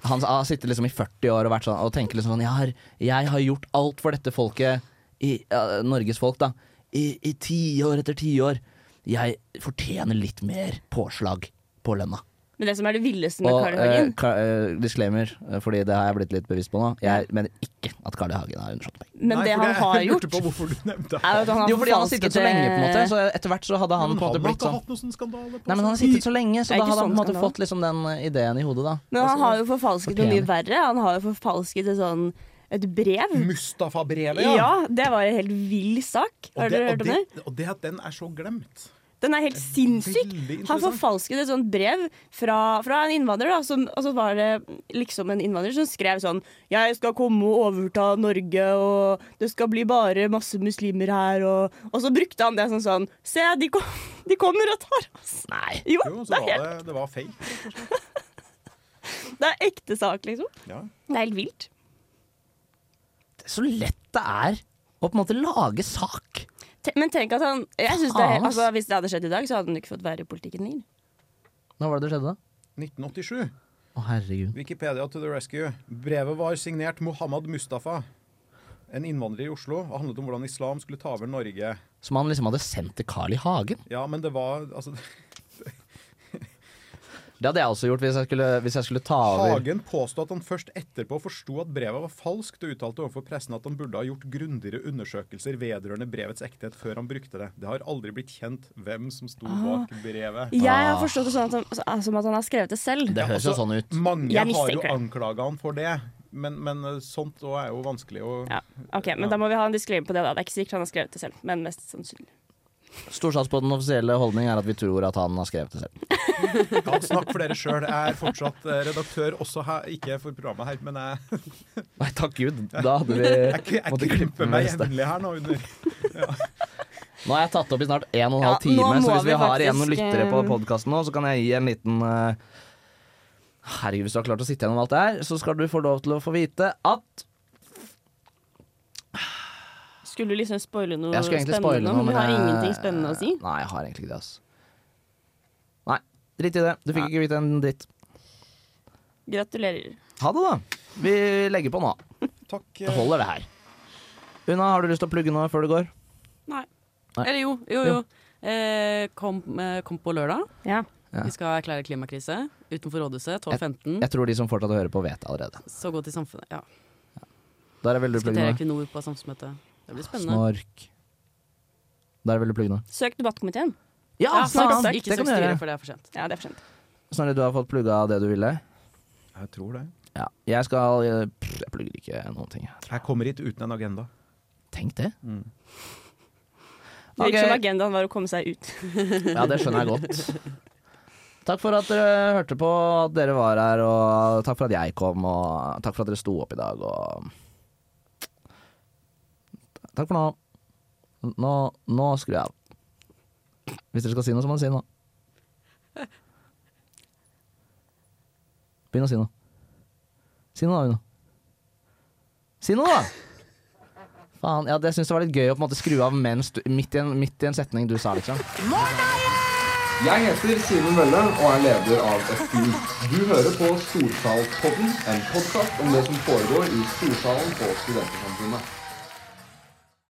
S2: han har sittet liksom i 40 år og, vært sånn, og tenker liksom sånn jeg har, jeg har gjort alt for dette folket, i, ja, Norges folk, da. I, i tiår etter tiår. Jeg fortjener litt mer påslag på lønna.
S11: Men det som er det villeste med
S2: Og
S11: Carl I.
S2: eh,
S11: Hagen
S2: Ka- eh, disclaimer, eh, fordi det har jeg blitt litt bevisst på nå. Jeg mener ikke at Carl I. Hagen har underslått penger.
S11: Men det han har gjort,
S3: på hvorfor du nevnte
S11: er jo at han har
S2: Jo, fordi han har sittet så
S11: forfalsket,
S2: lenge, på en måte.
S11: eh,
S2: Så etter hvert så hadde han på en
S3: Men
S2: måte
S3: han har
S2: blitt
S3: ikke
S2: sånn
S3: hatt noen sånn skandale på
S2: Nei, men han har
S3: seg.
S2: sittet så lenge, så
S11: Det er
S2: da
S11: ikke
S2: hadde han på en
S11: sånn
S2: måte
S11: skandale.
S2: fått liksom den eh, ideen i hodet, da.
S11: Men han
S2: Altså,
S11: har jo forfalsket noe mye verre. Han har jo forfalsket et sånn et brev.
S3: Mustafa-brevet,
S11: ja.
S3: ja.
S11: Det var en helt vill sak. Har dere hørt om det?
S3: Og det at den er så glemt.
S11: Den er helt sinnssyk. Han
S3: interessant.
S11: forfalsket et sånt brev fra, fra en innvandrer, da, som, og så var det liksom en innvandrer som skrev sånn Jeg skal komme og overta Norge, og det skal bli bare masse muslimer her, og Og så brukte han det sånn sånn Se, de, kom, de kommer og tar oss.
S2: Nei.
S11: Jo,
S3: Jo, så
S11: det er,
S3: var
S11: helt,
S3: det, det var fake.
S11: det er ekte sak, liksom.
S3: Ja.
S11: Det er helt vilt.
S2: Så lett det er å på en måte lage sak.
S11: Te- Men tenk at han jeg synes det,
S2: Faen, ass.
S11: altså, Hvis det hadde skjedd i dag, så hadde han ikke fått være i politikken lenger.
S2: Når var det det skjedde, da?
S3: 1987.
S2: Å, herregud.
S3: Wikipedia to the rescue. Brevet var signert Mohammed Mustafa, en innvandrer i Oslo, og handlet om hvordan islam skulle ta over Norge.
S2: Som han liksom hadde sendt til Carl I. Hagen.
S3: Ja, men det var altså,
S2: Det hadde jeg også gjort hvis jeg skulle, hvis jeg skulle ta over.
S3: Hagen påstod at han først etterpå forsto at brevet var falskt, og uttalte overfor pressen at han burde ha gjort grundigere undersøkelser vedrørende brevets ekthet før han brukte det. Det har aldri blitt kjent hvem som sto
S11: Ah.
S3: bak brevet.
S11: Jeg har forstått det sånn at han, altså, som at han har skrevet det selv.
S3: Ja, altså,
S2: sånn
S3: Mange
S11: Jeg
S3: har jo
S11: mistenker det.
S3: anklaga han for det, men, men eh, sånt også er jo vanskelig å
S11: Ok, Men da må vi ha en disclaimer på det. da Det er ikke sikkert han har skrevet det selv, men mest sannsynlig.
S2: Storsalspoddens offisielle holdning er at vi tror at han har skrevet det selv.
S3: Ja, snakk for dere sjøl. Jeg er fortsatt eh, redaktør, også her, ikke for programmet her, men jeg
S2: Nei, takk gud. Da hadde vi
S3: Jeg, jeg,
S2: måtte
S3: jeg klipper
S2: den
S3: meg
S2: neste.
S3: jevnlig her nå under
S2: Nå har jeg tatt opp i snart en og en
S3: Ja,
S2: halv time,
S3: nå må
S2: så hvis
S3: vi
S2: vi har igjen noen
S3: faktisk,
S2: lyttere på
S3: eh,
S2: podkasten nå, så kan jeg gi en liten eh, Herregud, hvis du har klart å sitte gjennom alt det her, så skal du få lov til å få vite at
S11: Skulle du liksom spoile noe
S2: Jeg skulle egentlig
S11: spennende?
S2: spoile noe,
S11: men
S2: men
S11: du har
S2: jeg-
S11: ingenting spennende å si?
S2: Nei, jeg har egentlig ikke det, ass. Nei, drit i det. Du fikk ikke vite en dritt.
S11: Gratulerer.
S2: Ha det, da. Vi legger på nå.
S3: Takk. eh.
S2: Det holder, det her. Una, har du lyst til å plugge noe før du går?
S5: Nei.
S2: Nei.
S5: Eller jo, jo, jo. Eh, kom, eh, kom på lørdag.
S2: Ja.
S5: Vi skal erklære klimakrise utenfor rådhuset 12.15.
S2: Jeg tror de som fortsatt hører på, vet det allerede.
S5: Så gå til samfunnet. Ja.
S2: Der vil du plugge
S5: Diskutere
S2: noe.
S5: Equinor på samfunnsmøtet. Det blir spennende.
S2: Snork. Der vil du plugge noe.
S11: Søk debattkomiteen.
S2: Ja, faen,
S11: søk-
S2: ikke Det kan søk du styret, gjøre. for
S5: det er for sent.
S11: Ja, det er for sent.
S2: Snarere du har fått plugga det du ville?
S3: Jeg tror det.
S2: Ja. Jeg skal eh, pff, Jeg plugger ikke noen ting.
S3: Jeg kommer hit uten en agenda.
S2: Tenk det.
S11: Det virker som
S2: Ok.
S11: agendaen var å komme seg ut.
S2: Ja, det skjønner jeg godt. Takk for at dere hørte på, at dere var her, og takk for at jeg kom, og takk for at dere sto opp i dag, og Takk for nå. Nå, nå skrur jeg av. Hvis dere skal si noe, så må dere si noe. Begynn å si noe. Si noe, da, Una. Si noe, da! Faen, ja, det syns jeg var litt gøy å på en måte skru av mens du, midt, i en, midt i en setning du sa, liksom.
S6: Jeg heter Simen Mølle og er leder av FU. Du hører på Storsalspodden, en podkast om det som foregår i Storsalen på Studentersamfunnet.